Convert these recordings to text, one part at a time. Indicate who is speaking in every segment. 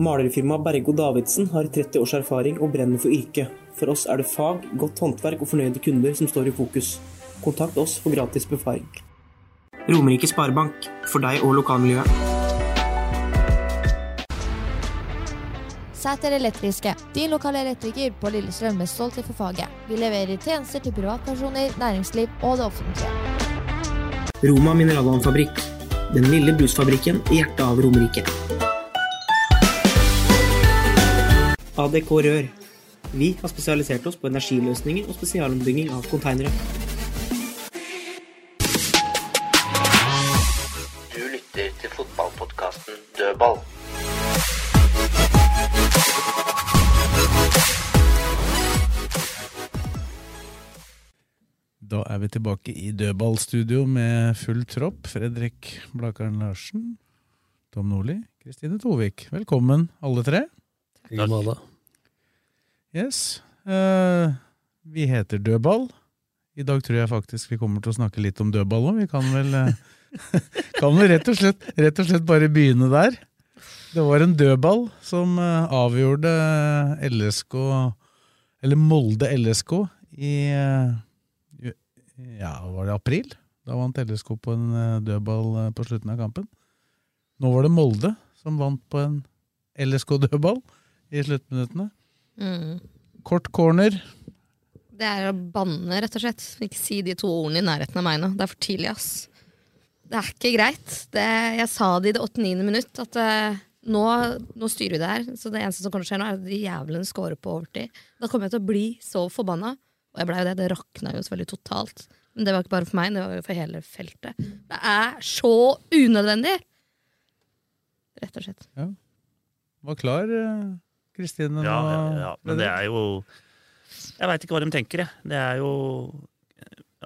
Speaker 1: Malerfirmaet Bergo Davidsen har 30 års erfaring og brenner for yrket. For oss er det fag, godt håndverk og fornøyde kunder som står i fokus. Kontakt oss for gratis befaring. Romerike Sparebank, for deg og lokalmiljøet.
Speaker 2: Sæter Elektriske, din lokale elektriker på Lillestrøm med stolthet for faget. Vi leverer tjenester til privatpersoner, næringsliv og det offentlige.
Speaker 1: Roma Mineralvannfabrikk. Den lille brusfabrikken i hjertet av Romerike. ADK Rør. Vi har spesialisert oss på energiløsninger og spesialombygging av konteinere.
Speaker 3: Du lytter til fotballpodkasten Dødball.
Speaker 4: Da er vi tilbake i dødballstudio med full tropp. Fredrik Blakaren Larsen, Tom Nordli, Kristine Tovik. Velkommen, alle tre. Yes. eh, vi heter Dødball. I dag tror jeg faktisk vi kommer til å snakke litt om dødball òg. Vi kan vel, eh, kan vel rett, og slett, rett og slett bare begynne der. Det var en dødball som eh, avgjorde eh, LSK, eller Molde LSK, i eh, ja, var det april? Da vant LSK på en eh, dødball eh, på slutten av kampen. Nå var det Molde som vant på en LSK-dødball i sluttminuttene.
Speaker 5: Mm.
Speaker 4: Kort corner.
Speaker 5: Det er å banne, rett og slett. Ikke si de to ordene i nærheten av meg nå. Det er for tidlig, ass. Det er ikke greit. Det, jeg sa det i det 89. minutt, at eh, nå, nå styrer vi det her. Så det eneste som kommer til å skje nå, er at de jævlene scorer på overtid. Da kommer jeg til å bli så forbanna. Og jeg blei jo det. Det rakna jo selvfølgelig totalt. Men det var ikke bare for meg, det var jo for hele feltet. Det er så unødvendig! Rett og slett.
Speaker 4: Var klar, eh, Kristine.
Speaker 6: Ja, ja,
Speaker 4: nå,
Speaker 6: ja, men det
Speaker 4: Fredrik?
Speaker 6: er jo Jeg veit ikke hva de tenker, jeg. Det er jo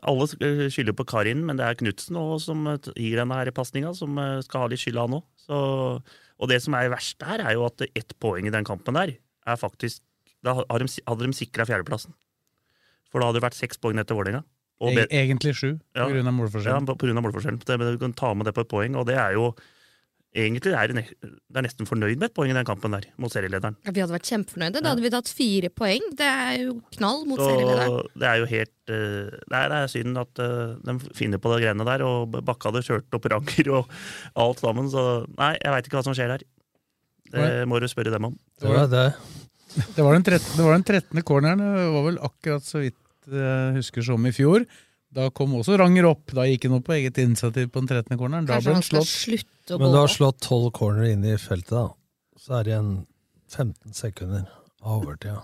Speaker 6: Alle eh, skylder på Karin, men det er Knutsen som eh, gir henne her pasninga, som eh, skal ha litt skyld, han òg. Så- Og det som er verst her, er jo at ett poeng i den kampen der er faktisk Da har de, hadde de sikra fjerdeplassen. For da hadde det vært seks poeng etter Vålerenga. Og
Speaker 4: E- Egentlig sju,
Speaker 6: Ja.
Speaker 4: pga.
Speaker 6: Ja,
Speaker 4: målforskjellen.
Speaker 6: på på grunn av målforskjellen. Det, men du kan ta med det på et poeng, og det er jo Egentlig er det, ne- det er nesten fornøyd med et poeng i den kampen der, mot serielederen.
Speaker 5: Ja, Vi hadde vært kjempefornøyde. Da hadde vi tatt fire poeng. Det er jo knall mot serielederen.
Speaker 6: Så det er jo helt eh, Nei, det er synd at eh, de finner på de greiene der, og Bakke hadde kjørt opp ranger og alt sammen, så nei, jeg veit ikke hva som skjer her. Det
Speaker 4: Nei.
Speaker 6: må du spørre dem om.
Speaker 4: Det var, det var den 13. Det var den 13. corneren. Det var vel akkurat så vidt jeg husker som i fjor. Da kom også Ranger opp. Da gikk han opp på eget initiativ på den 13. corneren. Da
Speaker 5: Kanskje han
Speaker 4: ble han
Speaker 5: skal
Speaker 4: slått.
Speaker 5: slutte å
Speaker 3: Men du
Speaker 5: gå
Speaker 3: har slått tolv corner inn i feltet, da. Så er det igjen 15 sekunder av overtida.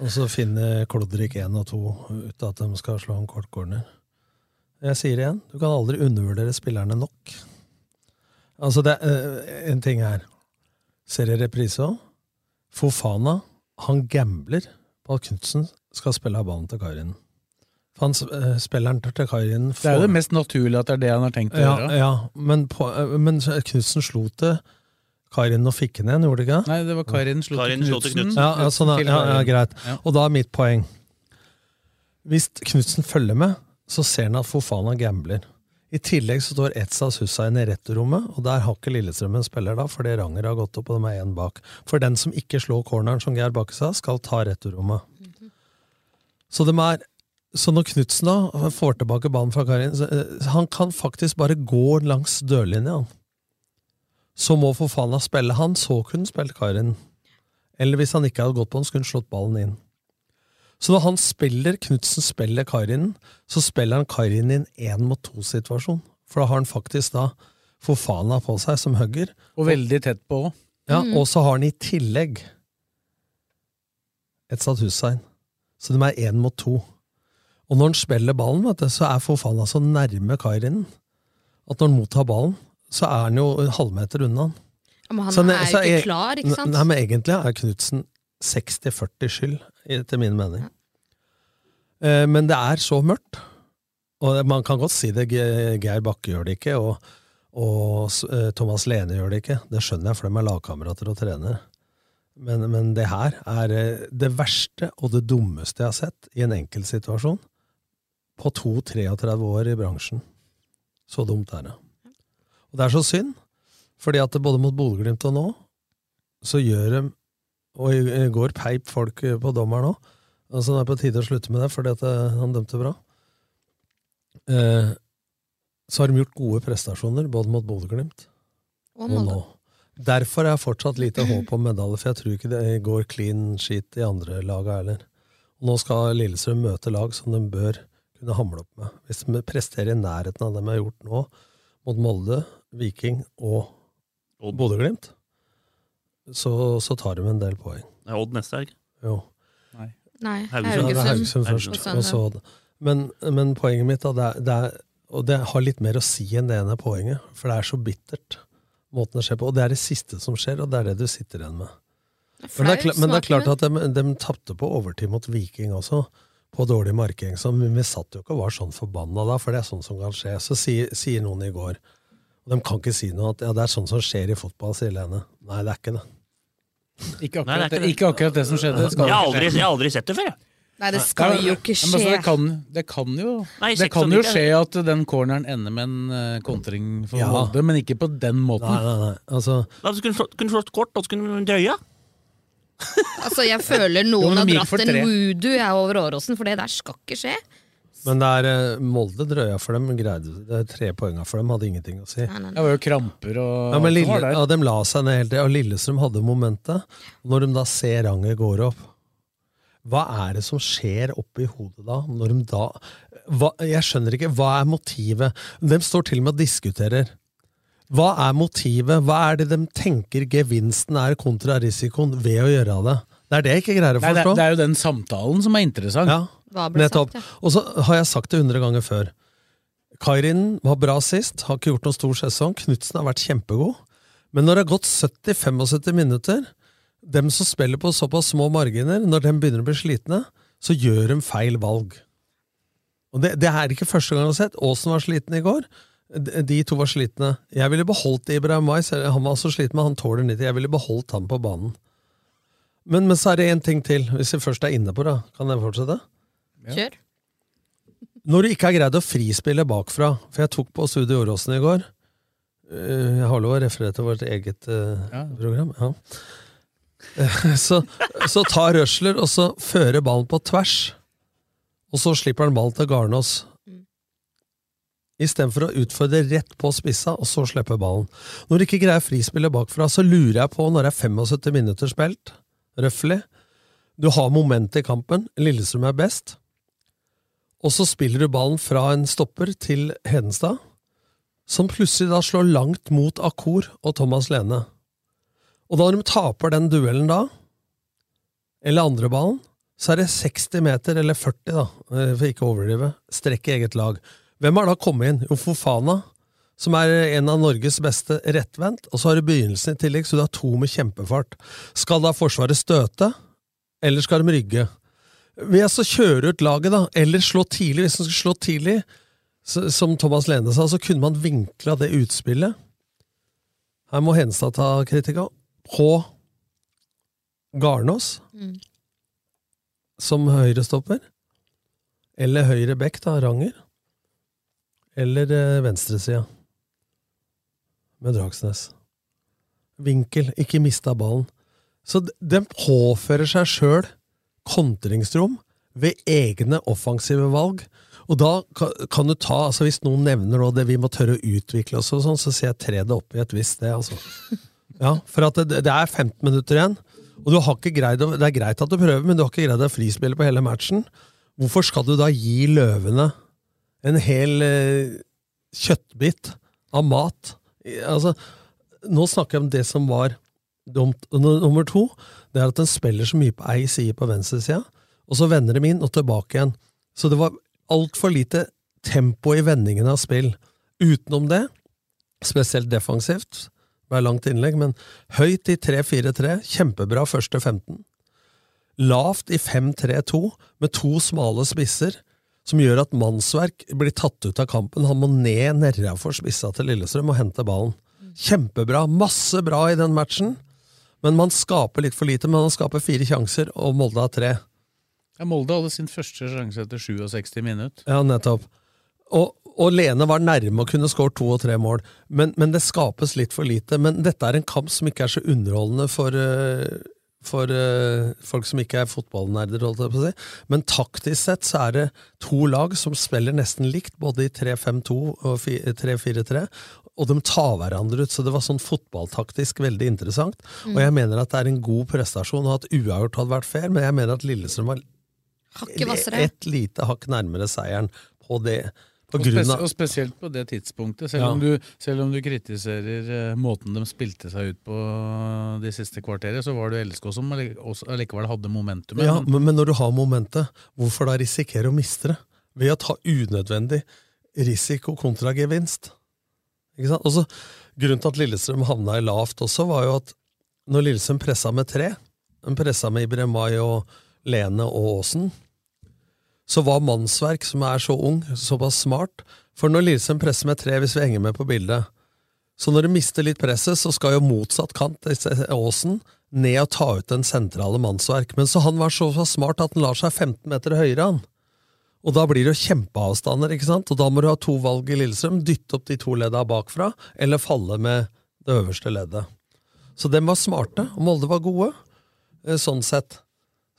Speaker 3: Og så finner Klodrik én og to ut at de skal slå en kort corner. Jeg sier det igjen, du kan aldri undervurdere spillerne nok. Altså, det er eh, en ting her. Ser jeg reprise òg? Fofana, han gambler på at Knutsen skal spille av banen til Karin. For han eh, spilleren til Karin
Speaker 4: Det er jo det mest naturlige at det er det han har tenkt å
Speaker 3: ja,
Speaker 4: gjøre.
Speaker 3: ja, men, på- eh, men Knutsen slo til Karin og fikk henne igjen, gjorde det ikke? det?
Speaker 4: Nei, det var Karin slo til
Speaker 6: Karin slo til
Speaker 4: Knutsen.
Speaker 6: Knutsen.
Speaker 3: Ja, ja, sånn, er-
Speaker 4: til
Speaker 3: ja, ja,
Speaker 4: Karin.
Speaker 3: greit.
Speaker 4: Mm. Ja.
Speaker 3: Og da er mitt poeng. Hvis Knutsen følger med, så ser han at Fofana gambler. I tillegg så står Etzas Hussein i retterrommet, og der har ikke Lillestrøm en spiller da, fordi Ranger har gått opp og de er igjen bak. For den som ikke slår corneren, som Geir Bakke sa, skal ta retterrommet. Så, de er, så når Knutsen da får tilbake ballen fra Karin, så, eh, han kan faktisk bare gå langs dørlinja. han. Så må Fofana spille han, så kunne spilt Karin. Eller hvis han ikke hadde gått på den, skulle han slått ballen inn. Så når han spiller, Knutsen spiller Karinen, så spiller han Karinen i en én mot to-situasjon. For da har han faktisk da Fofana på seg som hugger,
Speaker 4: Og veldig tett på òg.
Speaker 3: ja, og så har han i tillegg et satt Hussein. Så de er én mot to. Og når han spiller ballen, vet du, så er Fofana så nærme Kairinen at når han mottar ballen, så er han jo en halvmeter unna han.
Speaker 5: Men han
Speaker 3: Så ne-
Speaker 5: er
Speaker 3: så
Speaker 5: jo ikke
Speaker 3: jeg-
Speaker 5: klar, ikke sant?
Speaker 3: Nei, men egentlig er Knutsen 60-40 skyld, etter min mening. Eh, Men det er så mørkt. Og man kan godt si det, Ge- Geir Bakke gjør det ikke, og, og s- eh, Thomas Lene gjør det ikke. Det skjønner jeg, for de er lagkamerater og trener. Men, men det her er eh, det verste og det dummeste jeg har sett i en enkeltsituasjon på 2-33 år i bransjen. Så dumt er det. Og det er så synd, fordi at både mot Bodø-Glimt og nå, så gjør de Og i i går peip folk eh, på dommeren òg. Altså, det er på tide å slutte med det, fordi at eh, han dømte bra. Eh, så har de gjort gode prestasjoner, både mot Bodø-Glimt
Speaker 5: Og
Speaker 3: og
Speaker 5: Molde.
Speaker 3: nå. Derfor er jeg fortsatt lite håp om medalje, for jeg tror ikke det går clean sheet i andre laga heller. Og nå skal Lillestrøm møte lag som de bør kunne hamle opp med. Hvis de presterer i nærheten av det de har gjort nå, mot Molde, Viking og Bodø-Glimt, så, så tar de en del poeng.
Speaker 6: Det er Odd neste helg.
Speaker 3: Jo.
Speaker 5: Nei,
Speaker 3: Ja, det er Haugesund først, og så Odd. Men, men poenget mitt, da, det er, det er, og det har litt mer å si enn det ene poenget, for det er så bittert, måten det skjer på. Og det er det siste som skjer, og det er det du sitter igjen med. Men det, er, kla- men det er klart at de, de tapte på overtid mot Viking også, på dårlig markering. Så vi vi satt jo ikke og var sånn forbanna da, for det er sånn som kan skje. Så sier, sier noen i går, og de kan ikke si noe, at ja, det er sånn som skjer i fotball, sier Lene. Nei, det er ikke det.
Speaker 4: Ikke
Speaker 6: Nei,
Speaker 4: akkurat,
Speaker 6: det er
Speaker 4: det,
Speaker 6: ikke det.
Speaker 4: ikke akkurat det som skjedde.
Speaker 6: Jeg har aldri, jeg har aldri sett det før, jeg.
Speaker 5: Nei, det skal jo ikke
Speaker 4: Ja, men altså,
Speaker 5: skje.
Speaker 4: det, kan, det kan jo
Speaker 6: Nei,
Speaker 4: Det kan
Speaker 6: 96
Speaker 4: jo skje at den corneren ender med en eh, kontring for
Speaker 3: Ja.
Speaker 4: Molde, men ikke på den måten.
Speaker 3: Nei, nei, nei. Altså,
Speaker 6: Da skulle hun slått- kunne slått kort, og så kunne hun drøya.
Speaker 5: Altså, jeg føler
Speaker 4: Jo,
Speaker 5: noen
Speaker 4: men
Speaker 5: har
Speaker 4: de gikk for
Speaker 5: dratt en
Speaker 4: tre.
Speaker 5: voodoo jeg, over Åråsen, for det der skal ikke skje.
Speaker 3: Men det er eh, Molde drøya for dem. Greide, det er tre poenga for dem hadde ingenting å si.
Speaker 4: Det var jo kramper og
Speaker 3: Ja, men
Speaker 4: alt som
Speaker 3: Lille,
Speaker 4: var der.
Speaker 3: ja, De la seg ned hele tida, og Lillestrøm hadde momentet. Når de da ser Ranger går opp, hva er det som skjer oppi hodet da? Når de da hva, jeg skjønner ikke. Hva er motivet? De står til og med og diskuterer. Hva er motivet? Hva er det de tenker gevinsten er kontra risikoen ved å gjøre det? Det er det jeg ikke greier å
Speaker 4: Nei, det,
Speaker 3: forstå.
Speaker 4: det er jo den samtalen som er interessant.
Speaker 3: Ja, nettopp. Og så har jeg sagt det hundre ganger før. Kairin var bra sist, har ikke gjort noen stor sesong. Knutsen har vært kjempegod. Men når det har gått 70-75 minutter, dem som spiller på såpass små marginer, når de begynner å bli slitne, så gjør de feil valg. Og det, det er ikke første gang jeg har sett. Aasen var sliten i går. De de to var slitne. Jeg ville beholdt Ibrahim Mais. Han var så sliten, men han tåler 90. Jeg ville beholdt han på banen. Men, men så er det én ting til, hvis vi først er inne på det. Kan jeg fortsette?
Speaker 5: Kjør.
Speaker 3: Når du ikke har greid å frispille bakfra For jeg tok på Studio Åråsen i går Eh, Jeg har lov å referere til vårt eget eh, program ja. Eh, så, så ta røsler Og så føre ballen på tvers Og så slipper han ballen til Garnås i stedet for å utfordre rett på spissa, og så slippe ballen. Når du ikke greier frispillet bakfra, så lurer jeg på, når det er 75 minutter spilt, røffelig, du har momentet i kampen, Lillestrøm er best, og så spiller du ballen fra en stopper til Hedenstad, som plutselig da slår langt mot Akor og Thomas Lene. Og da når de taper den duellen da, eller andre ballen, så er det 60 meter, eller 40 da, eh, for ikke å overdrive, strekk i eget lag. Hvem har da kommet inn? Jo, Fofana, som er en av Norges beste rettvendt, og så har du begynnelsen i tillegg, så du har to med kjempefart. Skal da Forsvaret støte, eller skal de rygge? Ved å så kjøre ut laget, da, eller slå tidlig, hvis man skulle slå tidlig, så, som Thomas Lene sa, så kunne man vinkla det utspillet. Her må Henstad ta kritikk av. På Garnås,
Speaker 5: Mm.
Speaker 3: som høyrestopper, eller høyre bekk, da, Ranger, eller eh, venstresida, med Dragsnes. Vinkel, ikke mista ballen. Så d- den påfører seg sjøl kontringsrom ved egne offensive valg. Og da ka- kan du ta, altså Hvis noen nevner nå det vi må tørre å utvikle oss, og sånn, så ser jeg tre det opp i et visst sted. altså. Ja, For at det, det er 15 minutter igjen, og du har ikke greid å, det er greit at du prøver, men du har ikke greid å frispille på hele matchen. Hvorfor skal du da gi løvene en hel eh, kjøttbit av mat? I- Altså, Nå snakker jeg om det som var dumt. Og nu- Nummer to det er at den spiller så mye på ei side på venstresida, og så vender de inn og tilbake igjen. Så det var altfor lite tempo i vendingen av spill. Utenom det, spesielt defensivt, Det er langt innlegg, men høyt i 3-4-3, kjempebra første 15. Lavt i 5-3-2, med to smale spisser, som gjør at mannsverk blir tatt ut av kampen. Han må ned nedafor spissa til Lillestrøm og hente ballen. Kjempebra, masse bra i den matchen, men man skaper litt for lite. Men han skaper fire sjanser, og Molde har tre.
Speaker 4: Ja, Molde hadde sin første sjanse etter 67 minutter.
Speaker 3: Ja, nettopp. Og, og Lene var nærme å kunne skåre to og tre mål, men, men det skapes litt for lite. Men dette er en kamp som ikke er så underholdende for, eh, for eh, folk som ikke er fotballnerder, holdt jeg på å si. Men taktisk sett så er det to lag som spiller nesten likt, både i 3-5-2 og fi- 3-4-3. Og de tar hverandre ut, så det var sånn fotballtaktisk veldig interessant.
Speaker 7: Mm.
Speaker 3: Og jeg mener at det er en god prestasjon, og at uavgjort hadde vært fair, men jeg mener at Lillestrøm var
Speaker 5: Hakket hvassere.
Speaker 3: et lite hakk nærmere seieren på det. På
Speaker 4: Og,
Speaker 3: grunn
Speaker 4: spes-
Speaker 3: av,
Speaker 4: og spesielt på det tidspunktet. Selv,
Speaker 3: Ja.
Speaker 4: om, du, selv om du kritiserer eh, måten de spilte seg ut på eh, de siste kvarteret, så var det LSK som alle- også allikevel hadde momentumet.
Speaker 3: ja,
Speaker 4: Men-
Speaker 3: men, men når du har momentet, hvorfor da risikere å miste det? Ved å ta unødvendig risiko kontra gevinst. Ikke sant? Også, grunnen til at Lillestrøm havna i lavt også, var jo at når Lillestrøm pressa med tre, de pressa med Ibremay og Lene og Aasen, så var mannsverk, som er så ung, såpass smart. For når Lillestrøm presser med tre, hvis vi henger med på bildet Så når du mister litt presset, så skal jo motsatt kant, Aasen, ned og ta ut den sentrale mannsverk. Men så han var så smart at han lar seg 15 meter høyere, han. Og da blir det jo kjempeavstander, ikke sant? Og da må du ha to valg i Lillestrøm. Dytte opp de to ledda bakfra, eller falle med det øverste leddet. Så dem var smarte, og Molde var gode, eh, sånn sett.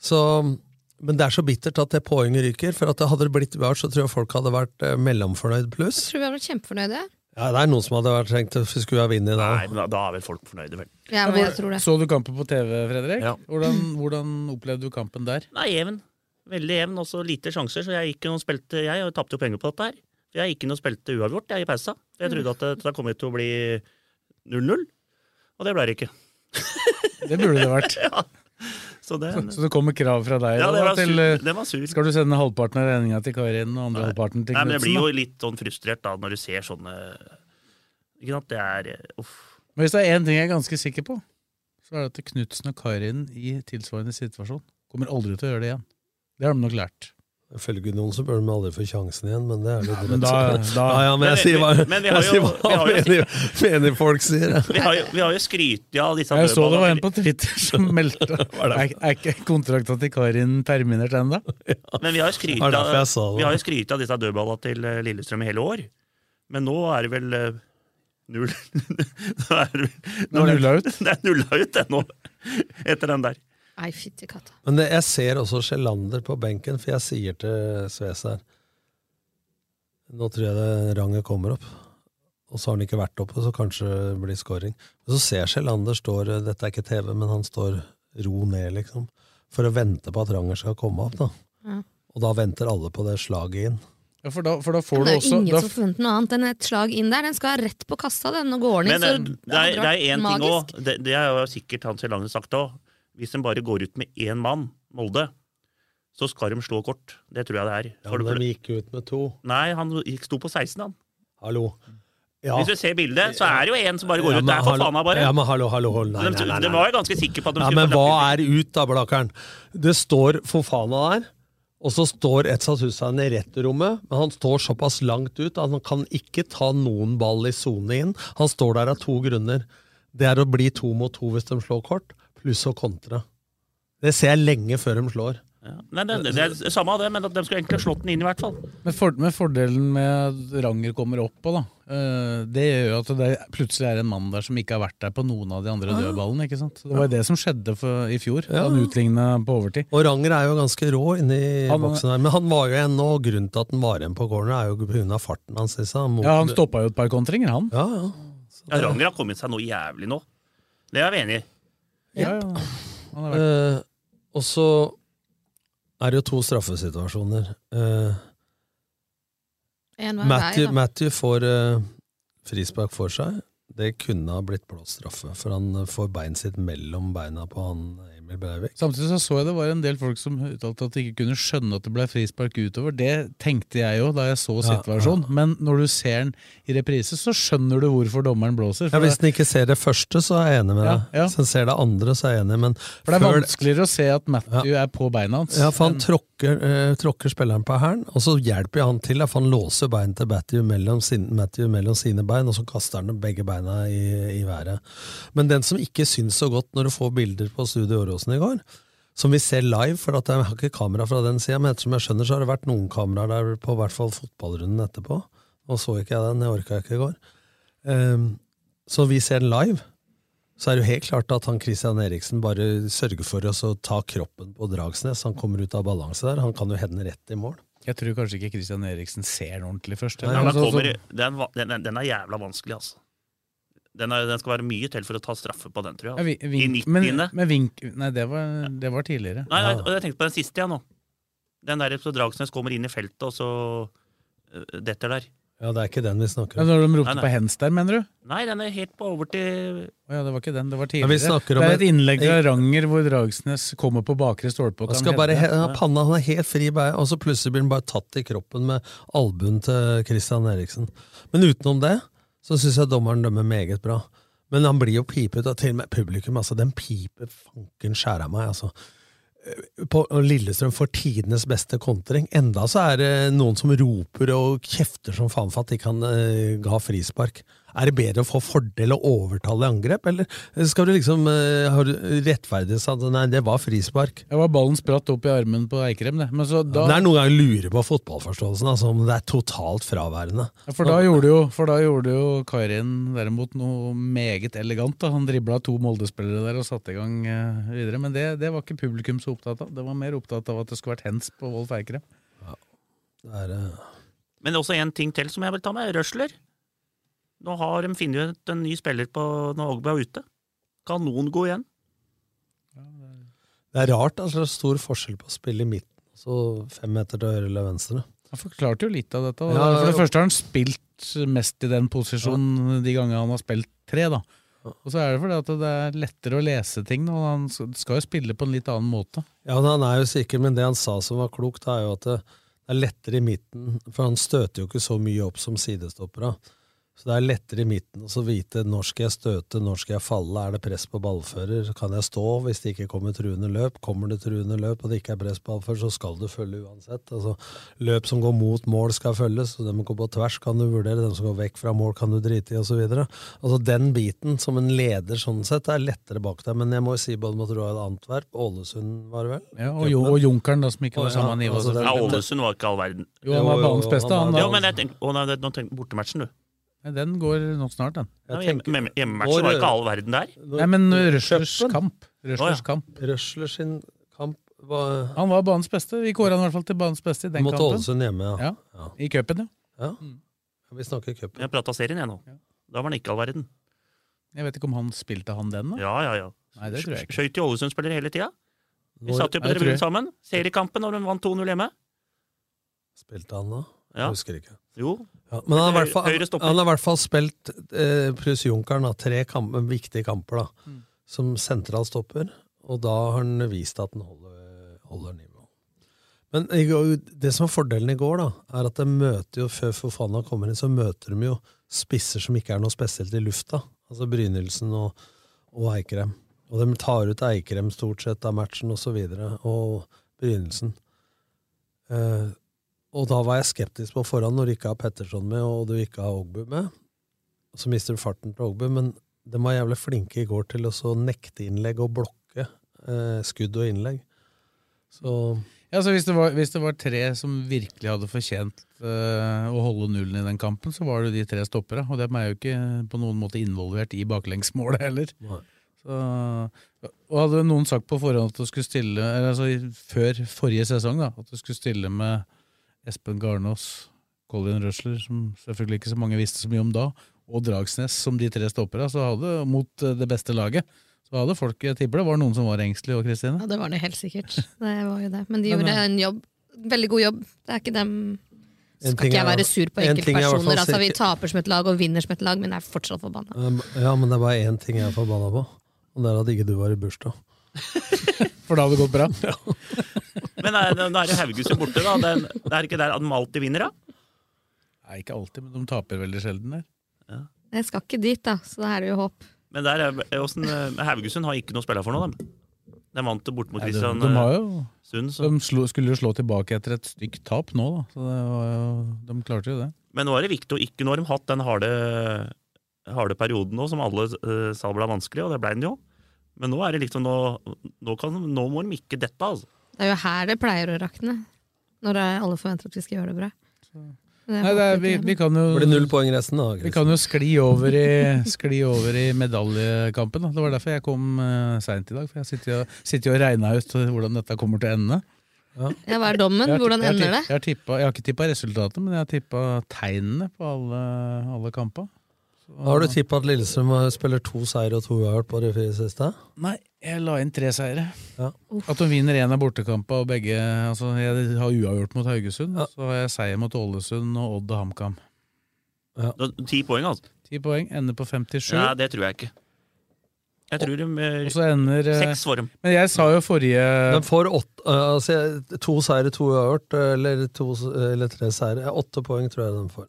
Speaker 3: Så, men det er så bittert at det poenget ryker, for at det hadde det blitt uavgjort, så tror jeg folk hadde vært eh, mellomfornøyd pluss.
Speaker 5: Tror vi hadde vært kjempefornøyde.
Speaker 3: Ja, det er noen som hadde vært trengt at vi skulle ha vunnet i dag.
Speaker 6: Nei, men da, da er vel folk fornøyde, vel.
Speaker 5: Ja, men jeg tror det.
Speaker 4: Så du kampen på TV, Fredrik? Hvordan, hvordan opplevde du kampen der?
Speaker 6: Nei, jevn. Veldig jevn, og så lite sjanser. Så jeg gikk inn og spilte Jeg tapte jo penger på dette her. Jeg gikk inn og spilte uavgjort jeg, i pausa.
Speaker 5: Mm.
Speaker 6: For Jeg trodde at det, det kom til å bli 0-0, og det ble det ikke.
Speaker 4: Det burde det vært.
Speaker 6: Så det,
Speaker 4: Så, så det kommer krav fra deg?
Speaker 6: Ja,
Speaker 4: da,
Speaker 6: det var
Speaker 4: til,
Speaker 6: sur-
Speaker 4: eh,
Speaker 6: det var sur.
Speaker 4: Skal du sende halvparten av regninga til Karin og andre halvparten til
Speaker 6: Nei, men jeg blir
Speaker 4: Knutsen?
Speaker 6: jo
Speaker 4: da?
Speaker 6: litt sånn frustrert da, når du ser sånne Ikke sant, det er eh, Uff.
Speaker 4: Men hvis det er én ting jeg er ganske sikker på, så er det at Knutsen og Karin i tilsvarende situasjon kommer aldri til å gjøre det igjen. Det har de nok lært.
Speaker 3: Ifølge noen så bør de aldri få sjansen igjen, men det er litt
Speaker 4: men da-
Speaker 3: rett.
Speaker 4: da-
Speaker 3: ja, ja, men jeg
Speaker 6: Men-
Speaker 3: sier hva,
Speaker 6: men vi har
Speaker 3: jeg sier
Speaker 6: jo-
Speaker 3: hva
Speaker 6: vi
Speaker 3: mener, mener folk sier.
Speaker 6: Vi har jo, vi har jo skrytt av disse
Speaker 4: Jeg så det var
Speaker 6: dødballene.
Speaker 4: en på Twitter som meldte Er, er ikke kontrakta til Karin terminert ennå?
Speaker 6: Men vi har jo skryt
Speaker 4: Det var derfor jeg sa
Speaker 6: av,
Speaker 4: det.
Speaker 6: vi har jo skryt av disse dødballa til eh, Lillestrøm i hele år. Men nå er det vel eh, null. nå er det,
Speaker 4: Nå er det nulla ut.
Speaker 6: Det er nulla ut det, nå, etter den der.
Speaker 5: Nei, fytti katta.
Speaker 3: Men det, jeg ser også Sjelander på benken, for jeg sier til Sves her Nå tror jeg det ranget kommer opp. Og så har han ikke vært oppe, så kanskje det blir scoring. Og så ser jeg Sjelander står Dette er ikke TV, men han står ro ned, liksom. For å vente på at ranget skal komme opp, da.
Speaker 5: Ja.
Speaker 3: Og da venter alle på det slaget inn.
Speaker 4: Ja, for, da, for da får
Speaker 5: Men
Speaker 4: du
Speaker 5: det er jo
Speaker 4: også
Speaker 5: ingen
Speaker 4: da,
Speaker 5: som forventer noe annet enn et slag inn der. Den skal rett på kassa, den, og går den
Speaker 6: Men
Speaker 5: inn.
Speaker 6: eh,
Speaker 5: så
Speaker 6: det er, det er én ting
Speaker 5: magisk.
Speaker 6: òg, det, det har jo sikkert Hans Helander sagt òg. Hvis en bare går ut med én mann, Molde, så skal de slå kort. Det tror jeg det er.
Speaker 3: Ja, men de gikk ut med to.
Speaker 6: Nei, han gikk- sto på 16, han.
Speaker 3: Hallo. Ja.
Speaker 6: Hvis du ser bildet, så er det jo én som bare går
Speaker 3: Ja,
Speaker 6: ut.
Speaker 3: men
Speaker 6: Det er for
Speaker 3: hallo-
Speaker 6: faen meg bare.
Speaker 3: Ja, men hallo, hallo, hold. Nei,
Speaker 6: de,
Speaker 3: nei, nei,
Speaker 6: de
Speaker 3: nei.
Speaker 6: var jo ganske sikre på at de
Speaker 3: Ja,
Speaker 6: skulle
Speaker 3: men
Speaker 6: få
Speaker 3: hva er ut da, Blakkeren? Det står Fofana der, og så står Etsat Hussain i retterrommet, men han står såpass langt ut at han kan ikke ta noen ball i sone inn. Han står der av to grunner. Det er å bli to mot to hvis de slår kort, pluss å kontre. Det ser jeg lenge før de slår.
Speaker 6: Ja. Nei, det, det er samme av det, men at de skulle egentlig slått den inn i hvert fall.
Speaker 4: Men, for, men fordelen med at Ranger kommer opp på, da, eh, det gjør jo at det er- plutselig er en mann der som ikke har vært der på noen av de
Speaker 5: Ah,
Speaker 4: andre dødballene. ikke sant? Så Det var jo det som skjedde for, i fjor. da Han utligna på overtid.
Speaker 3: Og Ranger er jo ganske rå inni
Speaker 4: Han-
Speaker 3: boksen her, men han var jo en, og grunnen til at han var igjen på corner, er jo pga. farten hans. ikke sant? Mot-
Speaker 4: Ja, Han stoppa jo et par kontringer, han.
Speaker 3: Ja, ja.
Speaker 6: Ja, Ranger har kommet seg noe jævlig nå. Det er vi enig i.
Speaker 4: Ja, ja.
Speaker 3: Eh, og så er det jo to straffesituasjoner. Eh,
Speaker 5: En hver vei,
Speaker 3: Matthew,
Speaker 5: da.
Speaker 3: Matthew får eh, frispark for seg. Det kunne ha blitt blåst straffe, for han eh, får beinet sitt mellom beina på han Emil Emil Breivik.
Speaker 4: Samtidig så, så jeg det var en del folk som uttalte at de ikke kunne skjønne at det ble frispark utover. Det tenkte jeg jo da jeg så
Speaker 3: Ja,
Speaker 4: situasjonen, men når du ser den i reprise, så skjønner du hvorfor dommeren blåser.
Speaker 3: Ja,
Speaker 4: For,
Speaker 3: hvis
Speaker 4: det,
Speaker 3: den ikke ser det første, så er jeg enig med deg. Hvis den ser det andre, så er jeg enig. Men
Speaker 4: for det er
Speaker 3: før-
Speaker 4: vanskeligere å se at Matthew er på beina hans.
Speaker 3: Ja, for han
Speaker 4: enn-
Speaker 3: tråkker, eh, tråkker spilleren på hælen, og så hjelper jo han til. da, For han låser bein til Matthew mellom, sin, Matthew mellom sine bein, og så kaster han begge beina i, i været. Men den som ikke syns så godt når du får bilder på Studio Åråsen i går, som vi ser live, for at jeg har ikke kamera fra den sida, men ettersom jeg skjønner, så har det vært noen kameraer der på hvert fall fotballrunden etterpå. Og så ikke jeg den, jeg orka ikke i går. Ehm, så vi ser den live. Så er det jo helt klart at han Christian Eriksen bare sørger for å så ta kroppen på Dragsnes. Han kommer ut av balanse der. Han kan jo hende rett i mål.
Speaker 4: Jeg tror kanskje ikke Christian Eriksen ser den ordentlig først. Altså,
Speaker 6: Nei, men da kommer, den, va- den, den- den er jævla vanskelig, altså. Den, er, den skal være mye til for å ta straffe på den, tror
Speaker 4: Ja, vi,
Speaker 6: jeg. altså. I
Speaker 4: vink, men,
Speaker 6: 90.
Speaker 4: men vink Nei, det var, det var tidligere.
Speaker 6: Nei, nei, og jeg tenkte på den siste, jeg nå. Den der så Dragsnes kommer inn i feltet, og så øh, detter der.
Speaker 3: Ja, det er ikke den vi snakker
Speaker 4: Ja,
Speaker 3: om.
Speaker 4: når de ropte
Speaker 6: Nei, nei.
Speaker 4: på hens der, mener du?
Speaker 6: Nei, den er helt på over til
Speaker 4: Å ja, det var ikke den, det var
Speaker 3: Ja, vi
Speaker 4: tidligere.
Speaker 3: snakker om
Speaker 4: det er et
Speaker 3: et-
Speaker 4: innlegg fra Ranger hvor Dragsnes kommer på bakre stolpe. og
Speaker 3: Han
Speaker 4: kan
Speaker 3: skal bare
Speaker 4: hedde.
Speaker 3: he ha panna, han er helt fri i beia, og så plutselig blir han bare tatt i kroppen med albuen til Christian Eriksen. Men utenom det så syns jeg dommeren dømmer meget bra. Men han blir jo pipet, og til og med publikum. altså, Den piper fanken skjæra meg, altså. Eh, På og Lillestrøm får tidenes beste kontring. Enda så er det noen som roper og kjefter som faen for at de kan eh, ga frispark. Er det bedre å få fordel og overtale i angrep, eller skal du liksom eh, ha rettferdighet? at Nei, det var frispark.
Speaker 4: Det var ballen spratt opp i armen på Eikrem, det. Men så da,
Speaker 3: Det er noen ganger jeg lurer på fotballforståelsen, altså, om det er totalt fraværende.
Speaker 4: Ja, For da gjorde jo, for da gjorde jo Karin derimot noe meget elegant. da. Han dribla to Molde-spillere der og satte i gang eh, videre. Men det, det var ikke publikum så opptatt av. Det var mer opptatt av at det skulle vært hands på Wolf Eikrem.
Speaker 3: Det er, eh,
Speaker 6: Men også en ting til som jeg vil ta med. Røsler. Nå har de funnet ut en ny spiller på når Ågbe er ute. Kanon god igjen.
Speaker 3: det er rart altså, det er stor forskjell på å spille i midten, så fem meter til høyre eller venstre.
Speaker 4: Han forklarte jo litt av dette. da.
Speaker 3: Ja,
Speaker 4: for det
Speaker 3: og-
Speaker 4: første har han spilt mest i den posisjonen de gangene han har spilt tre. da. Og så er det fordi at det er lettere å lese ting. da. Han skal jo spille på en litt annen måte.
Speaker 3: Ja, men Han er jo sikker, men det han sa som var klokt, er jo at det er lettere i midten, for han støter jo ikke så mye opp som sidestoppere. Så det er lettere i midten å så vite når skal jeg støte, når skal jeg falle, er det press på ballfører, kan jeg stå hvis det ikke kommer truende løp, kommer det truende løp og det ikke er press på ballfører, så skal du følge uansett. Altså, løp som går mot mål skal følges, og dem som går på tvers kan du vurdere, dem som går vekk fra mål kan du drite i, osv. Altså, den biten som en leder sånn sett er lettere bak deg, men jeg må jo si både mot Royal Antwerp, Ålesund var det vel?
Speaker 4: Ja, og, jo, og Junkeren, da, som ikke
Speaker 3: Å, ja,
Speaker 4: var samme nivå.
Speaker 3: altså, det er-
Speaker 6: Ja,
Speaker 4: selvfølgelig.
Speaker 6: Ålesund var ikke all verden.
Speaker 4: Jo, han var
Speaker 3: Jo, jo,
Speaker 4: banens
Speaker 3: jo,
Speaker 4: beste.
Speaker 3: han
Speaker 4: Han,
Speaker 3: var-
Speaker 4: da.
Speaker 6: Jo, men jeg tenker, å, nei, det- nå tenker jeg bortematchen, du.
Speaker 4: Nei, den går nok snart, den.
Speaker 6: Ja,
Speaker 3: Jeg
Speaker 6: hjemme-
Speaker 3: tenker,
Speaker 6: hjemme- Hjemmematchen var ikke all verden der.
Speaker 4: Nei, men Røslers
Speaker 3: Kjøpen.
Speaker 4: kamp. Røslers
Speaker 6: Å, ja.
Speaker 4: kamp.
Speaker 3: Røsler sin kamp var
Speaker 4: Han var banens beste. Vi kåra han i hvert fall til banens beste i den
Speaker 3: mot
Speaker 4: kampen.
Speaker 3: Ålesund hjemme, ja.
Speaker 4: Ja, I cupen, ja.
Speaker 3: ja. Vi snakker cup.
Speaker 6: Jeg prata serien, jeg nå. Da var han ikke all verden.
Speaker 4: Jeg vet ikke om han spilte han den, da.
Speaker 6: Ja, ja, ja.
Speaker 4: Nei, det tror jeg ikke.
Speaker 6: Skøyt i Ålesund-spillere hele tida. Vi
Speaker 3: Når
Speaker 6: satt jo på
Speaker 4: Nei, det tror jeg.
Speaker 6: tribunen sammen. Seriekampen når de vant 2-0 hjemme.
Speaker 3: spilte han da?
Speaker 6: Ja.
Speaker 3: Jeg husker ikke.
Speaker 6: Jo.
Speaker 3: Ja, men han har i hvert
Speaker 6: Høyre
Speaker 3: fall-
Speaker 6: stopper.
Speaker 3: han har i hvert fall spilt eh, pluss Junkeren, da, tre kamp, viktige kamper, da,
Speaker 6: Mm.
Speaker 3: som sentral stopper, og da har han vist at han holder, holder nivå. Men i går- det som var fordelen i går, da, er at de møter jo, før Fofana kommer inn, så møter de jo spisser som ikke er noe spesielt i lufta. Altså Brynildsen og, og Eikrem. Og de tar ut Eikrem stort sett av matchen, og så videre, og Brynildsen. Eh, og da var jeg skeptisk på forhånd når du ikke har Petterson med, og du ikke har Ogbu med. Så mister du farten til Ogbu, men de var jævlig flinke i går til å så nekte innlegg og blokke eh, skudd og innlegg. Så
Speaker 4: Ja, så hvis det, var, hvis det var tre som virkelig hadde fortjent eh, å holde nullen i den kampen, så var det jo de tre stoppere. Og dem er jo ikke på noen måte involvert i baklengsmålet heller.
Speaker 3: Nei.
Speaker 4: Så, og hadde noen sagt på forhånd at du skulle stille eller altså i- Før forrige sesong, da, at du skulle stille med Espen Garnås, Colin Røsler, som selvfølgelig ikke så mange visste så mye om da, og Dragsnes som de tre stoppere, så hadde mot eh, det beste laget. Så hadde folk, jeg tipper det var noen som var engstelige òg, Kristine.
Speaker 5: Ja, det var det helt sikkert. Det var jo det. Men de
Speaker 4: Men,
Speaker 5: gjorde
Speaker 4: eh,
Speaker 5: en jobb. Veldig god jobb. Det er ikke dem
Speaker 3: En
Speaker 5: Skal
Speaker 3: ting
Speaker 5: ikke jeg
Speaker 3: er-
Speaker 5: være sur på
Speaker 3: en ting er i hvert fall
Speaker 5: enkeltpersoner. Altså, vi
Speaker 3: sikkert-
Speaker 5: taper som et lag og vinner som et lag, men jeg er fortsatt forbanna.
Speaker 3: um, Ja, men det er bare én ting jeg er forbanna på. Og der hadde ikke du vært i bursdag. For da hadde det gått bra? Ja.
Speaker 6: Men eh, nå nå er det Haugesund borte, da. Den, det er ikke der de alltid vinner, da?
Speaker 4: Nei, ikke alltid, men de taper veldig sjelden der.
Speaker 5: Jeg skal ikke dit, da, så da er det jo håp.
Speaker 6: Men der, er- er hvordan, eh, Haugesund har ikke noe å spille for nå, de. De vant det bort mot
Speaker 4: Nei, de,
Speaker 6: Kristian
Speaker 4: de, har
Speaker 6: eh,
Speaker 4: jo,
Speaker 6: Sund. Så.
Speaker 4: de slo, skulle jo slå tilbake etter et stygt tap nå, da. Så det var jo, de klarte jo det.
Speaker 6: Men nå er det viktig å ikke Nå har de hatt den harde, harde perioden nå, som alle eh, sa ble vanskelig, og det ble den jo. Men nå er det liksom, nå, nå, kan, nå må de ikke dette, altså.
Speaker 5: Det er jo her det pleier å rakne. Når eh, alle forventer at vi skal gjøre det bra. Men jeg
Speaker 4: Nei, det er,
Speaker 5: håper
Speaker 4: vi,
Speaker 5: ikke
Speaker 4: vi kan jo
Speaker 3: Blir det null poeng resten, da?
Speaker 4: Vi kan jo skli over i, skli over i medaljekampen. Da. Det var derfor jeg kom uh, seint i dag. For jeg sitter og, sitter og regna ut hvordan dette kommer til å ende.
Speaker 5: Ja, hva er dommen?
Speaker 4: Jeg har-
Speaker 5: Hvordan
Speaker 4: jeg har
Speaker 5: ender
Speaker 4: tipp-
Speaker 5: det?
Speaker 4: Jeg har, tippa, jeg har ikke tippa resultatet, men jeg har tippa tegnene på alle, alle kampa.
Speaker 3: Da Har du tippa at Lillestrøm spiller to seier og to uavgjort på de fire siste?
Speaker 4: Nei, jeg la inn tre seire.
Speaker 3: Ja.
Speaker 4: At de vinner én av bortekampene og begge altså Jeg har uavgjort mot Haugesund, så har jeg seier mot Ålesund og Odd og HamKam.
Speaker 6: Da- Ti poeng, altså.
Speaker 4: Ti poeng, ender på 57.
Speaker 6: Nei, det tror jeg ikke. Jeg tror de eh,
Speaker 4: og så ender eh,
Speaker 6: Seks for dem.
Speaker 4: Men jeg sa jo forrige
Speaker 3: De får åtte, eh, altså, jeg- to seire, to uavgjort, eh, eller, to, eller tre seire. Eh, Åtte poeng tror jeg de får.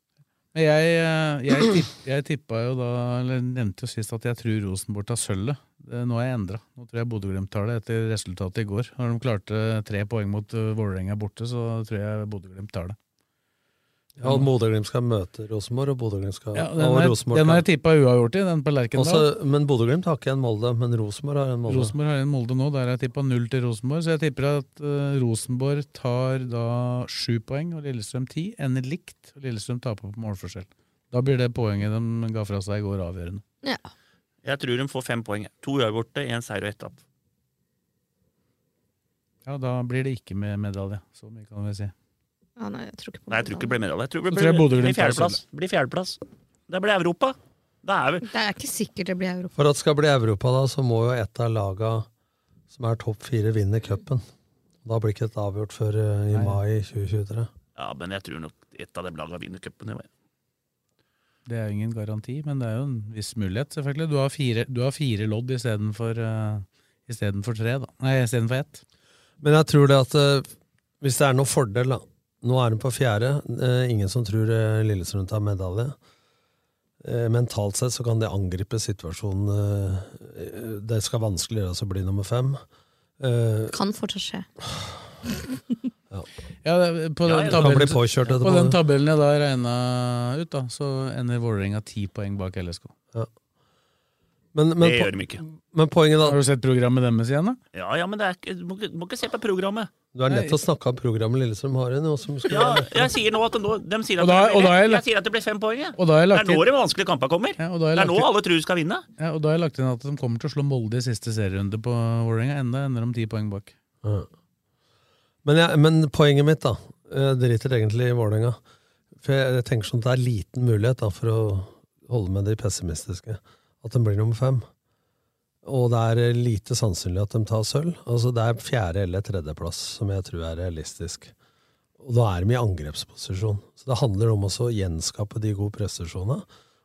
Speaker 4: Men Jeg, eh, jeg, tipp, jeg tippa jo da, eller nevnte jo sist at jeg tror Rosenborg tar sølvet. Det- Nå har jeg endra. Nå tror jeg Bodø-Glimt tar det etter resultatet i går. Når de klarte tre poeng mot eh, Vålerenga borte, så tror jeg Bodø-Glimt tar det.
Speaker 3: Ja, og Bodø-Glimt skal møte Rosenborg, og Bodø-Glimt skal
Speaker 4: Ja, den,
Speaker 3: og
Speaker 4: har, jeg-
Speaker 3: Rosenborg
Speaker 4: den har
Speaker 3: kan-
Speaker 4: jeg tippa uavgjort i, den på Lerkendal.
Speaker 3: Også, Men Bodø-Glimt har ikke en Molde, men Rosenborg har en Molde.
Speaker 4: Rosenborg har en Molde nå, der har jeg tippa null til Rosenborg. Så jeg tipper at eh, Rosenborg tar da sju poeng og Lillestrøm ti. Ender likt, og Lillestrøm taper på målforskjell. Da blir det poenget de ga fra seg i går, avgjørende.
Speaker 6: Jeg tror de får fem poeng. To uavgjorte, én seier og ett tap.
Speaker 4: Ja, Da blir det ikke med medalje, så mye kan vi si.
Speaker 5: Ja, nei, jeg tror ikke på
Speaker 6: Nei, jeg tror ikke det blir medalje. Jeg tror det
Speaker 4: Så
Speaker 6: blir,
Speaker 4: tror jeg Bodø-Glimt
Speaker 6: blir
Speaker 4: tar
Speaker 6: fjerdeplass. Blir fjerdeplass. Det blir Europa. Det er vel
Speaker 5: Det er ikke sikkert det blir Europa.
Speaker 3: For at det skal bli Europa, da, så må jo et av laga som er topp fire, vinne cupen. Da blir ikke dette avgjort før eh, i
Speaker 4: Nei.
Speaker 3: mai 2023.
Speaker 6: Ja, men jeg tror nok et av de lagene vinner cupen. i år.
Speaker 4: Det er jo ingen garanti, men det er jo en viss mulighet, selvfølgelig. Du har fire, du har fire lodd istedenfor uh, istedenfor tre, da. Nei, istedenfor ett.
Speaker 3: Men jeg tror det at eh, hvis det er noen fordel, da Nå er hun på fjerde. eh, ingen som tror eh, Lillestrøm tar medalje. Eh, mentalt sett så kan det angripe situasjonen. eh, eh, det skal vanskeligere altså, å bli nummer fem. Eh,
Speaker 5: Kan fortsatt skje.
Speaker 4: Ja, det- på
Speaker 3: Ja, ja, det
Speaker 4: den
Speaker 3: kan bli
Speaker 4: tabellen,
Speaker 3: påkjørt etterpå.
Speaker 4: på den tabellen jeg da regna ut, da, så ender Vålerenga ti poeng bak LSK.
Speaker 3: men, men,
Speaker 6: Det
Speaker 3: po-
Speaker 6: gjør de ikke.
Speaker 3: men poenget da
Speaker 4: Har du sett programmet deres igjen, da?
Speaker 6: Ja, ja, men det er ikke, du, må ikke, du må ikke se på programmet.
Speaker 3: Du er lett å snakke om programmet Lillestrøm har igjen. Som skulle
Speaker 6: Ja,
Speaker 3: være-
Speaker 6: jeg sier nå at nå, de sier
Speaker 4: Og
Speaker 6: at,
Speaker 4: da-
Speaker 6: det,
Speaker 4: og da
Speaker 6: blir,
Speaker 4: har jeg
Speaker 6: jeg,
Speaker 4: lagt-
Speaker 6: sier at det blir fem poeng. jeg.
Speaker 4: Og da har jeg
Speaker 6: Det er
Speaker 4: lagt
Speaker 6: nå
Speaker 4: inn,
Speaker 6: de vanskelige kampene kommer.
Speaker 4: ja, og da har
Speaker 6: Det
Speaker 4: jeg lagt
Speaker 6: er nå
Speaker 4: inn,
Speaker 6: alle tror du skal vinne.
Speaker 4: ja, og da har jeg lagt inn at de kommer til å slå Molde i siste serierunde på Vålerenga. Enda ender de ti poeng bak.
Speaker 3: Ja. Men, jeg, men poenget mitt, da. Jeg driter egentlig i Vålerenga. For jeg, jeg tenker sånn at det er liten mulighet da, for å holde med de pessimistiske. At de blir nummer fem. Og det er eh, lite sannsynlig at de tar sølv. Altså Det er fjerde- eller tredjeplass som jeg tror er realistisk. Og da er de i angrepsposisjon. Så det handler om også å gjenskape de gode prestasjonene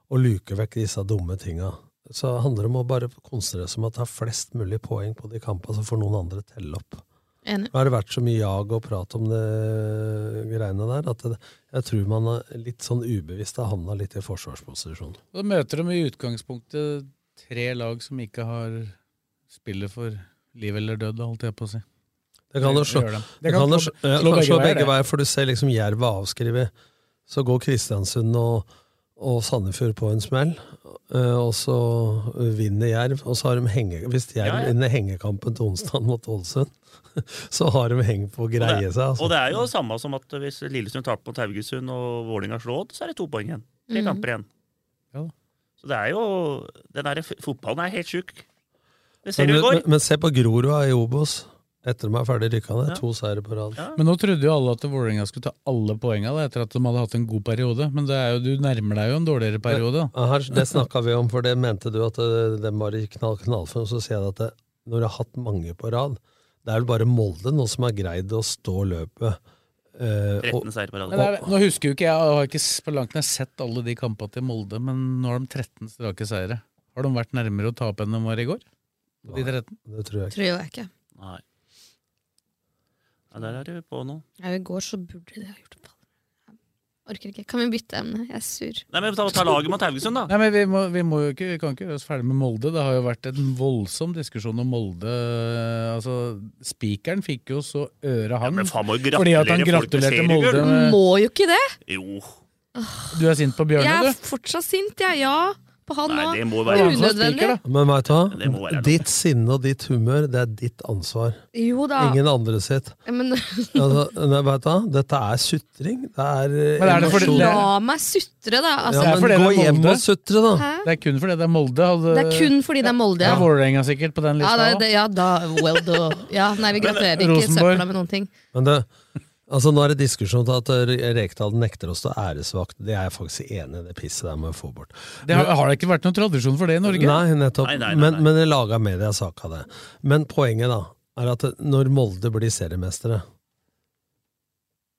Speaker 3: og luke vekk disse dumme tinga. Så handler det om å bare konsentrere seg om å ta flest mulig poeng på de kampene, så får noen andre telle opp.
Speaker 5: Enig.
Speaker 3: Nå har det vært så mye jag og prat om det greiene der at det, jeg tror man er litt sånn ubevisst har havna litt i forsvarsposisjon.
Speaker 4: Og Da møter de i utgangspunktet tre lag som ikke har spillet for liv eller død, holdt jeg på å si.
Speaker 3: Det kan jo slå,
Speaker 4: gjør de.
Speaker 3: det kan jo slå, ja,
Speaker 4: slå
Speaker 3: kan slå
Speaker 4: begge
Speaker 3: begge
Speaker 4: veier.
Speaker 3: veier, for du ser liksom Jerv er avskrevet. Så går Kristiansund og, og Sandefjord på en smell, eh, og så vinner Jerv. Og så har de henge, hvis Jerv
Speaker 6: Ja, ja.
Speaker 3: vinner hengekampen til onsdag mot Ålesund, så har de heng på å greie seg.
Speaker 6: Og
Speaker 3: Altså.
Speaker 6: det er jo samme som at hvis Lillesund taper mot Haugesund og Vålinga slår Odd, så er det to poeng igjen. Tre
Speaker 5: Mhm.
Speaker 6: kamper igjen.
Speaker 4: Ja da.
Speaker 6: Så det er jo Den der f- fotballen er helt sjuk. Det ser
Speaker 3: Men,
Speaker 6: du i går.
Speaker 3: men, men se på Grorud i Obos. Etter at de er ferdig rykka ned,
Speaker 6: Ja.
Speaker 3: to seire på rad.
Speaker 6: Ja.
Speaker 4: Men nå trodde jo alle at Vålerenga skulle ta alle poengene da, etter at de hadde hatt en god periode. Men det er jo, du nærmer deg jo en dårligere periode. da.
Speaker 3: Ja, Her, det snakka vi om, for det mente du at eh, det, det var i knall, knallform. Så sier jeg at det, når du har hatt mange på rad Det er vel bare Molde nå som har greid å stå løpet. Eh, og,
Speaker 6: 13 seire på rad.
Speaker 4: Men det er, nå husker jo ikke jeg, jeg har ikke s- på langt nær sett alle de kampene til Molde, men nå har de 13 strake seire. Har de vært nærmere å tape enn de var i går? På de 13?
Speaker 3: Det tror jeg ikke.
Speaker 5: Tror jeg ikke.
Speaker 6: Nei. Ja, der er du på nå.
Speaker 5: Ja, I går så burde de ha gjort det. Jeg Orker ikke. Kan vi bytte emne? Jeg er sur.
Speaker 6: Nei, men ta, ta laget mot Haugesund, da.
Speaker 4: Nei, men vi, må, vi, må jo ikke, vi kan ikke gjøre oss ferdig med Molde. Det har jo vært en voldsom diskusjon om Molde. Altså, Spikeren fikk jo så øret han
Speaker 6: men faen må jo
Speaker 4: fordi at han
Speaker 6: gratulere folk med
Speaker 4: gratulerte Molde
Speaker 6: seriegull.
Speaker 4: med
Speaker 5: Må jo ikke det!
Speaker 6: Jo.
Speaker 4: Du er sint på
Speaker 5: Jeg er
Speaker 4: Bjørne, du?
Speaker 5: fortsatt sint, jeg. Ja, på han nå.
Speaker 6: det må
Speaker 5: være unødvendig.
Speaker 3: Men veit du
Speaker 6: Det må
Speaker 3: hva?
Speaker 6: være
Speaker 3: Ditt sinne og ditt humør, det er ditt ansvar.
Speaker 5: Jo da.
Speaker 3: Ingen andre sitt.
Speaker 5: Men,
Speaker 3: Altså, nei, vet du hva? Dette er sutring. Det er, eh,
Speaker 4: Men er det fordi-
Speaker 3: emosjon.
Speaker 4: det
Speaker 5: La meg sutre, da. Altså,
Speaker 3: ja, men gå hjem og sutre, da.
Speaker 5: Hæ?
Speaker 4: Det er kun fordi det er Molde. Hadde,
Speaker 5: Det er kun fordi det er Molde,
Speaker 4: Det
Speaker 5: ja.
Speaker 4: er Vålerenga sikkert på den
Speaker 5: Ja,
Speaker 4: lista
Speaker 5: da,
Speaker 4: òg.
Speaker 5: det, ja, da well do. Ja, nei, vi gratulerer ikke
Speaker 4: Rosenborg.
Speaker 5: søpla med noen ting.
Speaker 3: Men det, altså nå er det diskusjon til at eh, Rekdal nekter oss til æresvakt. Det er jeg faktisk enig i, det pisset der må vi få bort.
Speaker 4: Det har, har det ikke vært noen tradisjon for det i Norge?
Speaker 3: Nei, nettopp.
Speaker 6: Nei, nei, nei,
Speaker 3: Men,
Speaker 6: nei.
Speaker 3: men jeg laga media sak av det. Men poenget da, er at når Molde blir seriemestere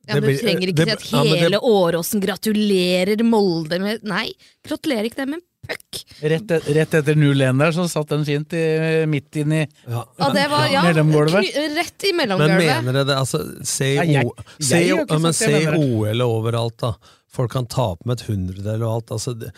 Speaker 5: Ja, men
Speaker 3: Det
Speaker 5: Du
Speaker 3: blir-
Speaker 5: trenger ikke
Speaker 3: eh, det-
Speaker 5: si at
Speaker 3: ja, men det-
Speaker 5: hele Åråsen gratulerer Molde med Nei, gratulerer ikke dem med en puck!
Speaker 4: Rett, e- rett etter 0-1 der, så satt den fint i, midt inn i
Speaker 3: ja.
Speaker 5: Ja, det var, ja,
Speaker 4: Mellomgulvet.
Speaker 5: kny- Rett i
Speaker 3: Men
Speaker 5: mellomgulvet.
Speaker 3: mener dere det? Altså, se
Speaker 4: Nei,
Speaker 3: i
Speaker 4: jeg-
Speaker 3: O-
Speaker 4: jeg
Speaker 3: se i
Speaker 4: har
Speaker 3: O-
Speaker 4: ikke
Speaker 3: ja, men
Speaker 4: sagt
Speaker 3: se
Speaker 4: det,
Speaker 3: i
Speaker 4: jeg mener.
Speaker 3: OL overalt, da. Folk kan tape med et hundredel og alt. Altså, det-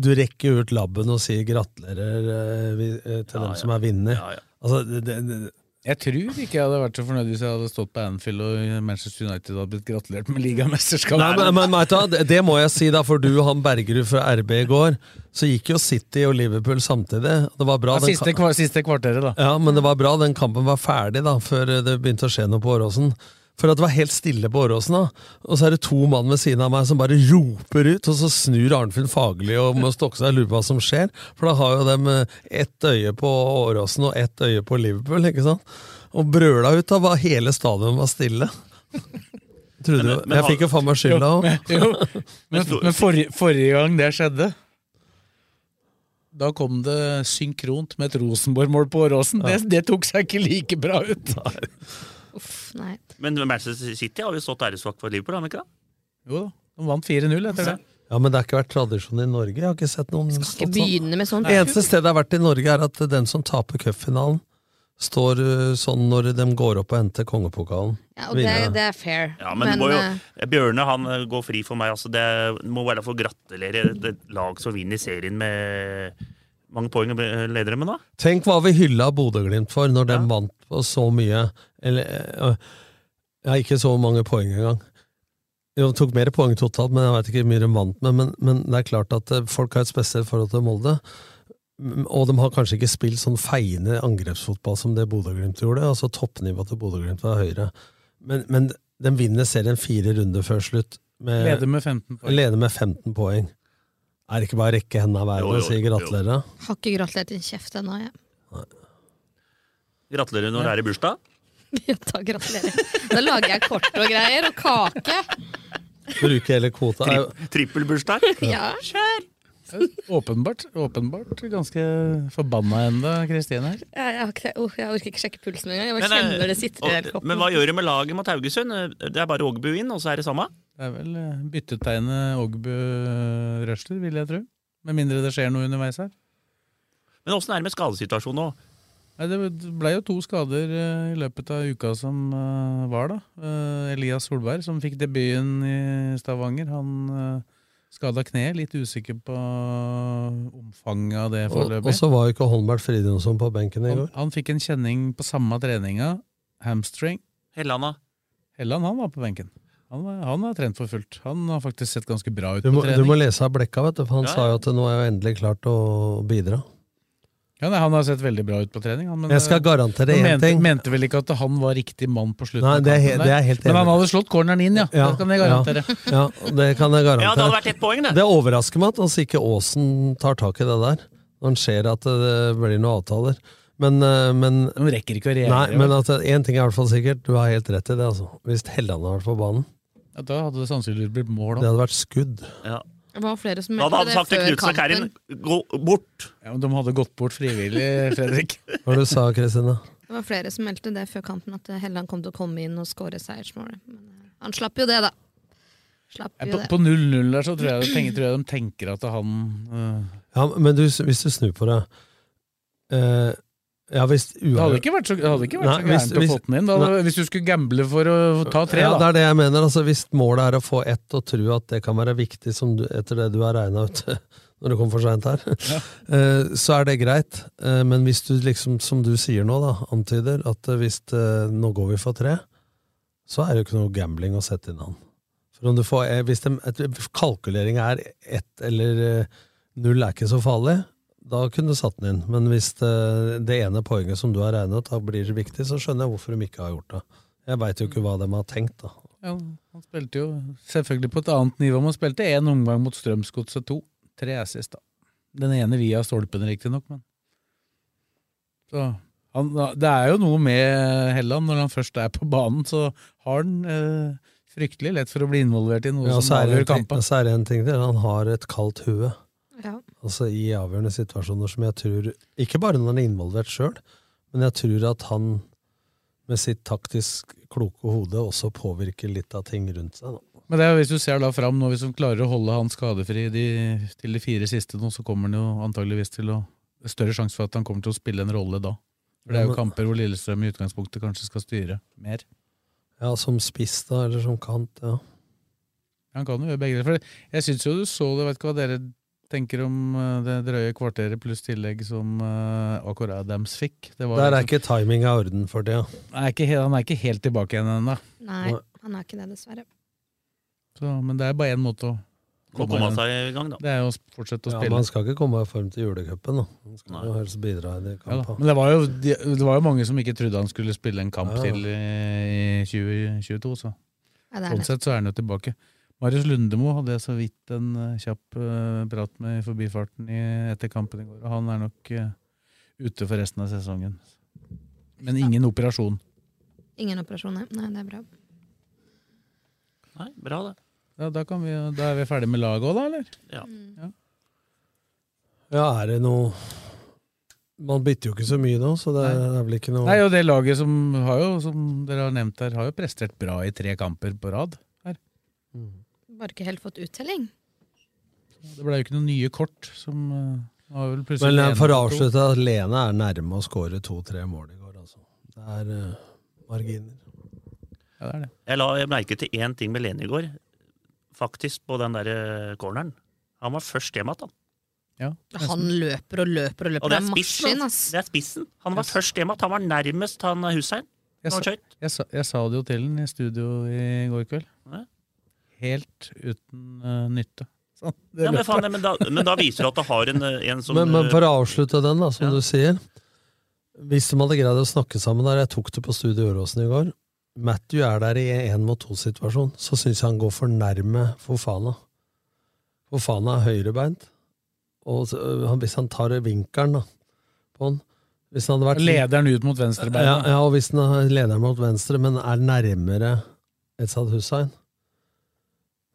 Speaker 3: du rekker jo ut labben og sier gratulerer eh, vi- eh, til dem som er vinner.
Speaker 6: Ja, ja.
Speaker 3: Altså, det, det, det,
Speaker 4: Jeg tror ikke jeg hadde vært så fornøyd hvis jeg hadde stått på Anfield og Manchester United hadde blitt gratulert med
Speaker 3: Nei,
Speaker 4: ligamesterskapet.
Speaker 3: men, men vet du hva, det- det må jeg si, da, for du og han Bergerud fra RB i går, så gikk jo City og Liverpool samtidig. Det var bra,
Speaker 4: Ja,
Speaker 3: den,
Speaker 4: siste,
Speaker 3: ka-
Speaker 4: kvar, siste kvarteret, da.
Speaker 3: ja, men det var bra den kampen var ferdig, da, før det begynte å skje noe på Åråsen. For at det var helt stille på Åråsen, da. Og så er det to mann ved siden av meg som bare roper ut, og så snur Arnfinn Fagerli og må stokke seg og lure på hva som skjer. For da har jo dem eh, ett øye på Åråsen og ett øye på Liverpool, ikke sant. Og brøla ut av hva hele stadion var stille. Trodde jo,
Speaker 6: men- men
Speaker 3: jeg
Speaker 6: har-
Speaker 3: fikk jo faen meg skylda òg.
Speaker 4: Jo, men men forri- forrige gang det skjedde da kom det synkront med et Rosenborg-mål på Åråsen. Det, det tok seg ikke like bra ut.
Speaker 5: Uff, nei.
Speaker 6: Men Manchester City har jo stått æresvakt for Liverpool, har de ikke det?
Speaker 4: Jo da, de vant 4-0 etter det.
Speaker 3: Ja, men det har ikke vært tradisjon i Norge. Jeg har ikke sett noen
Speaker 5: Skal
Speaker 3: stått
Speaker 5: ikke
Speaker 3: sånn.
Speaker 5: begynne med sånt.
Speaker 3: Det eneste stedet det har vært i Norge, er at den som taper cupfinalen, står uh, sånn når de går opp og henter kongepokalen.
Speaker 5: Ja, og det, det er fair.
Speaker 6: Ja, men, det må jo,
Speaker 5: eh,
Speaker 6: Bjørne han eh, går fri for meg. Altså, det må være for å gratulere et et lag som vinner serien med mange poeng og eh, leder dem med, da.
Speaker 3: Tenk hva vi hylla Bodø-Glimt for når de
Speaker 6: Ja.
Speaker 3: vant på så mye Eller eh, ja, ikke så mange poeng engang. Jo, de tok mer poeng totalt, men jeg veit ikke hvor mye de vant med. Men, men det er klart at eh, folk har et spesielt forhold til Molde. Mm, Og de har kanskje ikke spilt sånn feiende angrepsfotball som det Bodø-Glimt gjorde. altså Toppnivået til Bodø-Glimt var høyere. Men, men de vinner serien fire runder før slutt. Med,
Speaker 4: Leder med 15 poeng.
Speaker 3: leder med 15 poeng. Er det ikke bare å rekke hendene av
Speaker 6: Jo,
Speaker 3: været og
Speaker 6: jo,
Speaker 3: si
Speaker 6: jo.
Speaker 3: gratulerer?
Speaker 5: Har ikke gratulert din kjeft ennå, jeg.
Speaker 6: Gratulerer når det er i bursdag.
Speaker 5: Ja, da gratulerer. Da lager jeg kort og greier, og kake.
Speaker 3: Bruke hele kvota. Er-
Speaker 6: Tri Trippelbursdag.
Speaker 5: Ja.
Speaker 4: Åpenbart, åpenbart ganske forbanna ennå, Kristine. her.
Speaker 5: Jeg, jeg, har ikke, oh, jeg orker ikke sjekke pulsen engang. Jeg bare
Speaker 6: Men, eh,
Speaker 5: kjenner det sitter i hele
Speaker 6: og, men
Speaker 5: kroppen.
Speaker 6: hva gjør de med laget mot Haugesund? Eh, Det er bare Ågebu inn, og så er det samme?
Speaker 4: Det er vel eh, byttetegnet Ågbø-Røsler, vil jeg tro. Med mindre det skjer noe underveis her.
Speaker 6: Men åssen er det med skadesituasjonen nå?
Speaker 4: Nei, det ble jo to skader eh, i løpet av uka som eh, var, da. Eh, Elias Solberg, som fikk debuten i Stavanger, han eh, skada kneet. Litt usikker på omfanget av det
Speaker 3: Og,
Speaker 4: foreløpig.
Speaker 3: og så var jo ikke Holmbert Fridjonsson på benken i
Speaker 4: Han,
Speaker 3: går.
Speaker 4: han fikk en kjenning på samme treninga, hamstring.
Speaker 6: Hellanda?
Speaker 4: Helland, han var på benken. Han, var, han har trent for fullt. Han har faktisk sett ganske bra ut
Speaker 3: Du
Speaker 4: på
Speaker 3: må, du
Speaker 4: trening.
Speaker 3: må lese av Blekka, vet du, for han
Speaker 6: Ja, ja.
Speaker 3: sa jo at nå er jeg endelig klart å bidra.
Speaker 4: Ja, nei, han har sett veldig bra ut på trening. Han, men,
Speaker 3: Jeg skal
Speaker 4: eh,
Speaker 3: garantere én
Speaker 4: han mente,
Speaker 3: ting.
Speaker 4: mente vel ikke at han var riktig mann på slutten
Speaker 3: Nei,
Speaker 4: av
Speaker 3: det er, he-
Speaker 4: kampen
Speaker 3: det
Speaker 4: der.
Speaker 3: er helt
Speaker 4: Men han
Speaker 3: enig.
Speaker 4: hadde slått corneren inn, ja.
Speaker 3: Ja,
Speaker 4: det kan jeg garantere.
Speaker 3: Ja, det kan jeg
Speaker 6: Ja, det hadde
Speaker 3: garantere.
Speaker 6: vært ett poeng, det.
Speaker 3: Det overrasker meg at altså ikke Aasen tar tak i det der, når han ser at det blir noen avtaler. Men, eh, men,
Speaker 4: De rekker ikke å
Speaker 3: nei,
Speaker 4: reagere.
Speaker 3: men altså, én ting er i hvert fall sikkert, du har helt rett i det. altså. Hvis Helland hadde vært på banen,
Speaker 4: ja, da hadde det sannsynligvis blitt mål
Speaker 3: det
Speaker 4: òg.
Speaker 3: hadde vært skudd.
Speaker 6: Ja.
Speaker 5: Det var flere som
Speaker 6: Da hadde
Speaker 5: meldte
Speaker 6: han
Speaker 5: det
Speaker 6: sagt til
Speaker 5: før
Speaker 6: Knutsen og Kærin
Speaker 5: kampen.
Speaker 6: gå bort.
Speaker 4: Ja, men de hadde gått bort frivillig, Fredrik.
Speaker 3: Hva var det du sa Kristine?
Speaker 5: Det var flere som meldte det før kampen, at Helland kom til å komme inn og skåre seiersmålet. Men eh, han slapp jo det, da. Slapp
Speaker 3: Eh,
Speaker 4: Ja,
Speaker 5: jo
Speaker 4: På
Speaker 5: det.
Speaker 4: på 0-0 der så tror jeg, de tenker, tror jeg de tenker at han øh,
Speaker 3: Ja, men du, hvis du snur på det eh, Ja, hvis
Speaker 4: Det hadde ikke vært så, det hadde ikke vært så
Speaker 3: Nei, hvis-
Speaker 4: gærent å få
Speaker 3: hvis-
Speaker 4: den inn. Da, hadde-
Speaker 3: nei.
Speaker 4: hvis du skulle gamble for å ta tre,
Speaker 3: ja,
Speaker 4: da.
Speaker 3: det er det jeg mener. Altså, hvis målet er å få ett og tro at det kan være viktig som du, etter det du har regna ut når du kom for seint her, eh, så er det greit. Eh, Men hvis du liksom, som du sier nå, da, antyder at eh, hvis eh, nå går vi for tre, så er det jo ikke noe gambling å sette inn han. For om du får, eh, hvis det, et, kalkulering er ett eller eh, null er ikke så farlig, da kunne du satt den inn. Men hvis det, det ene poenget som du har regnet ut, da blir det viktig, så skjønner jeg hvorfor de ikke har gjort det. Jeg veit jo ikke hva de har tenkt, da.
Speaker 4: Ja, han spilte jo selvfølgelig på et annet nivå, men han spilte én omgang mot Strømsgodset 2. Tre assist, da. Den ene via stolpen, riktignok, men så, han, Det er jo noe med Helland når han først er på banen, så har han eh, fryktelig lett for å bli involvert i noe
Speaker 3: Ja, så
Speaker 4: som
Speaker 3: er, det
Speaker 4: avgjør
Speaker 3: en ting,
Speaker 4: kampen.
Speaker 3: så er det en ting til. Han har et kaldt hue.
Speaker 5: Ja.
Speaker 3: Altså i avgjørende situasjoner som jeg tror Ikke bare når han er involvert sjøl, men jeg tror at han med sitt taktisk kloke hode også påvirker litt av ting rundt seg. Da.
Speaker 4: Men det er, jo hvis du ser da fram nå, hvis han klarer å holde han skadefri de, til de fire siste nå, så kommer han jo antageligvis til å det er Større sjanse for at han kommer til å spille en rolle da. For det er
Speaker 3: Ja,
Speaker 4: jo
Speaker 3: men-
Speaker 4: kamper hvor Lillestrøm i utgangspunktet kanskje skal styre mer.
Speaker 3: Ja, som spiss, da, eller som kant. Ja.
Speaker 4: Han kan jo gjøre begge deler. For jeg syns jo du så det, vet ikke hva dere tenker om eh, det drøye kvarteret pluss tillegg som uh, Akor Adams fikk. Det var
Speaker 3: Der er
Speaker 4: liksom-
Speaker 3: ikke timinga i orden for tida.
Speaker 4: han, er ikke, he- han er ikke helt tilbake igjen ennå.
Speaker 5: Nei, han er ikke det, dessverre.
Speaker 4: Så- Men det er bare én måte å
Speaker 6: Å komme seg i gang, da.
Speaker 4: Det er jo å fortsette å
Speaker 3: Ja,
Speaker 4: spille.
Speaker 3: man skal ikke komme i form til julecupen, da. Man skal jo helst bidra i de
Speaker 4: Ja, da.
Speaker 3: kampene.
Speaker 4: Men det var, jo, de- det var jo mange som ikke trodde han skulle spille en kamp
Speaker 3: Ja, ja.
Speaker 4: til eh, i 2022, så
Speaker 5: Ja, det er
Speaker 4: sånn
Speaker 5: det.
Speaker 4: sett så er han jo tilbake. Marius Lundemo hadde jeg så vidt en eh, kjapp eh, prat med i forbifarten i, etter kampen i går, og han er nok eh, ute for resten av sesongen. Men ingen operasjon.
Speaker 5: Ingen operasjoner. Nei, det er bra.
Speaker 6: Nei, bra det.
Speaker 4: Ja, da, kan vi, da er vi ferdig med laget òg, da, eller?
Speaker 6: Ja.
Speaker 3: Ja, er det noe Man bytter jo ikke så mye nå, så det er vel ikke noe
Speaker 4: Nei, og det laget som, har jo, som dere har nevnt her, har jo prestert bra i tre kamper på rad.
Speaker 5: Bare ikke helt fått uttelling.
Speaker 4: Det ble jo ikke noen nye kort som eh, har vel plutselig
Speaker 3: Men eh,
Speaker 4: en
Speaker 3: for å
Speaker 4: på to.
Speaker 3: avslutte, at Lene er nærme å skåre to-tre mål i går, altså. Det er eh, marginer.
Speaker 4: Ja, det er det.
Speaker 6: Jeg la jeg merke til én ting med Lene i går, faktisk, på den der eh, corneren. Han var først hjem igjen, han.
Speaker 4: Ja,
Speaker 5: Han løper og løper og løper.
Speaker 6: Og det er
Speaker 5: en
Speaker 6: spissen,
Speaker 5: maskin,
Speaker 6: ass.
Speaker 5: ass.
Speaker 6: Det er spissen. Han var først hjem igjen. Han var nærmest han eh, Hussein.
Speaker 4: Jeg
Speaker 6: når han
Speaker 4: sa,
Speaker 6: skjøt.
Speaker 4: jeg, sa, jeg sa det jo til den i studio i går kveld.
Speaker 6: Ja.
Speaker 4: Helt uten eh, nytte. Sånn, det
Speaker 6: Ja, men,
Speaker 4: løpet.
Speaker 6: faen, men, da, men da viser det at du har en, eh, en som
Speaker 3: men, men
Speaker 6: eh,
Speaker 3: for å avslutte den, da, som du sier Hvis de hadde greid å snakke sammen der Jeg tok det på Studio Åråsen i går. Matthew er der i en mot to-situasjon. Så syns jeg han går for nærme Fofana. Fofana er høyrebeint. Og så, øh, han- hvis han tar vinkelen da, på han Hvis han hadde vært
Speaker 4: Lederen ut mot
Speaker 3: ja,
Speaker 4: venstrebeinet.
Speaker 3: ja, og hvis den er lederen mot venstre, men er nærmere Etzad Hussein,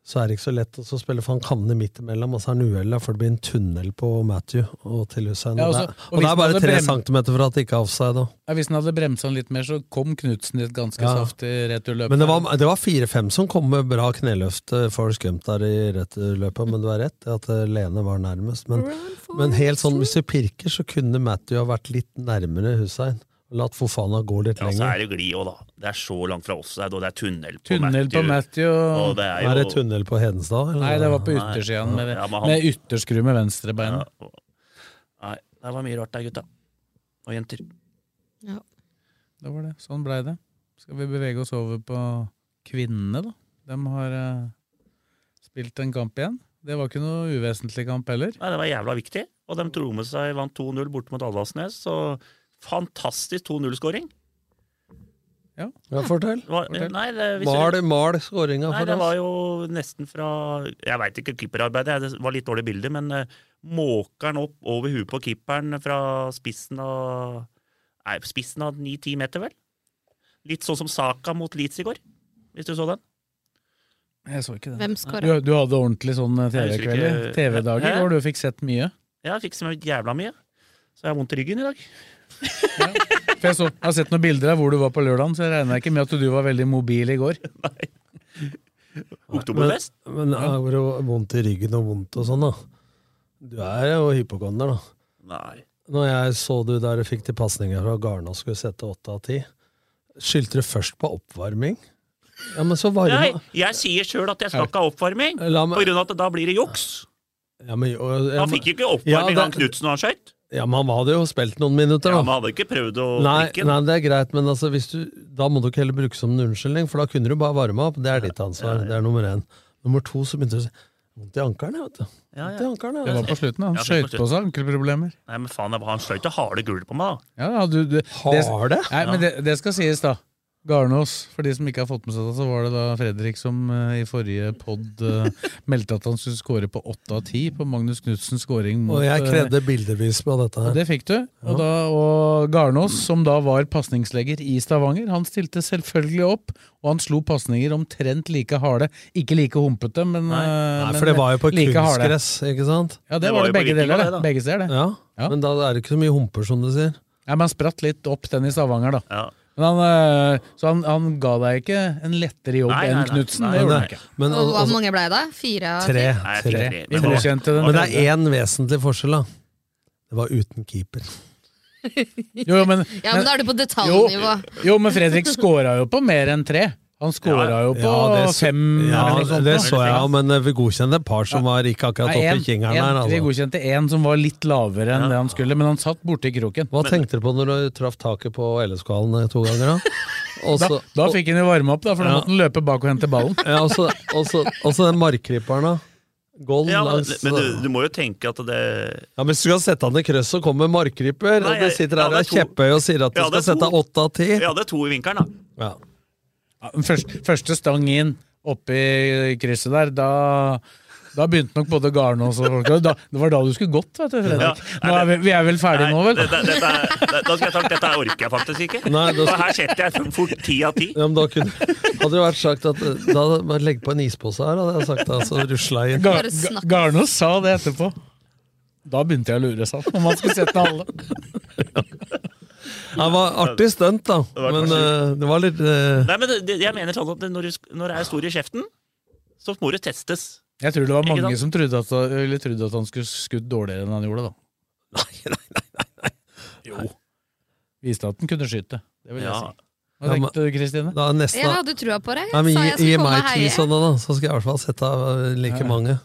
Speaker 3: så er det ikke så lett å så spille, for han kavner midt imellom, og så er han uheldig, for det blir en tunnel på Matthew og til Hussein.
Speaker 4: Ja,
Speaker 3: og,
Speaker 4: og så-
Speaker 3: det, er-
Speaker 4: og
Speaker 3: og det
Speaker 4: hvis
Speaker 3: er bare
Speaker 4: man hadde
Speaker 3: tre
Speaker 4: brem-
Speaker 3: centimeter for at det ikke er offside. da.
Speaker 4: Ja, Hvis den hadde bremsa den litt mer, så kom Knutsen i et ganske
Speaker 3: Ja.
Speaker 4: saftig returløp.
Speaker 3: Men det var, det var fire-fem som kom med bra kneløft eh, for Skumt der i returløpet, men du har rett i at eh, Lene var nærmest. Men, men helt sånn, hvis du pirker, så kunne Matthew ha vært litt nærmere Hussein. Latt Fofana gå litt
Speaker 6: Ja, altså, så
Speaker 3: lenger.
Speaker 6: er det glid òg, da. Det er så langt fra offside, og det er tunnel på
Speaker 4: Tunnel på Matthew.
Speaker 6: Og det er jo
Speaker 3: Er det tunnel på Hedenstad? eller?
Speaker 4: Nei, det var på
Speaker 6: Nei.
Speaker 4: yttersida. Med,
Speaker 6: Ja, men han-
Speaker 4: med ytterskru med venstrebeinet.
Speaker 6: Ja, og- Nei, det var mye rart der, gutta. Og jenter.
Speaker 4: Det var det. Sånn blei det. Skal vi bevege oss over på kvinnene, da? De har eh, spilt en kamp igjen. Det var ikke noe uvesentlig kamp heller.
Speaker 6: Nei, det var jævla viktig. Og de dro med seg, vant 2-0 borte mot Alvasnes. Så fantastisk 2-0-skåring.
Speaker 3: Ja, fortell.
Speaker 4: Fortell.
Speaker 6: Nei, det, hvis
Speaker 3: Mal,
Speaker 6: du-
Speaker 3: mal skåringa
Speaker 6: Nei,
Speaker 3: for
Speaker 6: det
Speaker 3: oss.
Speaker 6: var jo nesten fra Jeg veit ikke keeperarbeidet, jeg- det var litt dårlig bilde, men eh, måker den opp over huet på keeperen fra spissen av Nei, spissen av 9-10 meter, vel? Litt sånn som Saka mot Leeds i går, hvis du så den?
Speaker 4: Jeg så ikke det.
Speaker 5: Hvem
Speaker 4: Du,
Speaker 5: skåra?
Speaker 4: du hadde ordentlig sånn eh,
Speaker 6: Jeg husker
Speaker 4: TV-kveld?
Speaker 6: ikke-
Speaker 4: TV-dager
Speaker 6: Hæ?
Speaker 4: hvor du fikk sett mye?
Speaker 6: Jeg fikk så jævla mye, så jeg har vondt i ryggen i dag.
Speaker 4: For jeg, så, jeg har sett noen bilder av hvor du var på lørdagen, så jeg regner ikke med at du var veldig mobil i går.
Speaker 6: Oktoberfest?
Speaker 3: Men, men er det jo vondt i ryggen og vondt og sånn, da? Du er jo hypokonder, da.
Speaker 6: Nei.
Speaker 3: når jeg så du der du fikk de pasningene fra Garna og skulle sette åtte av ti, skyldte du først på oppvarming? Ja, men så
Speaker 6: Nei,
Speaker 3: varme
Speaker 6: jeg sier sjøl at jeg skal ikke ha oppvarming,
Speaker 3: La meg-
Speaker 6: på grunn av at da blir det juks.
Speaker 3: ja, men, og,
Speaker 6: Han fikk jo ikke
Speaker 3: Ja,
Speaker 6: oppvarming
Speaker 3: det-
Speaker 6: han Knutsen har skøyt.
Speaker 3: Ja, men han hadde jo spilt noen minutter, da.
Speaker 6: Han hadde ikke prøvd å
Speaker 3: Nei,
Speaker 6: drikke den.
Speaker 3: nei, det er greit, men altså, hvis du, da må du ikke heller bruke som en unnskyldning, for da kunne du bare varme opp. Det er ditt ansvar. Det er nummer én. Nummer to, så begynte du å si Vondt i ankelen, vet du.
Speaker 6: Ja, ja.
Speaker 3: Vondt i ankelen.
Speaker 4: Det var på slutten. Han
Speaker 6: Ja, det var
Speaker 4: skøyt
Speaker 6: på
Speaker 4: på seg ankelproblemer.
Speaker 6: Nei, men faen, han skjøt det harde gullet på meg, da.
Speaker 4: Ja, ja, du, du,
Speaker 3: Har det?
Speaker 4: Nei, men det, det skal sies, da. Garnås, for de som ikke har fått med seg det, så var det da Fredrik som eh, i forrige pod eh, meldte at han skulle score på åtte av ti på Magnus Knudsens scoring mot
Speaker 3: Og jeg
Speaker 4: eh,
Speaker 3: krevde bildevis på dette
Speaker 4: og
Speaker 3: her.
Speaker 4: Det fikk du. Og, da, og Garnås, som da var pasningslegger i Stavanger, han stilte selvfølgelig opp, og han slo pasninger omtrent like harde. Ikke like humpete, men, eh,
Speaker 3: Nei,
Speaker 4: men
Speaker 3: for det var jo på
Speaker 4: like harde.
Speaker 3: kunstgress, ikke sant?
Speaker 4: Ja, det, var det begge deler, det. Begge steder, det.
Speaker 3: Ja,
Speaker 4: Ja.
Speaker 3: men da er det ikke så mye humper, som du sier.
Speaker 4: Ja, men han spratt litt opp, den i Stavanger, da.
Speaker 6: Ja.
Speaker 4: Men han, øh, så han, han ga deg ikke en lettere jobb
Speaker 6: Nei, nei,
Speaker 4: enn
Speaker 6: nei.
Speaker 4: Knutsen?
Speaker 6: Nei,
Speaker 4: Det gjorde
Speaker 6: nei.
Speaker 4: han ikke.
Speaker 3: Men,
Speaker 5: Og Hvor
Speaker 3: altså,
Speaker 5: mange ble det? Fire? av
Speaker 3: tre,
Speaker 5: ti?
Speaker 6: Nei,
Speaker 3: tre.
Speaker 6: tre.
Speaker 4: Vi
Speaker 6: Men hva-
Speaker 4: godkjente den.
Speaker 3: Men det er én vesentlig forskjell, da. Det var uten keeper.
Speaker 4: Jo, men,
Speaker 5: Ja, men da er du på detaljnivå.
Speaker 4: jo, jo, men Fredrik scora jo på mer enn tre. Han scora jo på
Speaker 3: det så-
Speaker 4: fem. sånn,
Speaker 3: ja,
Speaker 4: eller noe sånt
Speaker 3: det
Speaker 4: nå.
Speaker 3: så jeg, jo, men eh, vi godkjente et par som var ikke akkurat
Speaker 4: Nei,
Speaker 3: oppe
Speaker 4: en-
Speaker 3: i kingeren
Speaker 4: en-
Speaker 3: her.
Speaker 4: Vi
Speaker 3: Altså.
Speaker 4: godkjente én som var litt lavere enn det han skulle, men han satt borte i kroken.
Speaker 3: Hva tenkte du på når du traff taket på LSK-hallen eh, to ganger, da? Og
Speaker 4: Da,
Speaker 3: så-
Speaker 4: da fikk han jo varme opp, da, for da
Speaker 3: Ja.
Speaker 4: måtte han løpe bak og hente ballen.
Speaker 3: Ja, og så- og så- og så den markkryperen, da. Golden
Speaker 6: Ja, men,
Speaker 3: langs
Speaker 6: men du, du må jo tenke at det
Speaker 3: Ja, men Hvis du skal sette han i krøss, så kommer markkryper.
Speaker 6: Nei,
Speaker 3: og Du sitter her
Speaker 6: ja,
Speaker 3: og er
Speaker 6: det er to.
Speaker 3: kjepphøy og sier at du
Speaker 6: Ja,
Speaker 3: skal
Speaker 6: det er to.
Speaker 3: sette åtte av ti.
Speaker 6: Ja, det er to i vinkelen, da.
Speaker 3: Ja.
Speaker 4: Ja, den Første, første stang inn oppe i krysset der, da, da begynte nok både Garnås og folk da, Det var da du skulle gått, vet du, Fredrik.
Speaker 6: Ja,
Speaker 4: Nå er vi, vi er vel ferdige
Speaker 6: Nei,
Speaker 4: nå, vel?
Speaker 6: Dette, dette, er- da da skal jeg sagt, dette orker jeg faktisk ikke.
Speaker 3: Nei, da
Speaker 6: For
Speaker 3: skal-
Speaker 6: her setter jeg fort ti av ti.
Speaker 3: ja, men da kunne, Hadde det vært sagt at eh, Da hadde man legg på en ispose her, hadde jeg sagt da, så rusla jeg inn.
Speaker 4: Gar,
Speaker 5: Bare snakk.
Speaker 4: Garnås sa det etterpå. Da begynte jeg å lure seg om han skulle sette den alle.
Speaker 3: Det var artig stunt, da.
Speaker 6: var
Speaker 3: Men eh, det var litt eh,
Speaker 6: Nei, men det, det- jeg mener sånn at det- når, du, sk- når det er stor i kjeften, så må du testes.
Speaker 4: Jeg tror det var
Speaker 6: Ikke
Speaker 4: mange som
Speaker 6: sant?
Speaker 4: trodde at, eller trodde at han skulle skutt dårligere enn han gjorde, da.
Speaker 3: Nei, nei, nei.
Speaker 4: Jo. Viste at han kunne skyte. Det vil jeg
Speaker 6: Ja.
Speaker 4: si. Hva tenkte du, Kristine?
Speaker 3: Da er nesten
Speaker 5: Jeg hadde trua på deg.
Speaker 3: Nei, men
Speaker 5: Sa
Speaker 3: gi,
Speaker 5: jeg
Speaker 3: gi
Speaker 5: skulle komme
Speaker 3: meg
Speaker 5: og
Speaker 3: ti
Speaker 5: heie.
Speaker 3: sånne, da, så skal jeg i hvert fall sette av eh, like mange.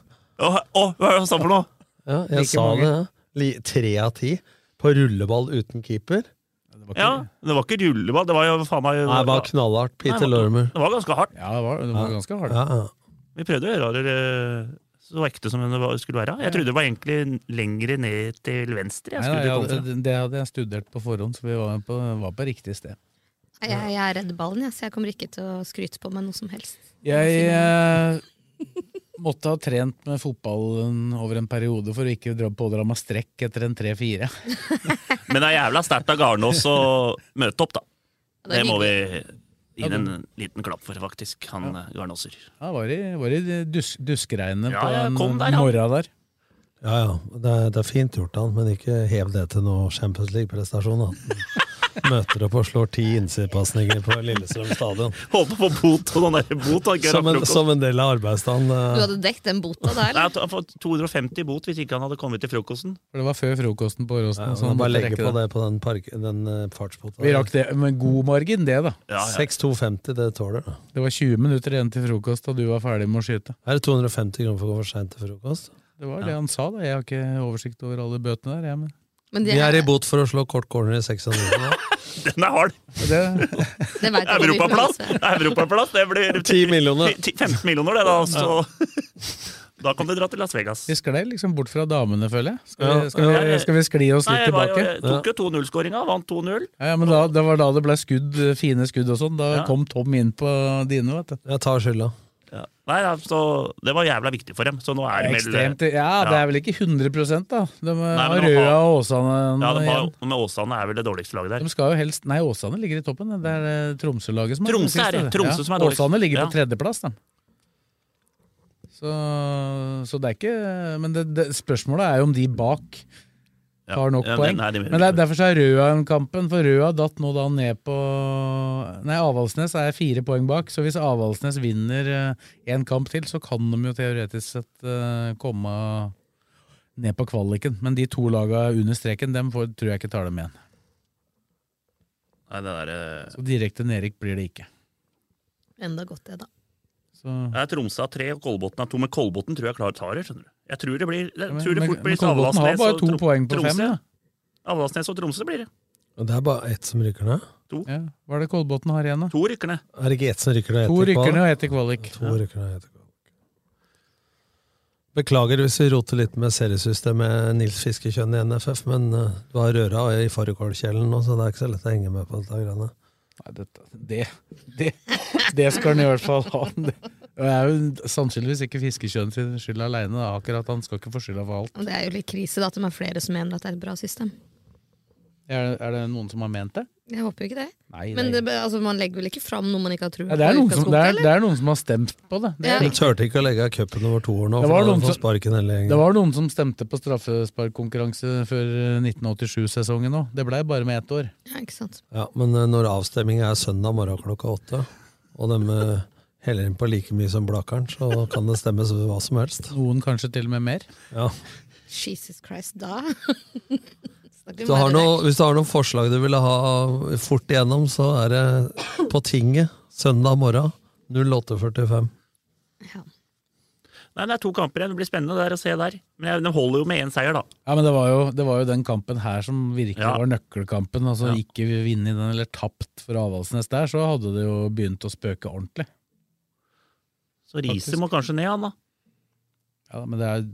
Speaker 6: Å, å, hva er det han sa for noe?
Speaker 3: Ja, jeg
Speaker 4: Like
Speaker 3: sa
Speaker 4: mange.
Speaker 3: det, ja. Li, tre av ti på rulleball uten keeper.
Speaker 4: Det var ikke-
Speaker 6: Ja, det var ikke rulleball, det var jo faen meg
Speaker 3: Nei, det var
Speaker 6: Det
Speaker 3: knallhardt.
Speaker 6: Nei,
Speaker 3: Peter
Speaker 6: det
Speaker 3: Lormer.
Speaker 6: var ganske hardt.
Speaker 4: ja, det var, det var ganske hardt.
Speaker 3: Ja, ja.
Speaker 6: Vi prøvde å gjøre det så ekte som det var- skulle være. Jeg trodde det var egentlig lengre ned til venstre. Jeg
Speaker 4: Nei,
Speaker 6: skulle
Speaker 4: nei,
Speaker 6: komme
Speaker 4: ja,
Speaker 6: fra.
Speaker 4: det, det hadde jeg studert på forhånd, så vi var på, var på riktig sted.
Speaker 5: Nei, Jeg, jeg er redd ballen, jeg, så jeg kommer ikke til å skryte på meg noe som helst.
Speaker 4: Jeg eh, måtte ha trent med fotballen over en periode for å ikke dra- pådra meg strekk etter en 3-4.
Speaker 6: Men det er jævla sterkt av Garnås å møte opp, da.
Speaker 5: Ja,
Speaker 6: Det
Speaker 5: er
Speaker 6: må
Speaker 5: hyggelig.
Speaker 6: vi gi den en liten klapp for, faktisk, han eh, Garnåser.
Speaker 4: Ja, var i, var i dus, duskregnet
Speaker 6: Ja,
Speaker 4: på
Speaker 6: jeg
Speaker 4: den
Speaker 6: kom der, ja.
Speaker 4: morgenen der.
Speaker 3: Ja, ja. Det er, det er fint gjort, han, men ikke hev det til noe Champions League-prestasjon. da. Møter opp og slår ti innsidepasninger på Lillestrøm stadion.
Speaker 6: Håper på bot og den der bot. han ikke
Speaker 3: Som en,
Speaker 6: rakk frokost.
Speaker 3: som en del av arbeidsdagen.
Speaker 5: Du
Speaker 3: eh.
Speaker 5: hadde dekket den bota der,
Speaker 6: Nei,
Speaker 5: eller?
Speaker 6: at han fått 250 bot hvis ikke han hadde kommet til frokosten.
Speaker 4: For det var før frokosten på
Speaker 3: Ja,
Speaker 4: Åråsen. så
Speaker 3: men bare
Speaker 4: han måtte
Speaker 3: legge
Speaker 4: rekke
Speaker 3: på
Speaker 4: det.
Speaker 3: det på den, park- den eh, fartsbota.
Speaker 4: Vi rakk det med god margin, det, da.
Speaker 6: Ja, ja.
Speaker 3: 6250, det tåler du.
Speaker 4: Det var 20 minutter igjen til frokost, og du var ferdig med å skyte.
Speaker 3: Er det 250 kroner for å gå for seint til frokost?
Speaker 4: Det var det han sa, da. Jeg har ikke oversikt over alle bøtene der, jeg, men
Speaker 5: Men
Speaker 3: Vi
Speaker 5: det,
Speaker 3: er i bot for å slå kort corner i 600 kroner.
Speaker 6: Den er hard!
Speaker 4: det,
Speaker 5: det vet jeg ikke om vi
Speaker 6: Europaplass!
Speaker 5: forholder oss til.
Speaker 6: Europaplass, det blir
Speaker 3: 10 millioner.
Speaker 6: Ti- 15 millioner, det, da. Så da kan du dra til Las Vegas.
Speaker 4: Vi sklei liksom bort fra damene, føler jeg. Skal
Speaker 3: Ja,
Speaker 4: vi, skal
Speaker 6: ja.
Speaker 4: vi, skal vi skli oss
Speaker 6: Nei,
Speaker 4: litt
Speaker 6: jeg, var,
Speaker 4: tilbake?
Speaker 6: jeg tok jo 2-0-skåringa, vant 2-0.
Speaker 4: Ja, ja, men da, Det var da det ble skudd, fine skudd og sånn. Da
Speaker 6: Ja.
Speaker 4: kom Tom inn på dine, vet du.
Speaker 3: Jeg tar skylda.
Speaker 6: Ja. Nei, ja, så Det var jævla viktig for dem. Så nå er det vel
Speaker 4: Ekstremt, ja, det
Speaker 6: ja.
Speaker 4: er vel ikke 100 da. De har
Speaker 6: men de
Speaker 4: Røa
Speaker 6: har-
Speaker 4: og Åsane
Speaker 6: ja, de har,
Speaker 4: igjen.
Speaker 6: Med Åsane er vel det dårligste laget der.
Speaker 4: De skal jo helst Nei, Åsane ligger i toppen. Det er eh, Tromsø-laget som
Speaker 6: Tromsø er det,
Speaker 4: dårligst,
Speaker 6: Tromsø som er dårligst.
Speaker 4: Åsane ligger
Speaker 6: Ja.
Speaker 4: på tredjeplass, da. Så, så det er ikke Men det, det, spørsmålet er jo om de bak
Speaker 6: Ja.
Speaker 4: tar nok
Speaker 6: Ja,
Speaker 4: poeng.
Speaker 6: nei, de-
Speaker 4: Men det er derfor så er Røa-kampen, for Røa datt nå da ned på Nei, Avaldsnes er fire poeng bak, så hvis Avaldsnes vinner én kamp til, så kan de jo teoretisk sett eh, komme ned på kvaliken. Men de to laga under streken, dem får, tror jeg ikke tar dem igjen.
Speaker 6: Nei, det der, eh,
Speaker 4: Så direkte nedrykk blir det ikke.
Speaker 5: Enda godt det, da.
Speaker 6: det er Tromsø har tre, og Kolbotn har to. Men Kolbotn tror jeg klarer tar det. skjønner du. Jeg tror det, blir, jeg
Speaker 4: men-
Speaker 6: tror det
Speaker 4: men-
Speaker 6: fort
Speaker 4: men
Speaker 6: blir
Speaker 4: Kolbotn har
Speaker 6: Avaldsnes
Speaker 4: bare
Speaker 6: og
Speaker 4: to
Speaker 6: Trom-
Speaker 4: poeng på
Speaker 6: Tromsø.
Speaker 4: fem, da.
Speaker 6: Avaldsnes og Tromsø blir det.
Speaker 3: Og det er bare ett som rykker ned?
Speaker 6: To.
Speaker 4: Ja. Hva er det Kolbotn har igjen, da?
Speaker 6: To rykker ned.
Speaker 3: Er det ikke ett som rykker ned?
Speaker 4: To
Speaker 3: etter
Speaker 4: rykker
Speaker 3: kvalik?
Speaker 4: ned og ett i kvalik.
Speaker 3: To rykker ned og ett i kvalik. Beklager hvis vi roter litt med seriesystemet Nils Fiskekjønn i NFF, men eh, du har røra i fårikålkjelen nå, så det er ikke så lett å henge med på dette greiene.
Speaker 4: Nei, dette, det, det, det skal han i hvert fall ha. Det det er jo sannsynligvis ikke fiskekjønn sin skyld aleine. Akkurat han skal ikke få skylda for alt.
Speaker 5: Og det er jo litt krise da, at de er flere som mener at det er et bra system.
Speaker 4: Er, er det noen som har ment det?
Speaker 5: Jeg håper jo ikke det.
Speaker 4: Nei,
Speaker 5: Men
Speaker 4: det,
Speaker 5: det, altså, man legger vel ikke fram noe man ikke har trua
Speaker 4: ja, det, er
Speaker 5: i
Speaker 4: noen som,
Speaker 5: utgangspunktet,
Speaker 4: det, er,
Speaker 5: eller?
Speaker 4: det er noen som har stemt på det. Det,
Speaker 5: Ja.
Speaker 3: De
Speaker 4: er riktig.
Speaker 3: turte ikke å legge av cupen over to år nå,
Speaker 4: Det
Speaker 3: for
Speaker 4: var
Speaker 3: da hadde
Speaker 4: noen
Speaker 3: de
Speaker 4: som-
Speaker 3: fått sparken hele gjengen.
Speaker 4: det var noen som stemte på straffesparkkonkurranse før 1987-sesongen òg. Det blei bare med ett år.
Speaker 5: Ja, ikke sant.
Speaker 3: Ja, men eh, når avstemminga er søndag morgen klokka åtte, og de eh, heller inn på like mye som Blakeren, så kan det stemmes hva som helst.
Speaker 4: Noen kanskje til og med mer.
Speaker 3: Ja.
Speaker 5: Jesus Christ, da
Speaker 3: Hvis du, har noe, hvis du har noen forslag du ville ha fort igjennom, så er det på tinget søndag morgen 08.45.
Speaker 6: Nei, det er to kamper igjen. Det blir spennende det der å se der. Men jeg- de holder jo med én seier, da.
Speaker 4: Ja, men det var, jo, det var jo den kampen her som virkelig
Speaker 6: Ja.
Speaker 4: var nøkkelkampen. Altså
Speaker 6: Ja.
Speaker 4: Ikke vinne i den eller tapt for Avaldsnes der, så hadde det jo begynt å spøke ordentlig.
Speaker 6: Så Riise
Speaker 4: Faktisk.
Speaker 6: må kanskje ned, han da.
Speaker 4: Ja, men det er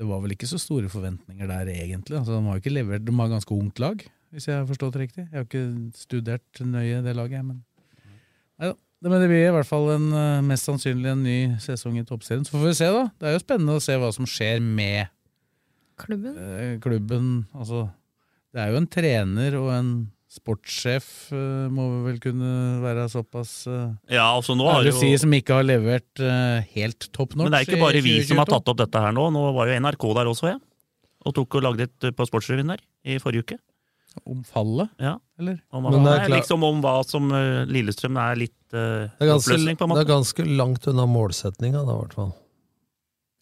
Speaker 4: Det var vel ikke så store forventninger der, egentlig. Altså, de har jo ikke levert De har et ganske ungt lag, hvis jeg har forstått det riktig. Jeg har ikke studert nøye det laget, jeg, men Neida. Det- Men det blir i hvert fall en, eh, mest sannsynlig en ny sesong i Toppserien. Så får vi se, da. Det er jo spennende å se hva som skjer med
Speaker 5: Klubben?
Speaker 4: eh, klubben. Altså, det er jo en trener og en sportssjef, eh, må vi vel kunne være såpass eh,
Speaker 6: Ja, altså nå har
Speaker 4: ærlig å
Speaker 6: jo-
Speaker 4: si, som ikke har levert eh, helt topp notch.
Speaker 6: Men det er
Speaker 4: i
Speaker 6: ikke bare vi som har
Speaker 4: 2022.
Speaker 6: tatt opp dette her nå. Nå var jo NRK der også, jeg. Og tok og lagde et eh, på Sportsrevyen der i forrige uke.
Speaker 4: Om fallet?
Speaker 6: Ja.
Speaker 4: Eller?
Speaker 6: Om,
Speaker 3: Men det er
Speaker 6: Nei,
Speaker 3: klart-
Speaker 6: liksom om hva som eh, Lillestrøm er litt uh,
Speaker 3: Det er ganske,
Speaker 6: oppløsning, på en
Speaker 3: det er
Speaker 6: måte.
Speaker 3: ganske langt unna målsetninga, da, i hvert fall.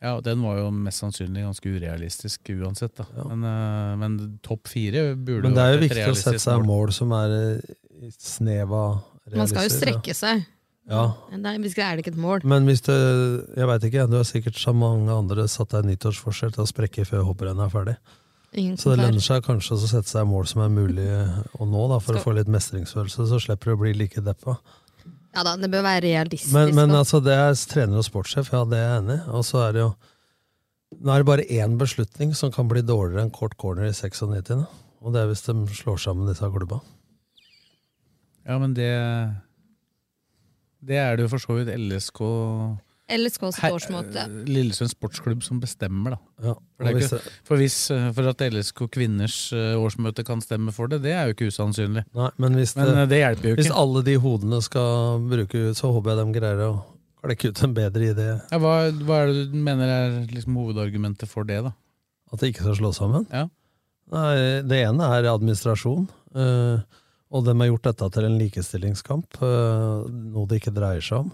Speaker 4: Ja, og den var jo mest sannsynlig ganske urealistisk uansett, da. Men, eh, men topp fire burde
Speaker 3: Men det er jo
Speaker 4: vært et
Speaker 3: viktig å sette
Speaker 4: realistisk
Speaker 3: seg mål som er eh, i snev av realisere.
Speaker 5: Man skal jo strekke seg.
Speaker 3: Ja.
Speaker 5: Nei, hvis ikke er det ikke et mål.
Speaker 3: Men hvis du Jeg veit ikke, du har sikkert som mange andre satt deg nyttårsforsett til å sprekke før hopprennet er ferdig.
Speaker 5: Ingen
Speaker 3: Så
Speaker 5: kommentar.
Speaker 3: det lønner seg kanskje å sette seg mål som er mulig å nå, da, for å få litt mestringsfølelse. Så slipper du å bli like deppa.
Speaker 5: Ja da, det bør være realistisk.
Speaker 3: Men, men
Speaker 5: da.
Speaker 3: altså, det er trener og sportssjef, ja, det er jeg enig i. Og så er det jo Nå er det bare én beslutning som kan bli dårligere enn kort corner i 96. Og det er hvis de slår sammen disse klubba.
Speaker 4: Ja, men det Det er det jo for så vidt LSK
Speaker 3: eh,
Speaker 5: LSKs
Speaker 4: Her-
Speaker 5: årsmåte.
Speaker 4: eh, Lillesund sportsklubb som bestemmer, da.
Speaker 3: Ja,
Speaker 4: For,
Speaker 3: og
Speaker 4: det er
Speaker 3: hvis
Speaker 4: ikke, for, hvis, eh, for at LSK kvinners eh, årsmøte kan stemme for det, det er jo ikke usannsynlig.
Speaker 3: Nei, men hvis,
Speaker 4: Men, eh, det hjelper jo ikke.
Speaker 3: Hvis alle de hodene skal bruke ut, så håper jeg de greier å klekke ut en bedre idé.
Speaker 4: Ja, hva, hva er det du mener er liksom hovedargumentet for det, da?
Speaker 3: At det ikke skal slås sammen.
Speaker 4: Ja.
Speaker 3: Nei, det ene er administrasjon. eh, Og de har gjort dette til en likestillingskamp, eh, noe det ikke dreier seg om.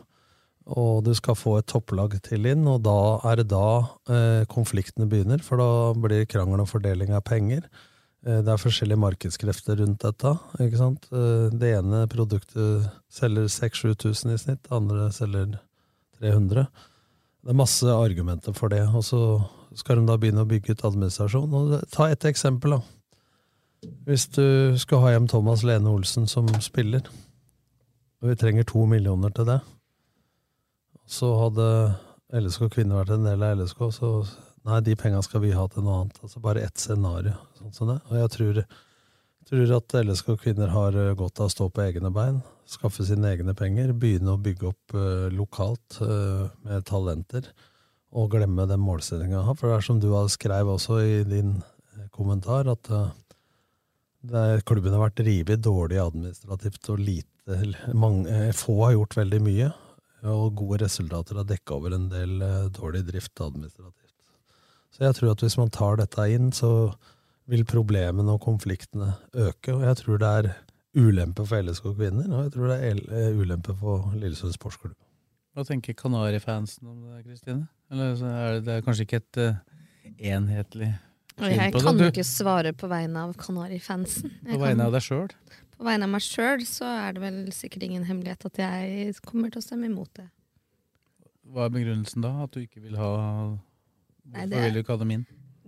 Speaker 3: Og du skal få et topplag til inn, og da er det da eh, konfliktene begynner. For da blir det krangel om fordeling av penger. Eh, Det er forskjellige markedskrefter rundt dette. ikke sant? Eh, Det ene produktet selger 6000-7000 i snitt, det andre selger 300. Det er masse argumenter for det. Og så skal de da begynne å bygge ut administrasjon. Og det- ta et eksempel, da. Hvis du skal ha hjem Thomas Lene Olsen som spiller, og vi trenger to millioner til det, så hadde LSK kvinner vært en del av LSK, så nei, de penga skal vi ha til noe annet. Altså bare ett scenario. Sånn som det. Og jeg tror, tror at LSK kvinner har eh, godt av å stå på egne bein, skaffe sine egne penger, begynne å bygge opp eh, lokalt eh, med talenter og glemme den målsettinga jeg har. For det er som du har skrev også i din eh, kommentar, at eh, det er, klubben har vært revet dårlig administrativt, og lite, eller mange, eh, få har gjort veldig mye. Og gode resultater har dekka over en del eh, dårlig drift administrativt. Så jeg tror at hvis man tar dette inn, så vil problemene og konfliktene øke. Og jeg tror det er ulempe for LSK kvinner, og jeg tror det er el- eh, ulempe for Lillesund sportsklubb.
Speaker 4: altså, Hva tenker Kanari-fansen om det, Kristine? Eller så er det, det er kanskje ikke et eh, enhetlig
Speaker 5: Og
Speaker 4: syn
Speaker 5: jeg
Speaker 4: på
Speaker 5: kan jo
Speaker 4: det. Du,
Speaker 5: ikke svare på vegne av Kanarifansen.
Speaker 4: på vegne av deg sjøl.
Speaker 5: På vegne av meg sjøl så er det vel sikkert ingen hemmelighet at jeg kommer til å stemme imot det.
Speaker 4: Hva er begrunnelsen da? At du ikke vil ha
Speaker 5: Nei,
Speaker 4: Hvorfor
Speaker 5: det er-
Speaker 4: vil du ikke ha dem inn?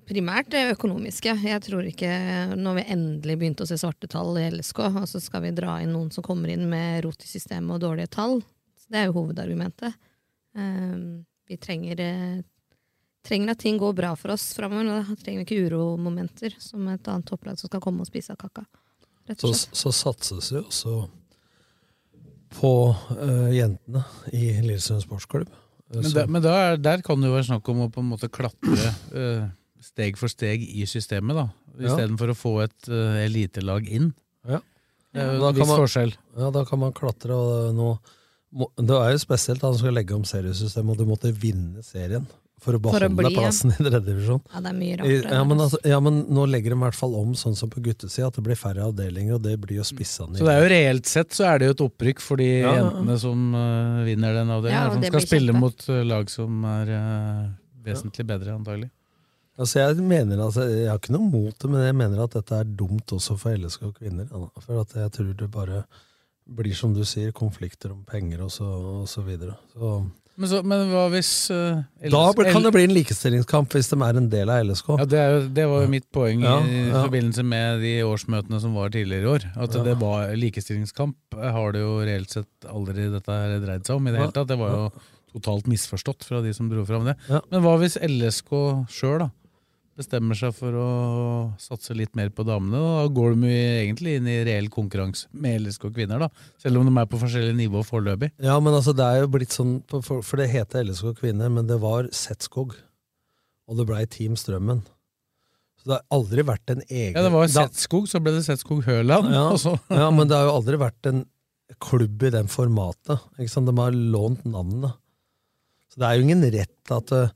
Speaker 5: Primært det økonomiske. Jeg tror ikke Når vi endelig begynte å se svarte tall i LSK, og så altså skal vi dra inn noen som kommer inn med rot i systemet og dårlige tall. Så det er jo hovedargumentet. Ehm, vi trenger, eh, trenger at ting går bra for oss framover. og Da trenger vi ikke uromomenter som et annet topplag som skal komme og spise av kaka. Rett
Speaker 3: Så,
Speaker 5: og slett.
Speaker 3: så satses det jo også på eh, jentene i Lillestrøm sportsklubb. Eh,
Speaker 4: Men,
Speaker 3: så-
Speaker 4: da, men da er, der kan det jo være snakk om å på en måte klatre eh, steg for steg i systemet, da.
Speaker 3: Ja.
Speaker 4: Istedenfor å få et eh, elitelag inn.
Speaker 3: Ja.
Speaker 4: Det er jo
Speaker 3: Da
Speaker 4: en
Speaker 3: kan
Speaker 4: viss
Speaker 3: man-
Speaker 4: forskjell.
Speaker 3: Ja, da kan man klatre og nå må- Det er jo spesielt at han skal legge om seriesystemet, og du måtte vinne serien for
Speaker 5: For
Speaker 3: å
Speaker 5: å
Speaker 3: beholde
Speaker 5: bli, ja.
Speaker 3: plassen i tredje divisjon.
Speaker 5: Ja, det er mye rart. det
Speaker 3: I-
Speaker 5: der,
Speaker 3: Ja, men,
Speaker 5: altså.
Speaker 3: altså, ja, men nå legger de i hvert fall om sånn som på guttesida, at det blir færre avdelinger, og det blir jo spissa ned.
Speaker 4: Så det er jo reelt sett så er det jo et opprykk for de
Speaker 3: Ja, ja, ja.
Speaker 4: jentene som eh, vinner den
Speaker 5: Ja, og
Speaker 4: avdelingen.
Speaker 5: det
Speaker 4: som skal
Speaker 5: blir
Speaker 4: spille
Speaker 5: kjempe.
Speaker 4: mot eh, lag som er eh, vesentlig bedre, antagelig.
Speaker 3: Altså jeg mener altså, jeg har ikke noe mot det, men jeg mener at dette er dumt også for LSK og kvinner. ja, da. For at jeg tror det bare blir, som du sier, konflikter om penger og så, og så videre. Så,
Speaker 4: Men, så, men hva hvis eh,
Speaker 3: da
Speaker 4: LS
Speaker 3: blir- kan det bli en likestillingskamp hvis de er en del av LSK.
Speaker 4: Ja, det, er jo, det var jo mitt poeng
Speaker 3: Ja,
Speaker 4: i
Speaker 3: ja.
Speaker 4: forbindelse med de årsmøtene som var tidligere i år. At
Speaker 3: Ja.
Speaker 4: det var likestillingskamp har det jo reelt sett aldri dette her dreid seg om i det
Speaker 3: Ja,
Speaker 4: hele tatt. Det var
Speaker 3: ja.
Speaker 4: jo totalt misforstått fra de som dro fram det.
Speaker 3: Ja.
Speaker 4: Men hva hvis LSK sjøl bestemmer seg for å satse litt mer på damene? Da går de jo egentlig inn i reell konkurranse med LSK kvinner, da. Selv om de er på forskjellig nivå foreløpig.
Speaker 3: Ja, men altså, det er jo blitt sånn, på- for, for det heter LSK Kvinner, men det var Setskog. Og det blei Team Strømmen. Så det har aldri vært en egen
Speaker 4: Ja, det var
Speaker 3: det har-
Speaker 4: Setskog, så ble det Setskog Høland.
Speaker 3: Ja,
Speaker 4: og så-
Speaker 3: ja, men det har jo aldri vært en klubb i den formatet. Ikke sant? De har lånt navnet. Så det er jo ingen rett at eh,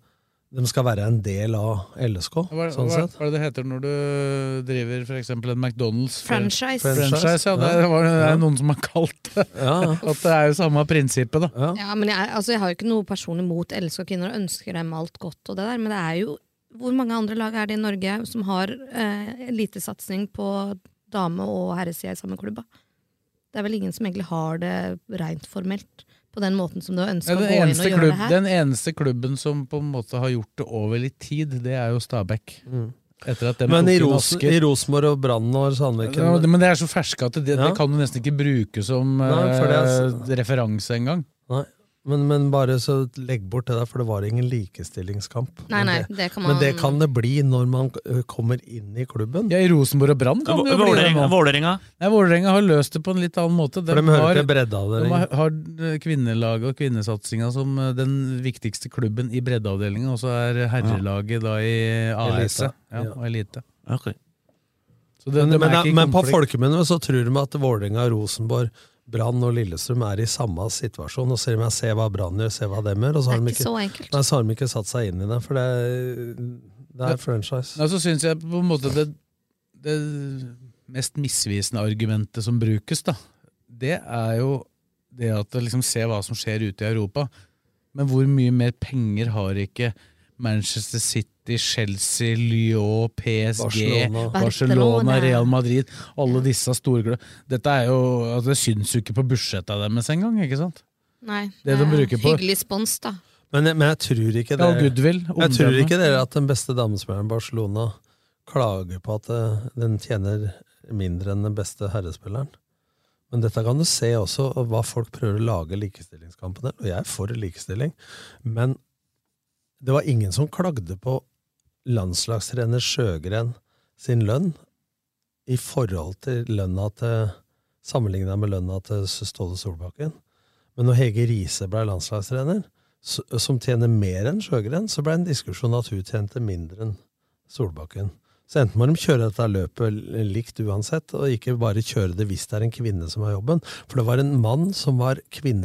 Speaker 3: de skal være en del av LSK,
Speaker 4: Hva,
Speaker 3: sånn
Speaker 4: hva,
Speaker 3: sett.
Speaker 4: hva er det det heter når du driver for eksempel en McDonald's?
Speaker 5: Franchise.
Speaker 4: Franchise, ja, det,
Speaker 3: Ja.
Speaker 4: var, det
Speaker 3: Ja.
Speaker 4: er noen som har kalt det.
Speaker 3: Ja,
Speaker 4: At det er jo samme prinsippet, da.
Speaker 3: ja.
Speaker 5: Ja, men jeg, altså, jeg har jo ikke noe personlig mot elska kvinner og ønsker dem alt godt og det der, men det er jo Hvor mange andre lag er det i Norge som har eh, elitesatsing på dame- og herresida i samme klubba? Det er vel ingen som egentlig har det rent formelt på den måten som du ønsker
Speaker 4: Ja,
Speaker 5: å gå
Speaker 4: den,
Speaker 5: inn og
Speaker 4: eneste
Speaker 5: gjøre
Speaker 4: klubb,
Speaker 5: det her.
Speaker 4: den eneste klubben som på en måte har gjort det over litt tid, det er jo Stabæk. Etter at dem
Speaker 3: Mm. Men
Speaker 4: tok
Speaker 3: i
Speaker 4: inn
Speaker 3: Rosen-
Speaker 4: Asker.
Speaker 3: i Rosenborg og Brann og
Speaker 4: Ja,
Speaker 3: Sandviken
Speaker 4: det- men det er så ferske at det,
Speaker 3: Ja.
Speaker 4: det kan du nesten ikke bruke som
Speaker 3: Nei, for det
Speaker 4: eh, referanse engang.
Speaker 3: Nei, men, men bare så legg bort det der, for det var ingen likestillingskamp.
Speaker 5: Nei,
Speaker 3: Men
Speaker 5: nei,
Speaker 3: det-
Speaker 5: det kan man
Speaker 3: Men det kan det bli når man ø, kommer inn i klubben.
Speaker 4: Ja, I Rosenborg og Brann kan det jo bli det. nå.
Speaker 6: Vålerenga. Vålerenga.
Speaker 4: Nei, Vålerenga har løst det på en litt annen måte.
Speaker 3: For de hører til bredda av
Speaker 4: De
Speaker 3: dere.
Speaker 4: har, har eh, kvinnelaget og kvinnesatsinga som eh, den viktigste klubben i breddeavdelinga, og så er herrelaget da i AS.
Speaker 3: Elite.
Speaker 4: Ja,
Speaker 3: Ja.
Speaker 4: og elite.
Speaker 6: Ok.
Speaker 4: Så det,
Speaker 3: Men,
Speaker 4: de er
Speaker 3: men,
Speaker 4: ikke i
Speaker 3: men på
Speaker 4: konflikt.
Speaker 3: folkemunne så tror de at Vålerenga, Rosenborg, Brann og Lillestrøm er i samme situasjon. Og ser de se hva Brann gjør, se hva dem gjør. Og
Speaker 5: Det
Speaker 3: så har,
Speaker 5: er
Speaker 3: de
Speaker 5: ikke
Speaker 3: ikke,
Speaker 5: så enkelt.
Speaker 3: nei, så har de ikke satt seg inn i det, for det er, det
Speaker 4: Ja.
Speaker 3: er franchise.
Speaker 4: Nei, så syns jeg på en måte det, det mest misvisende argumentet som brukes, da, det er jo det at det liksom se hva som skjer ute i Europa. Men hvor mye mer penger har ikke Manchester City, Chelsea, Lyon, PSG, Barcelona,
Speaker 3: Barcelona.
Speaker 5: Barcelona.
Speaker 4: Real Madrid Alle disse store klubbene. Dette er jo, altså, Det syns jo ikke på budsjetta deres engang. ikke sant?
Speaker 5: Nei,
Speaker 4: Det de
Speaker 5: er
Speaker 4: bruker på-
Speaker 5: Hyggelig spons, da.
Speaker 3: Men, jeg- men jeg tror ikke
Speaker 4: All
Speaker 3: det
Speaker 4: goodwill.
Speaker 3: Jeg tror
Speaker 4: omdømme.
Speaker 3: ikke dere at den beste damespilleren i Barcelona klager på at eh, den tjener mindre enn den beste herrespilleren. Men dette kan du se også, og hva folk prøver å lage likestillingskampen der. Og jeg er for likestilling, men det var ingen som klagde på landslagstrener Sjøgren sin lønn i forhold til lønna til Sammenligna med lønna til Ståle Solbakken. Men når Hege Riise ble landslagstrener, s- som tjener mer enn Sjøgren, så ble det en diskusjon at hun tjente mindre enn Solbakken. Så enten må de kjøre dette løpet l- likt uansett, og ikke bare kjøre det hvis det er en kvinne som har jobben. For det var en mann som var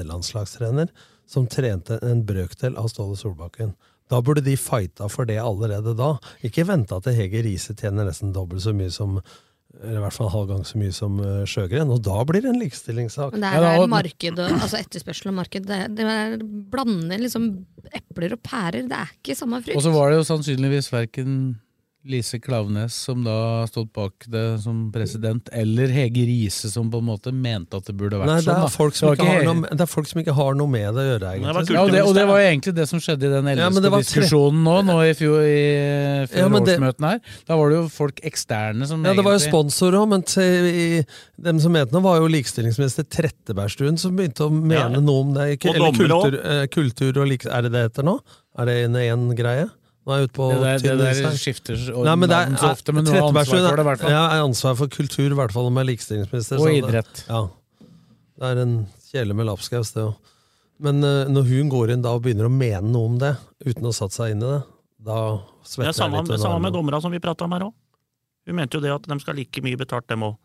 Speaker 3: kvinnelandslagstrener, som trente en brøkdel av Ståle Solbakken. Da burde de fighta for det allerede da, ikke venta til Hege Riise tjener nesten dobbelt så mye som eller i hvert fall halv gang så mye som eh, sjøgren, og da blir det en likestillingssak.
Speaker 5: Men det er marked, og- altså etterspørsel og marked. Det, er- det er, blander liksom epler og pærer. Det er ikke samme frukt.
Speaker 4: Og så var det jo sannsynligvis verken Lise Klaveness, som da stod bak det som president, eller Hege Riise, som på en måte mente at det burde vært
Speaker 3: Nei, det
Speaker 4: sånn.
Speaker 3: er,
Speaker 4: da.
Speaker 3: folk som
Speaker 4: Det var
Speaker 3: ikke har
Speaker 4: Hege-
Speaker 3: noe, det er folk som ikke har noe med det å gjøre,
Speaker 4: Ja,
Speaker 3: egentlig.
Speaker 4: og, det, og det var jo egentlig det som skjedde i den
Speaker 3: Ja, men det var tre-
Speaker 4: LSK-diskusjonen nå, nå i fjor, i
Speaker 3: Ja, men det-
Speaker 4: fjorårsmøtene her. Da var det jo folk eksterne som
Speaker 3: Ja, det var jo
Speaker 4: egentlig-
Speaker 3: sponsorer òg, men til, i, dem som mente noe, var jo likestillingsminister Trettebergstuen som begynte å mene
Speaker 4: Ja.
Speaker 3: noe om det. Ikke,
Speaker 4: Og
Speaker 3: eller
Speaker 4: dommere
Speaker 3: kultur, eh, kultur og likestilling Er det det heter nå? Er det en én greie? Nå er jeg ute på
Speaker 4: Det der- det
Speaker 3: tynn
Speaker 4: der
Speaker 3: is her.
Speaker 4: skifter så-
Speaker 3: Nei, men det er-
Speaker 4: navn så ofte, men hun har ansvar
Speaker 3: Trettebergstuen
Speaker 4: for det i hvert fall.
Speaker 3: Ja, er ansvar for kultur, i hvert fall, om jeg er sånn, likestillingsminister.
Speaker 4: Og
Speaker 3: så det-
Speaker 4: idrett.
Speaker 3: Ja. Det er en kjele med lapskaus, det òg. Men eh, når hun går inn da og begynner å mene noe om det, uten å ha satt seg inn i det, da
Speaker 6: Det
Speaker 3: svetter
Speaker 6: er samme,
Speaker 3: jeg litt. under
Speaker 6: samme
Speaker 3: armene.
Speaker 6: med dommerne som vi prata om her òg. Hun mente jo det at de skal ha like mye betalt, dem òg.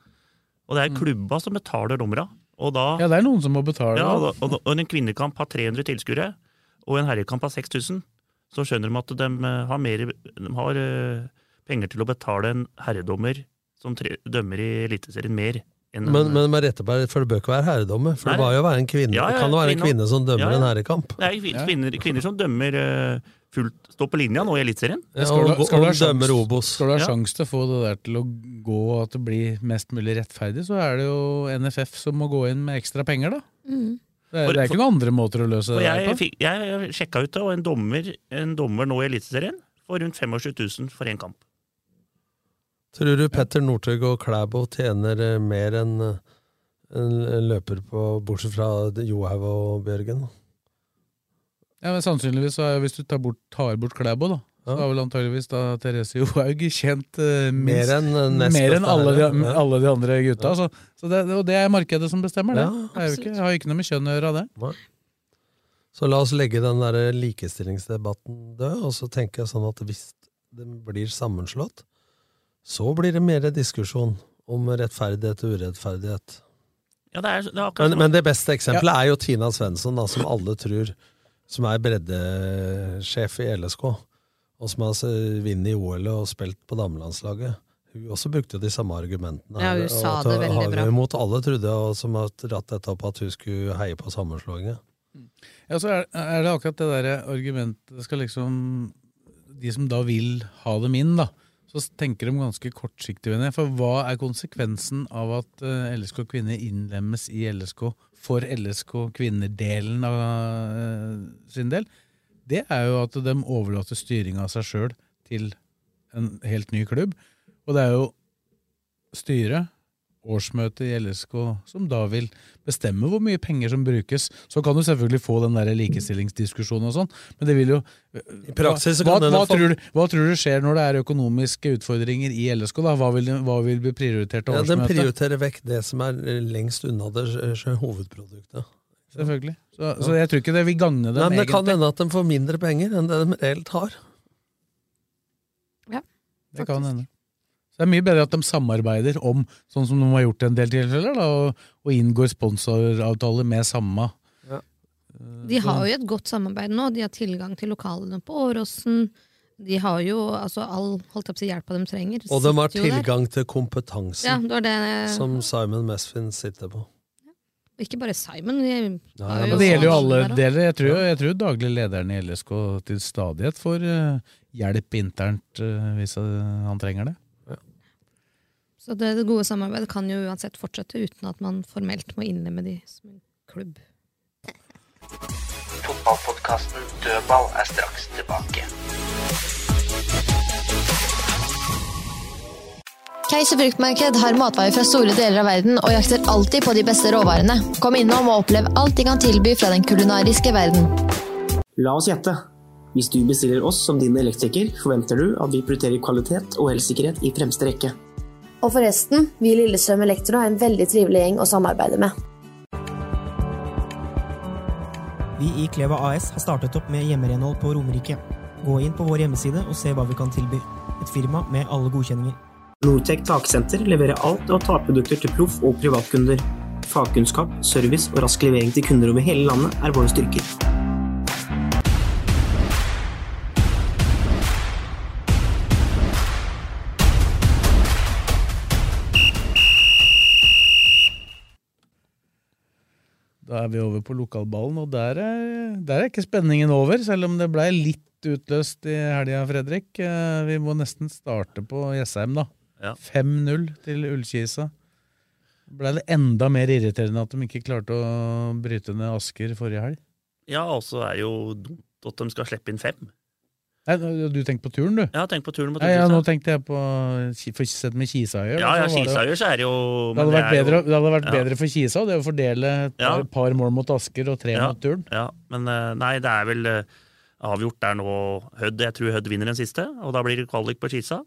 Speaker 6: Og det er klubba som betaler dommerne. Og da,
Speaker 4: Ja, det er noen som må betale.
Speaker 6: ja,
Speaker 4: da.
Speaker 6: og, og, og en kvinnekamp har 300 tilskuere, og en herrekamp har 6000. Så skjønner de at de eh, har, mer, de har eh, penger til å betale en herredommer som tre, dømmer i Eliteserien mer. enn en-
Speaker 3: Men, men med rette på, for det bør ikke være herredommer. For det
Speaker 6: Nei.
Speaker 3: var jo å være en kvinne.
Speaker 6: Ja, ja,
Speaker 3: det kan jo være en
Speaker 6: kvinne.
Speaker 3: kvinne som dømmer
Speaker 6: Ja, ja.
Speaker 3: en herrekamp.
Speaker 6: Det er kvin- kvinner, kvinner som dømmer eh, fullt, står på linja nå i Eliteserien.
Speaker 3: Ja, Skal du- og- skal du ha og sjans- dømmer Obos.
Speaker 4: Skal du ha
Speaker 6: Ja.
Speaker 4: sjanse til å få det der til å gå, og at det blir mest mulig rettferdig, så er det jo NFF som må gå inn med ekstra penger, da.
Speaker 5: Mm.
Speaker 4: Det er,
Speaker 6: For-
Speaker 4: det er ikke noen andre måter å løse
Speaker 6: Og
Speaker 4: det
Speaker 6: jeg,
Speaker 4: der på.
Speaker 6: fikk, jeg sjekka ut det, og en dommer, en dommer nå i Eliteserien får rundt 25 000 for én kamp.
Speaker 3: Tror du Petter Northug og Klæbo tjener eh, mer enn eh, en en løper på Bortsett fra Johaug og Bjørgen?
Speaker 4: Ja, men sannsynligvis, så er, Hvis du tar bort, tar bort Klæbo, da, så har vel antageligvis da Therese Johaug tjent eh, minst,
Speaker 3: Mer enn, eh, nest
Speaker 4: mer enn
Speaker 3: beste
Speaker 4: alle, de,
Speaker 3: herre. Ja.
Speaker 4: alle de andre gutta. Så, så det, og det er markedet som bestemmer det.
Speaker 3: Ja,
Speaker 4: det er jo ikke, har jo ikke noe med kjønn å gjøre, det.
Speaker 3: Så la oss legge den der likestillingsdebatten død, og så tenker jeg sånn at hvis den blir sammenslått, så blir det mer diskusjon om rettferdighet og urettferdighet.
Speaker 6: Ja, det er, det er akkurat
Speaker 3: Men,
Speaker 6: som-
Speaker 3: men det beste eksempelet er jo Tina Svensson, da, som alle tror Som er breddesjef i LSK, og som har altså vunnet i OL og spilt på damelandslaget. Hun også brukte de samme argumentene.
Speaker 5: Ja, hun
Speaker 3: her, og
Speaker 5: sa
Speaker 3: at
Speaker 5: det veldig
Speaker 3: Hagen
Speaker 5: bra.
Speaker 3: Mot alle trodde, og som har dratt dette opp, at hun skulle heie på sammenslåingen.
Speaker 4: Ja, så er, er det akkurat det der argumentet det skal liksom De som da vil ha dem inn, da, så tenker de ganske kortsiktig. mener jeg. For hva er konsekvensen av at eh, LSK kvinner innlemmes i LSK for LSK kvinner-delen av eh, sin del? Det er jo at de overlater styringa av seg sjøl til en helt ny klubb. Og det er jo styret, årsmøtet i LSK, som da vil bestemme hvor mye penger som brukes. Så kan du selvfølgelig få den der likestillingsdiskusjonen og sånn, men det vil jo I
Speaker 3: praksis så
Speaker 4: hva,
Speaker 3: kan den
Speaker 4: hva,
Speaker 3: få-
Speaker 4: tror du, hva tror du skjer når det er økonomiske utfordringer i LSK? da? Hva vil, hva vil bli prioritert til
Speaker 3: Ja, den
Speaker 4: årsmøtet?
Speaker 3: prioriterer vekk det som er eh, lengst unna det eh, sjø- hovedproduktet.
Speaker 4: Selvfølgelig. Så, så jeg tror ikke det vil gagne dem,
Speaker 3: Nei, men det kan
Speaker 4: egentlig.
Speaker 3: hende at de får mindre penger enn det de reelt har.
Speaker 4: Det kan hende. Så det er mye bedre at de samarbeider om, sånn som de har gjort i en del tilfeller, da, og, og inngår sponsoravtaler med samme.
Speaker 5: De har jo et godt samarbeid nå. De har tilgang til lokalene på Åråsen. De har jo altså, all holdt jeg på å si, hjelpa de trenger.
Speaker 3: Og de har
Speaker 5: sitter jo der.
Speaker 3: tilgang til
Speaker 5: Ja,
Speaker 3: kompetansen
Speaker 5: det var det.
Speaker 3: som Simon Mesfin sitter på.
Speaker 5: Ikke bare Simon. De
Speaker 3: Nei,
Speaker 5: har
Speaker 4: Men det gjelder jo alle
Speaker 5: der også.
Speaker 4: deler. Jeg tror, jeg tror daglig lederen i LSK til stadighet får eh, hjelp internt eh, hvis eh, han trenger det.
Speaker 5: Så det, det gode samarbeidet kan jo uansett fortsette uten at man formelt må innlemme de som en klubb.
Speaker 7: Fotballpodkasten Dødball er straks tilbake.
Speaker 2: Keiser fruktmarked har matvarer fra store deler av verden og jakter alltid på de beste råvarene. Kom innom og opplev alt de kan tilby fra den kulinariske verden.
Speaker 1: La oss gjette. Hvis du bestiller oss som din elektriker, forventer du at vi prioriterer kvalitet og elsikkerhet i fremste rekke.
Speaker 8: Og forresten, vi i Lillestrøm Elektro er en veldig trivelig gjeng å samarbeide med.
Speaker 9: Vi i Kleva AS har startet opp med hjemmerenhold på Romerike. Gå inn på vår hjemmeside og se hva vi kan tilby. Et firma med alle godkjenninger.
Speaker 1: Nortec taksenter leverer alt av takprodukter til proff- og privatkunder. Fagkunnskap, service og rask levering til kunder over hele landet er våre styrker.
Speaker 4: Da er vi over på lokalballen, og der er, der er ikke spenningen over, selv om det blei litt utløst i helga, Fredrik. Eh, Vi må nesten starte på Jessheim, da.
Speaker 6: Ja.
Speaker 4: 5-0 til Ullkisa. Blei det enda mer irriterende at de ikke klarte å bryte ned Asker forrige helg?
Speaker 6: Ja, og så er det jo dumt at de skal slippe inn fem.
Speaker 4: Nei, du tenker på turen, du?
Speaker 6: Ja, tenk på turen mot
Speaker 4: Ja, ja, nå
Speaker 6: Ullkisa.
Speaker 4: tenkte jeg på Ki- for sett med Kisøyer.
Speaker 6: Ja, ja,
Speaker 4: så var det jo-
Speaker 6: Kisøyer så er det jo-
Speaker 4: Det hadde
Speaker 6: men
Speaker 4: vært,
Speaker 6: det er jo-
Speaker 4: bedre, det hadde vært
Speaker 6: ja.
Speaker 4: bedre for Kisa det å fordele et
Speaker 6: Ja.
Speaker 4: par, par mål mot Asker og tre
Speaker 6: Ja,
Speaker 4: mot Turn.
Speaker 6: Ja, men eh, nei, det er vel eh, avgjort der nå. Hødd, jeg tror Hødd vinner den siste, og da blir det kvalik på Skisa.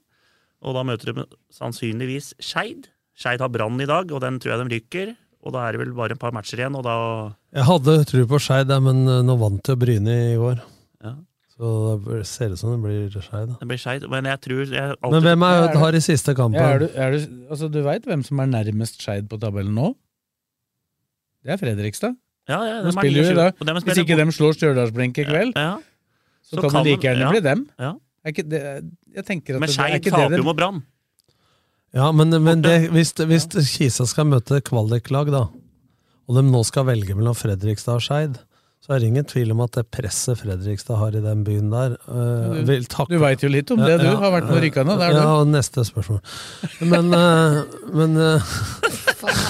Speaker 6: Og da møter de sannsynligvis Skeid. Skeid har Brann i dag, og den tror jeg de rykker. Og da er det vel bare et par matcher igjen, og da
Speaker 3: Jeg hadde tro på Skeid, ja, men eh, nå vant jo Bryne i går.
Speaker 6: Ja.
Speaker 3: Så det ser ut som det blir Skeid. da.
Speaker 6: det blir Skeid. Men jeg tror jeg alltid,
Speaker 3: Men hvem er Hødd har i siste kampen?
Speaker 4: Ja, er du, er du, altså, du veit hvem som er nærmest Skeid på tabellen nå? Det er Fredrikstad.
Speaker 6: Ja, ja,
Speaker 4: de
Speaker 6: dem er
Speaker 4: spiller jo i
Speaker 6: 29,
Speaker 4: dag.
Speaker 6: og dem
Speaker 4: Hvis
Speaker 6: spiller
Speaker 4: ikke
Speaker 6: god-
Speaker 4: dem slår Stjørdalsblink i kveld, så,
Speaker 6: Så
Speaker 4: kan det
Speaker 6: kan de-
Speaker 4: like gjerne
Speaker 6: ja,
Speaker 4: bli dem.
Speaker 6: ja.
Speaker 4: Er ikke det, jeg tenker at
Speaker 6: Men
Speaker 4: det- er
Speaker 6: Skeid
Speaker 4: ikke det
Speaker 6: taper
Speaker 4: det-
Speaker 6: jo mot Brann.
Speaker 3: Ja, men, men det, hvis, hvis Kisa skal møte kvaliklag, da, og de nå skal velge mellom Fredrikstad og Skeid, så er det ingen tvil om at det presset Fredrikstad har i den byen der eh,
Speaker 4: Du-
Speaker 3: vil takke.
Speaker 4: du vet jo litt om det, du. Har vært med og rykka ned der, du.
Speaker 3: Ja, og neste spørsmål. Men, eh, men eh,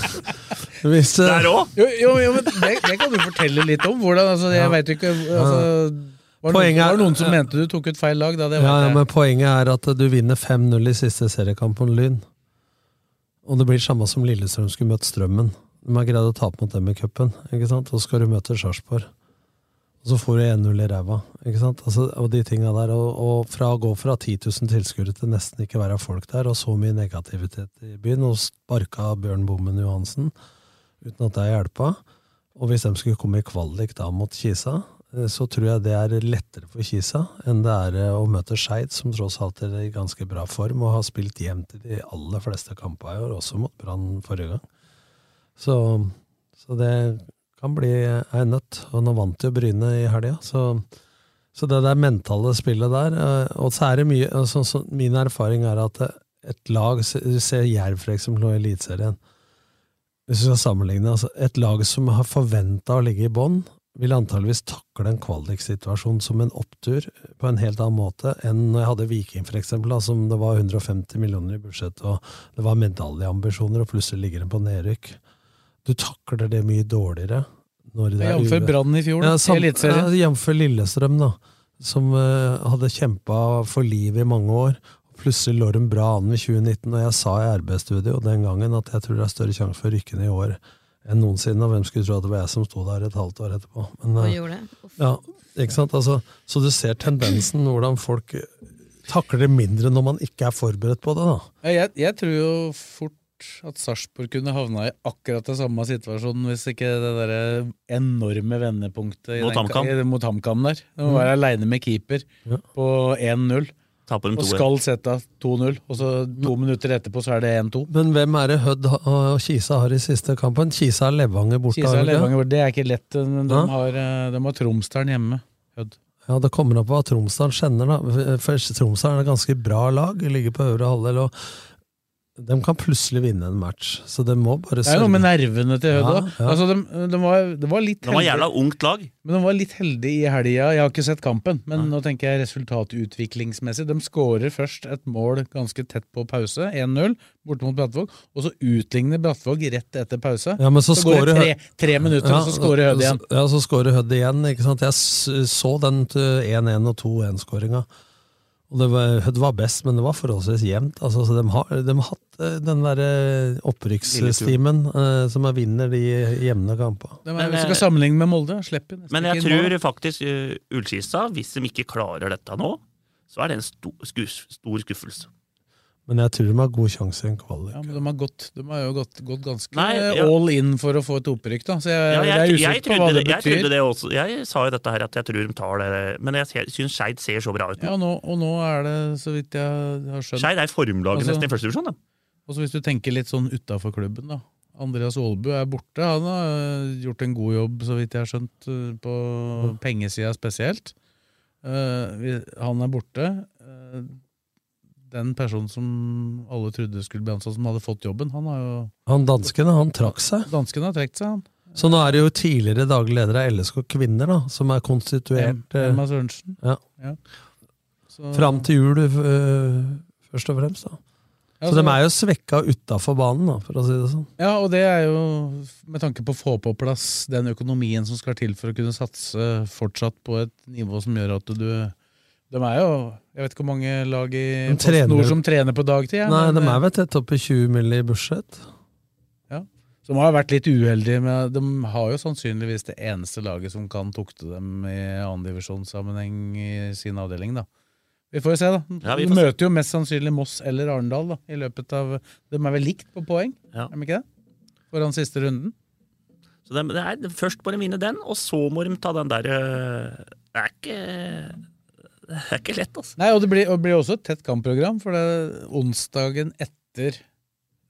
Speaker 3: hvis, eh,
Speaker 4: Jo, jo, jo, men det, det kan du fortelle litt om. Hvordan, altså, jeg
Speaker 3: Ja.
Speaker 4: vet jo ikke altså, var, det noen,
Speaker 3: Poenget er-
Speaker 4: var det noen som mente du tok ut feil lag? Da, det vet
Speaker 3: Ja, ja,
Speaker 4: jeg.
Speaker 3: men Poenget er at du vinner 5-0 i siste seriekamp mot Lyn. Og det blir samme som Lillestrøm skulle møtt Strømmen. De har greid å tape mot dem i cupen. ikke sant? Og så skal du møte Sarpsborg. Og så får du 1-0 i ræva. ikke sant? Altså, og de tinga der. Og, og fra å gå fra 10 000 tilskuere til nesten ikke være folk der, og så mye negativitet i byen, og sparka Bjørn Bommen Johansen uten at det hjelpa. Og hvis de skulle komme i kvalik da mot Kisa, eh, så tror jeg det er lettere for Kisa enn det er eh, å møte Skeid, som tross alt er i ganske bra form og har spilt jevnt i de aller fleste kampene i år, også mot Brann forrige gang. Så, så det kan bli ei nøtt. Og nå vant jo Bryne i helga, så så det der mentale spillet der, eh, og så er det mye, altså, så min erfaring er at eh, et lag, se- du ser Jerv for eksempel nå i Eliteserien, hvis vi skal sammenligne, altså, et lag som har forventa å ligge i bånn, vil antageligvis takle en kvaliksituasjon som en opptur på en helt annen måte enn når jeg hadde Viking, for eksempel, da, som det var 150 millioner i budsjett, og det var medaljeambisjoner, og plutselig ligger den på nedrykk. Du takler det mye dårligere. når det er
Speaker 4: Jamfør
Speaker 3: uve-
Speaker 4: Brann i fjor, da,
Speaker 3: ja,
Speaker 4: i
Speaker 3: sam-
Speaker 4: Eliteserien.
Speaker 3: ja, Jf. Lillestrøm, da, som eh, hadde kjempa for livet i mange år. Plutselig lå de bra an i 2019, og jeg sa i RB-studio den gangen at jeg tror det er større sjanse for å rykke ned i år enn noensinne, og hvem skulle tro at det var jeg som sto der et halvt år etterpå. Men,
Speaker 5: Og
Speaker 3: eh,
Speaker 5: gjorde det. Uff.
Speaker 3: ja, ikke sant? Altså, så du ser tendensen, hvordan folk takler det mindre når man ikke er forberedt på det. da.
Speaker 4: Ja, Jeg, jeg tror jo fort at Sarpsborg kunne havna i akkurat den samme situasjonen hvis ikke det derre enorme vendepunktet i
Speaker 6: Mot
Speaker 4: den ka-
Speaker 6: HamKam.
Speaker 4: i- mot HamKam der. De må
Speaker 6: Mm.
Speaker 4: være aleine med keeper på 1-0.
Speaker 6: Taper dem
Speaker 4: Og
Speaker 6: 2-1.
Speaker 4: skal sette av 2-0, og så to minutter etterpå så er det 1-2.
Speaker 3: Men hvem er det Hødd ha- og Kisa har i siste kampen? Kisa er Levanger borte.
Speaker 4: Kisa
Speaker 3: har
Speaker 4: og
Speaker 3: de ikke?
Speaker 4: Levanger, det er ikke lett, men de
Speaker 3: Ja.
Speaker 4: har, eh, de har Tromsdalen hjemme. Hødd.
Speaker 3: Ja, Det kommer an på hva Tromsdalen kjenner. da. For Tromsdalen er et ganske bra lag, ligger på øvre halvdel. og De kan plutselig vinne en match, så det må bare
Speaker 4: Det er noe med nervene til Hødd
Speaker 3: Ja,
Speaker 4: òg.
Speaker 3: ja.
Speaker 4: Altså, de, de var, de var litt
Speaker 6: Det var
Speaker 4: heldige.
Speaker 6: jævla ungt lag.
Speaker 4: Men de var litt heldige i helga. Jeg har ikke sett kampen, men nå tenker jeg resultatutviklingsmessig. De skårer først et mål ganske tett på pause, 1-0, borte mot Brattvåg. Og så utligner Brattvåg rett etter pause.
Speaker 3: Ja, men så,
Speaker 4: går
Speaker 3: scorer
Speaker 4: det tre,
Speaker 3: Hødd-
Speaker 4: tre minutter,
Speaker 3: Ja,
Speaker 4: og så skårer Hødd igjen.
Speaker 3: Ja, så skårer Hødd igjen. ikke sant? Jeg s- så den til 1-1 og 2-1-skåringa. Og det var, Hødd var best, men det var forholdsvis jevnt. Altså, så de, har, de har hatt eh, den derre opprykksstimen eh, som er vinner de jevne kampene.
Speaker 4: De er, hvis du skal sammenligne med Molde, slipper nesten
Speaker 6: eh, Men jeg
Speaker 4: ikke inn mål.
Speaker 6: tror faktisk eh, Ullskisa, hvis de ikke klarer dette nå, så er det en sto, skuff, stor skuffelse.
Speaker 3: Men jeg tror de har god sjanse i en kvalik.
Speaker 4: Ja, men de har, gått, de har jo gått, gått ganske eh,
Speaker 6: Nei, ja.
Speaker 4: all in for å få et opprykk, da. Så jeg,
Speaker 6: Ja,
Speaker 4: jeg,
Speaker 6: jeg,
Speaker 4: er
Speaker 6: jeg,
Speaker 4: usikker på hva
Speaker 6: trodde
Speaker 4: det
Speaker 6: det, jeg
Speaker 4: betyr.
Speaker 6: trodde det også. Jeg sa jo dette her at jeg tror de tar det, men jeg syns Skeid ser så bra ut.
Speaker 4: Ja, nå, og nå er det, så vidt jeg har skjønt
Speaker 6: Skeid er
Speaker 4: Altså-
Speaker 6: formlaget nesten i første divisjon, da.
Speaker 4: Og så hvis du tenker litt sånn utafor klubben, da. Andreas Aalbu er borte. Han har øh, gjort en god jobb, så vidt jeg har skjønt, øh, på pengesida spesielt. Eh, vi- han er borte. Eh, den personen som alle trodde skulle bli ansatt, som hadde fått jobben, han har jo
Speaker 3: Han danskene, han trakk seg.
Speaker 4: Dansken har trukket seg, han.
Speaker 3: Så nå er det jo tidligere daglig leder av LSK Kvinner, da, som er konstituert eh,
Speaker 4: Emma Sørensen.
Speaker 3: Ja.
Speaker 4: Ja. Så-
Speaker 3: Fram til jul, eh, først og fremst. da.
Speaker 4: Ja,
Speaker 3: så,
Speaker 4: så-
Speaker 3: de er jo svekka utafor banen, da, for å si det sånn.
Speaker 4: Ja, og det er jo med tanke på å få på plass den økonomien som skal til for å kunne satse fortsatt på et nivå som gjør at du De er jo Jeg vet ikke hvor mange lag i
Speaker 3: De trener-
Speaker 4: Nord som trener på dagtid. ja,
Speaker 3: Nei,
Speaker 4: men- eh,
Speaker 3: de er vel tett opp i 20 mill. i budsjett.
Speaker 4: Som har vært litt uheldige, men de har jo sannsynligvis det eneste laget som kan tukte dem i annendivisjonssammenheng i sin avdeling, da. Vi får jo se, da.
Speaker 6: Ja, vi
Speaker 4: de
Speaker 6: får se.
Speaker 4: møter jo mest sannsynlig Moss eller Arendal da, i løpet av De er vel likt på poeng,
Speaker 6: Ja.
Speaker 4: er de ikke det? Foran siste runden.
Speaker 6: Så det, det er, først må de vinne den, og så må de ta den der øh, Det er ikke Det er ikke lett, altså.
Speaker 4: Nei, og det blir, og det blir også et tett kampprogram, for det er onsdagen etter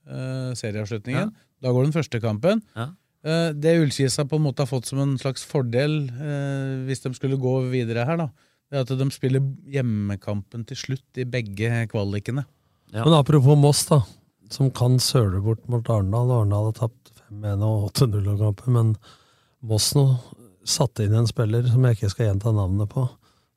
Speaker 4: eh, serieavslutningen. Da går den første kampen.
Speaker 6: Ja.
Speaker 4: Eh, det Ullkisa på en måte har fått som en slags fordel eh, hvis de skulle gå videre her, da, det er at de spiller hjemmekampen til slutt i begge kvalikene.
Speaker 3: Men apropos Moss, da, som kan søle bort mot Arendal. Arendal har tapt 5-1 og 8-0-kampen, men Moss nå satte inn en spiller som jeg ikke skal gjenta navnet på.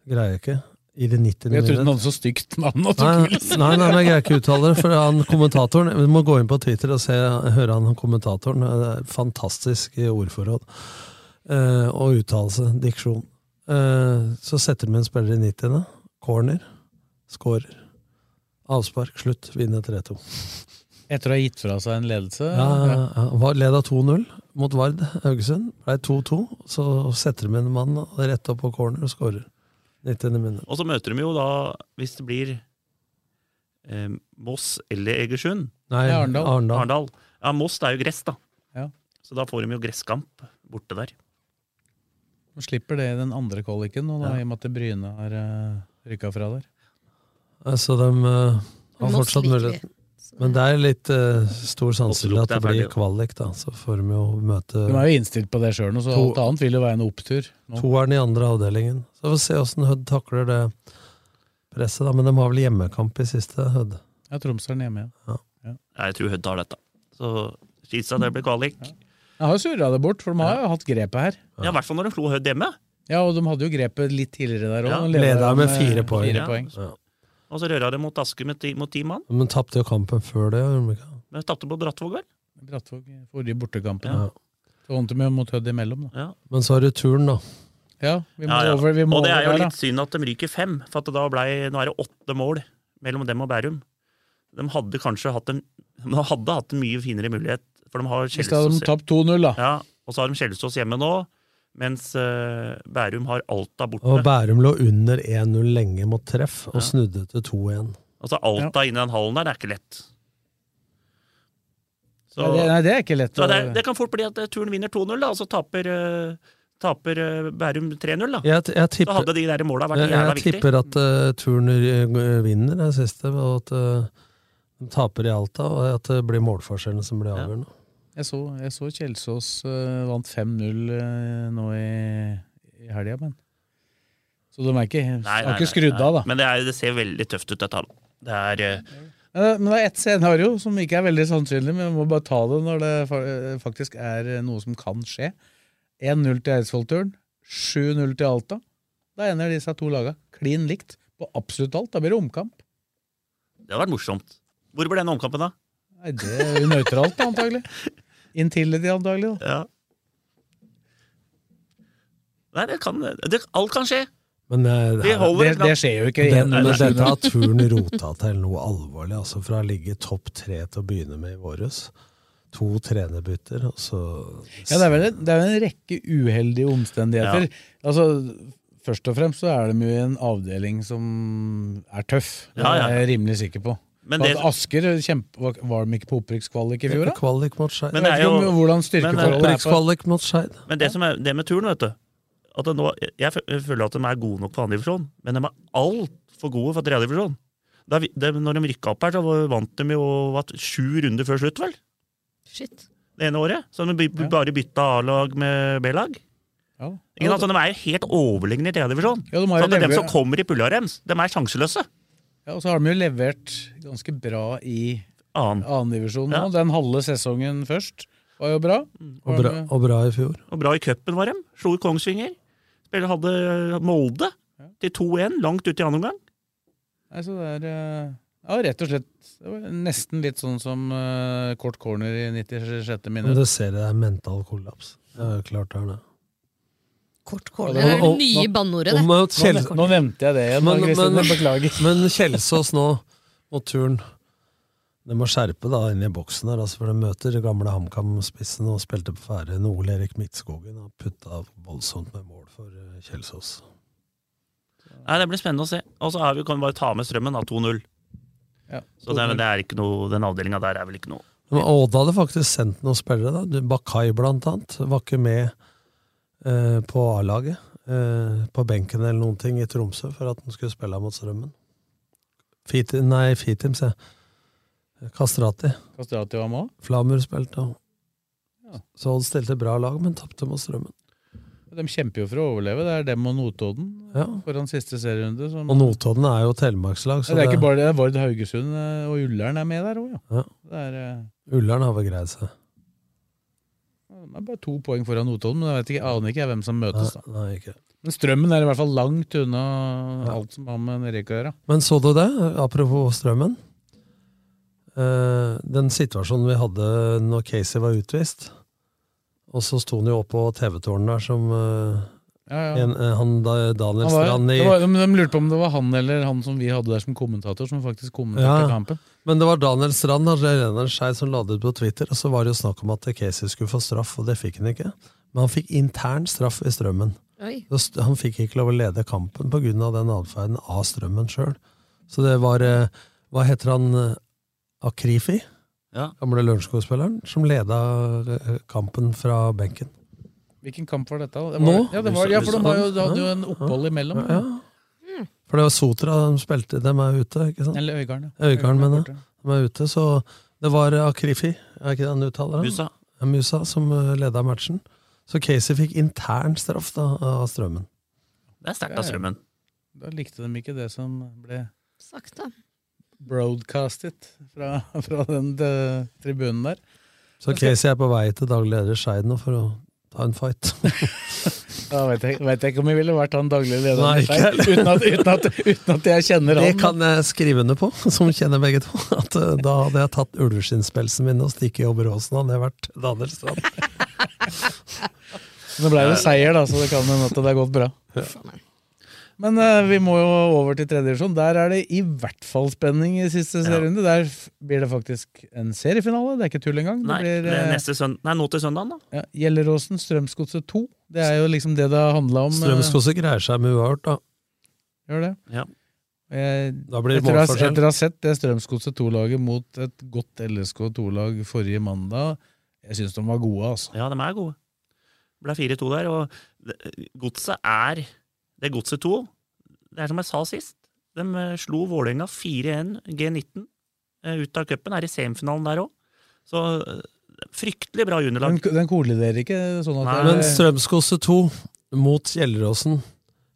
Speaker 3: Greier jeg ikke. I det 90
Speaker 4: Jeg trodde
Speaker 3: minutter.
Speaker 4: den hadde så stygt navn. at liksom- du
Speaker 3: Nei,
Speaker 4: ikke ville
Speaker 3: nei, nei, men jeg greier
Speaker 4: si det.
Speaker 3: ikke uttale det. For han kommentatoren Vi må gå inn på Twitter og se, høre han kommentatoren. Det er Fantastisk ordforråd. Eh, og uttalelse. Diksjon. Eh, så setter de en spiller i 90. Corner. Scorer. Avspark. Slutt. Vinner 3-2.
Speaker 4: Etter å ha gitt fra seg en ledelse.
Speaker 3: Ja, ja, ja. Var- Leda 2-0 mot Vard Haugesund. Ble 2-2. Så setter de en mann rett opp på corner og scorer. 90. minutt.
Speaker 6: Og så møter de jo da, hvis det blir eh, Moss eller Egersund
Speaker 3: Nei, Ja, Arendal. Arendal.
Speaker 6: Ja, Moss det er jo gress, da.
Speaker 4: Ja.
Speaker 6: Så da får de jo gresskamp borte der.
Speaker 4: De slipper det i den andre kvaliken, nå, da,
Speaker 6: Ja.
Speaker 4: i og med at Bryne har uh, rykka fra der.
Speaker 3: Eh, Så de eh, har
Speaker 4: Moss
Speaker 3: fortsatt
Speaker 4: liker
Speaker 3: mulighet. Men det er litt eh, stor sannsynlig at det blir kvalik, da. Så får de jo møte
Speaker 4: De er jo innstilt på det sjøl, så
Speaker 3: To-
Speaker 4: alt annet vil jo være en opptur. nå.
Speaker 3: toeren i andre avdelingen. Så får vi se åssen Hødd takler det presset, da. Men de har vel hjemmekamp i siste, Hødd.
Speaker 4: Ja, Tromsø er den hjemme igjen.
Speaker 6: Jeg tror Hødd har dette. Så Skisa, det blir kvalik.
Speaker 4: Jeg har jo surra det bort, for de har jo hatt grepet her.
Speaker 6: Ja, I hvert fall når de slo Hødd hjemme.
Speaker 4: Ja, og de hadde jo grepet litt tidligere der òg.
Speaker 6: Ja.
Speaker 3: Leda med fire poeng.
Speaker 4: eh, Fire
Speaker 6: Ja.
Speaker 4: poeng.
Speaker 6: Og så røra de mot Aske med ti, mot ti mann.
Speaker 3: Men tapte jo kampen før det, gjorde de ikke?
Speaker 6: Men de tapte på Brattvåg, vel?
Speaker 4: Brattvåg eh, forrige bortekampen.
Speaker 6: Ja.
Speaker 4: Så vant de jo mot Hødd imellom, da.
Speaker 6: Ja.
Speaker 3: Men så er det turn, da.
Speaker 4: vi må over- vi må
Speaker 6: og det er jo
Speaker 4: over der, da.
Speaker 6: litt synd at de ryker fem, for at da ble, nå er det åtte mål mellom dem og Bærum. De hadde kanskje hatt en, de hadde hatt en mye finere mulighet. For de har
Speaker 4: Hvis da hadde de
Speaker 6: Kjelsås-
Speaker 4: tapt 2-0, da.
Speaker 6: Ja, og så har de Kjelsås hjemme nå, mens eh, Bærum har Alta borte.
Speaker 3: Og Bærum lå under 1-0 lenge mot treff, og
Speaker 6: Ja.
Speaker 3: snudde til 2-1.
Speaker 6: Altså Alta inni den hallen der, det er ikke lett.
Speaker 4: Nei, det- nei, det er ikke lett
Speaker 6: Så
Speaker 4: å-
Speaker 6: det, er- det kan fort bli at eh, Turen vinner 2-0, da, og så taper, eh, taper eh, Bærum 3-0. da.
Speaker 3: Jeg, jeg tipper,
Speaker 6: så hadde de der måla vært
Speaker 3: Eh, jeg,
Speaker 6: jævla
Speaker 3: jeg
Speaker 6: viktig.
Speaker 3: tipper at uh, Turner eh, vinner den siste, og at eh, de taper i Alta, og at det blir målforskjellen som blir avgjørende.
Speaker 4: Jeg så, jeg så Kjelsås eh, vant 5-0 eh, nå i, i helga, men Så de er ikke,
Speaker 6: Nei,
Speaker 4: har
Speaker 6: nei,
Speaker 4: ikke
Speaker 6: nei,
Speaker 4: skrudd
Speaker 6: nei.
Speaker 4: av, da.
Speaker 6: Men det, er, det ser veldig tøft ut, dette. da. Det er, eh,
Speaker 4: Eh, Men det er ett scenario som ikke er veldig sannsynlig, men vi må bare ta det når det fa- eh, faktisk er eh, noe som kan skje. 1-0 til Eidsvollturen, 7-0 til Alta. Da ender disse to laga klin likt på absolutt alt. Da blir det omkamp.
Speaker 6: det hadde vært morsomt. Hvor ble den omkampen, da?
Speaker 4: Nei, det er jo nøytralt, antagelig. Intility, antagelig. Da.
Speaker 6: Ja. Nei, det kan det, Alt kan skje.
Speaker 3: Men eh,
Speaker 6: Vi holder- Det- det skjer jo ikke i en-
Speaker 3: Den, men
Speaker 6: Nei, nei.
Speaker 3: dette har turen rota til noe alvorlig, altså fra å ligge i topp tre til å begynne med i våres. To trenerbytter, og så
Speaker 4: Ja, det er vel en, det er vel en rekke uheldige omstendigheter.
Speaker 3: Ja.
Speaker 4: Altså, først og fremst så er de jo i en avdeling som er tøff. Det
Speaker 6: Ja, ja.
Speaker 4: er jeg rimelig sikker på.
Speaker 6: Men
Speaker 4: For
Speaker 6: det-
Speaker 4: at Asker kjempe, var- var de ikke på opprykkskvalik i fjor, da?
Speaker 3: Kvalik mot Skeid.
Speaker 4: Men det er jo- Jeg vet ikke om- hvordan
Speaker 6: eh,
Speaker 4: styrkeforholdet er på-
Speaker 3: Opprykkskvalik mot Skeid.
Speaker 6: Men det, som er, det med turen, vet du at det nå, Jeg fø- føler at de er gode nok for andredivisjon, men de er altfor gode for tredjedivisjon. Da vi- de- Når de rykka opp her, så var- vant de jo hva, sju runder før slutt, vel?
Speaker 5: Shit.
Speaker 6: Det ene året. Så de by- bare bytta A-lag med B-lag.
Speaker 4: Ja.
Speaker 6: Ikke sant? Så De er jo helt overlegne i tredjedivisjon.
Speaker 4: Ja, de har
Speaker 6: så
Speaker 4: jo
Speaker 6: at dem
Speaker 4: levert-
Speaker 6: som kommer i pulla deres, de er sjanseløse.
Speaker 4: Ja, og så har de jo levert ganske bra i
Speaker 6: Annen.
Speaker 4: annendivisjon nå. Den halve sesongen først. Var jo bra.
Speaker 3: Og bra, og bra i fjor.
Speaker 6: Og bra i cupen var de. Slo ut Kongsvinger. Spiller hadde Molde til 2-1 langt ut i andre omgang.
Speaker 4: Nei, så det er eh, Ja, rett og slett det var nesten litt sånn som eh, kort corner i 96.
Speaker 3: Men du
Speaker 4: minutt.
Speaker 3: ser det er mental kollaps. Det er jo klart det er det.
Speaker 5: Kort corner er det nye banneordet, det.
Speaker 3: Nå- Kjell-
Speaker 4: Nå nevnte jeg det igjen,
Speaker 3: Men-
Speaker 4: Kristin,
Speaker 3: men-
Speaker 4: jeg beklager.
Speaker 3: Men Kjelsås nå, og turn De må skjerpe da inn i boksen her, altså for de møter de gamle HamKam-spissene og spilte på Færøyene. Ole Erik Midtskogen har putta voldsomt med mål for eh, Kjelsås.
Speaker 6: Nei, Det blir spennende å se. Og så er vi- kan vi bare ta med strømmen, da. 2-0. Så det, er- det er ikke noe, den avdelinga der er vel ikke noe
Speaker 3: Men Odda hadde faktisk sendt noen spillere. da. Du- Bakai blant annet var ikke med eh, på A-laget. Eh, på benken eller noen ting i Tromsø for at han skulle spille mot Strømmen. Fiti, nei, Fitim, sier jeg. Kastrati.
Speaker 4: Kastrati var med også?
Speaker 3: Flamur spilte òg. Så han stilte bra lag, men tapte mot Strømmen.
Speaker 4: De kjemper jo for å overleve. Det er dem og Notodden
Speaker 3: Ja.
Speaker 4: foran siste serierunde. Som,
Speaker 3: Og Notodden er jo telemarkslag,
Speaker 4: Mm. Ja,
Speaker 3: så
Speaker 4: det er ikke
Speaker 3: det-
Speaker 4: bare det, Vard Haugesund eh, og Ullern er med der òg, ja.
Speaker 3: Ja.
Speaker 4: Det er, eh,
Speaker 3: Ullern har vel greid seg.
Speaker 4: det er bare to poeng foran Notodden, men jeg vet ikke, jeg aner ikke jeg hvem som møtes. da.
Speaker 3: Nei, ikke.
Speaker 4: Men strømmen er i hvert fall langt unna alt som har med Nerek å gjøre.
Speaker 3: Men så du det, apropos strømmen? Eh, den situasjonen vi hadde når Casey var utvist, og så sto han jo oppå TV-tårnet der som eh,
Speaker 4: Ja, ja.
Speaker 3: En, eh, han da, Daniel
Speaker 4: Han var,
Speaker 3: Strand i
Speaker 4: det var, de, de lurte på om det var han eller han som vi hadde der som kommentator, som faktisk kommenterte
Speaker 3: Ja,
Speaker 4: kampen.
Speaker 3: Men det var altså, Daniel Strand og Renner Skei som la det ut på Twitter, og så var det jo snakk om at Casey skulle få straff, og det fikk han ikke. Men han fikk intern straff i strømmen.
Speaker 5: Oi.
Speaker 3: Så st- Han fikk ikke lov å lede kampen pga. den atferden av strømmen sjøl. Så det var eh, Hva heter han? eh, Akrifi?
Speaker 6: Ja.
Speaker 3: Gamle Lørenskog-spilleren som leda eh, kampen fra benken.
Speaker 4: Hvilken kamp var dette? da? Det var,
Speaker 3: Nå?
Speaker 4: Ja, det var, ja, for de har jo, de
Speaker 3: Ja,
Speaker 4: hadde jo en opphold imellom.
Speaker 3: ja. For det var Sotra de spilte, de er ute, ikke sant?
Speaker 4: Eller Øygarden, ja.
Speaker 3: ja. Øygarden,
Speaker 4: Øygarden er
Speaker 3: mener jeg. De er ute, så det var Akrifi, er ikke det han uttaler? han?
Speaker 6: Musa.
Speaker 3: Ja, Musa, som leda matchen. Så Casey fikk intern straff da, av Strømmen.
Speaker 6: Det er sterkt
Speaker 4: Ja,
Speaker 6: av
Speaker 4: ja.
Speaker 6: strømmen.
Speaker 4: Da likte de ikke det som ble
Speaker 5: Sagt, da.
Speaker 4: broadcastet fra, fra den eh, tribunen der.
Speaker 3: Så
Speaker 4: Da skal-
Speaker 3: Casey er på vei til daglig leder Skeid nå for å ta en fight.
Speaker 4: Da vet jeg, vet jeg ikke om jeg ville vært han daglig lederen
Speaker 3: Nei,
Speaker 4: i Skeid,
Speaker 3: ikke.
Speaker 4: uten, at- uten, at- uten at jeg kjenner
Speaker 3: Det
Speaker 4: han.
Speaker 3: kan jeg skrive under på, som kjenner begge to. At eh, da hadde jeg tatt ulveskinnspelsen min og stikket i Oberåsen. Hadde jeg vært Daniel Strand.
Speaker 4: Men det ble jo seier, da, så det kan hende at det har gått bra. Men eh, vi må jo over til tredje divisjon. Der er det i hvert fall spenning i siste serierunde. Der f- blir det faktisk en seriefinale. Det er ikke tull engang.
Speaker 6: Nei,
Speaker 4: det
Speaker 6: det
Speaker 4: blir
Speaker 6: er
Speaker 4: eh,
Speaker 6: neste søndag. Nei, nå til søndagen, da.
Speaker 4: ja, Gjelleråsen Strømsgodset 2. Det er jo liksom det det har handla om. eh,
Speaker 3: Strømskose greier seg med uavgjort, da.
Speaker 4: Gjør det. Jeg,
Speaker 3: Da blir det
Speaker 4: etter, å ha,
Speaker 3: målforskjell.
Speaker 4: etter å ha sett det Strømsgodset 2-laget mot et godt LSK2-lag forrige mandag, jeg syns de var gode, altså.
Speaker 6: Ja, de er gode. Det ble 4-2 der, og det- godset er Det er godset 2. Det er som jeg sa sist. De eh, slo Vålerenga 4-1 G19 eh, ut av cupen. Er i semifinalen der òg. Så eh, fryktelig bra
Speaker 4: Den,
Speaker 6: juniorlag.
Speaker 4: den kolliderer ikke sånn at
Speaker 3: Men
Speaker 4: det er-
Speaker 3: Strømskose 2 mot Gjelleråsen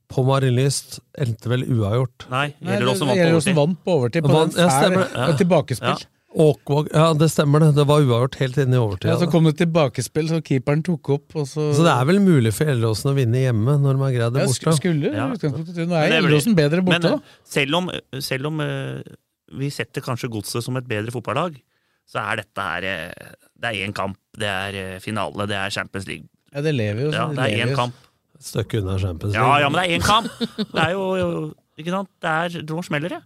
Speaker 3: på Marienlyst endte vel uavgjort.
Speaker 6: Nei,
Speaker 4: Nei,
Speaker 6: Gjelleråsen
Speaker 4: det-
Speaker 6: vant på
Speaker 4: Gjelleråsen
Speaker 6: overtid.
Speaker 4: vant på overtid. På
Speaker 3: Vant- ja,
Speaker 4: den fæle-
Speaker 3: stemmer det.
Speaker 4: og tilbakespill.
Speaker 3: Ja. Åkvåg, ja, det stemmer det. Det var uavgjort helt inn i overtida.
Speaker 4: Ja, så kom det tilbakespill, så keeperen tok opp, og så
Speaker 3: Så det er vel mulig for Gjelleråsen å vinne hjemme når de har greid det
Speaker 4: Ja,
Speaker 3: borte?
Speaker 4: sk- skulle
Speaker 6: Ja.
Speaker 4: i utgangspunktet tro. Nå
Speaker 6: Men
Speaker 4: er
Speaker 6: det blir-
Speaker 4: Gjelleråsen bedre borte,
Speaker 6: men, eh,
Speaker 4: da.
Speaker 6: Selv om, selv om eh, vi setter kanskje Godset som et bedre fotballag, så er dette her eh, Det er én kamp, det er eh, finale, det er Champions League.
Speaker 4: Ja, det lever jo.
Speaker 6: Ja,
Speaker 4: så
Speaker 6: det er
Speaker 4: lever
Speaker 6: én
Speaker 4: jo.
Speaker 6: kamp.
Speaker 3: Et stykke unna Champions
Speaker 6: Ja, ja, men det er én kamp! Det er jo, jo- ikke sant? Det er nå smeller det.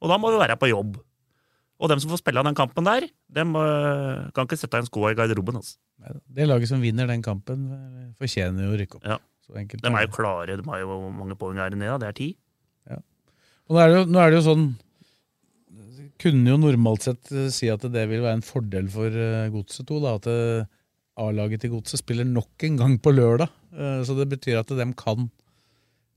Speaker 6: Og da må du være på jobb. Og dem som får spille av den kampen der, dem eh, kan ikke sette en sko i garderoben. Altså.
Speaker 4: Det laget som vinner den kampen, eh, fortjener jo å rykke opp.
Speaker 6: Ja.
Speaker 4: Så enkelt.
Speaker 6: De er jo klare, de har jo hvor mange poeng her nede, det er ti.
Speaker 4: Og nå er, det jo, nå er det jo sånn Kunne jo normalt sett eh, si at det vil være en fordel for eh, Godset 2, da, at eh, A-laget til Godset spiller nok en gang på lørdag. Eh, Så det betyr at de kan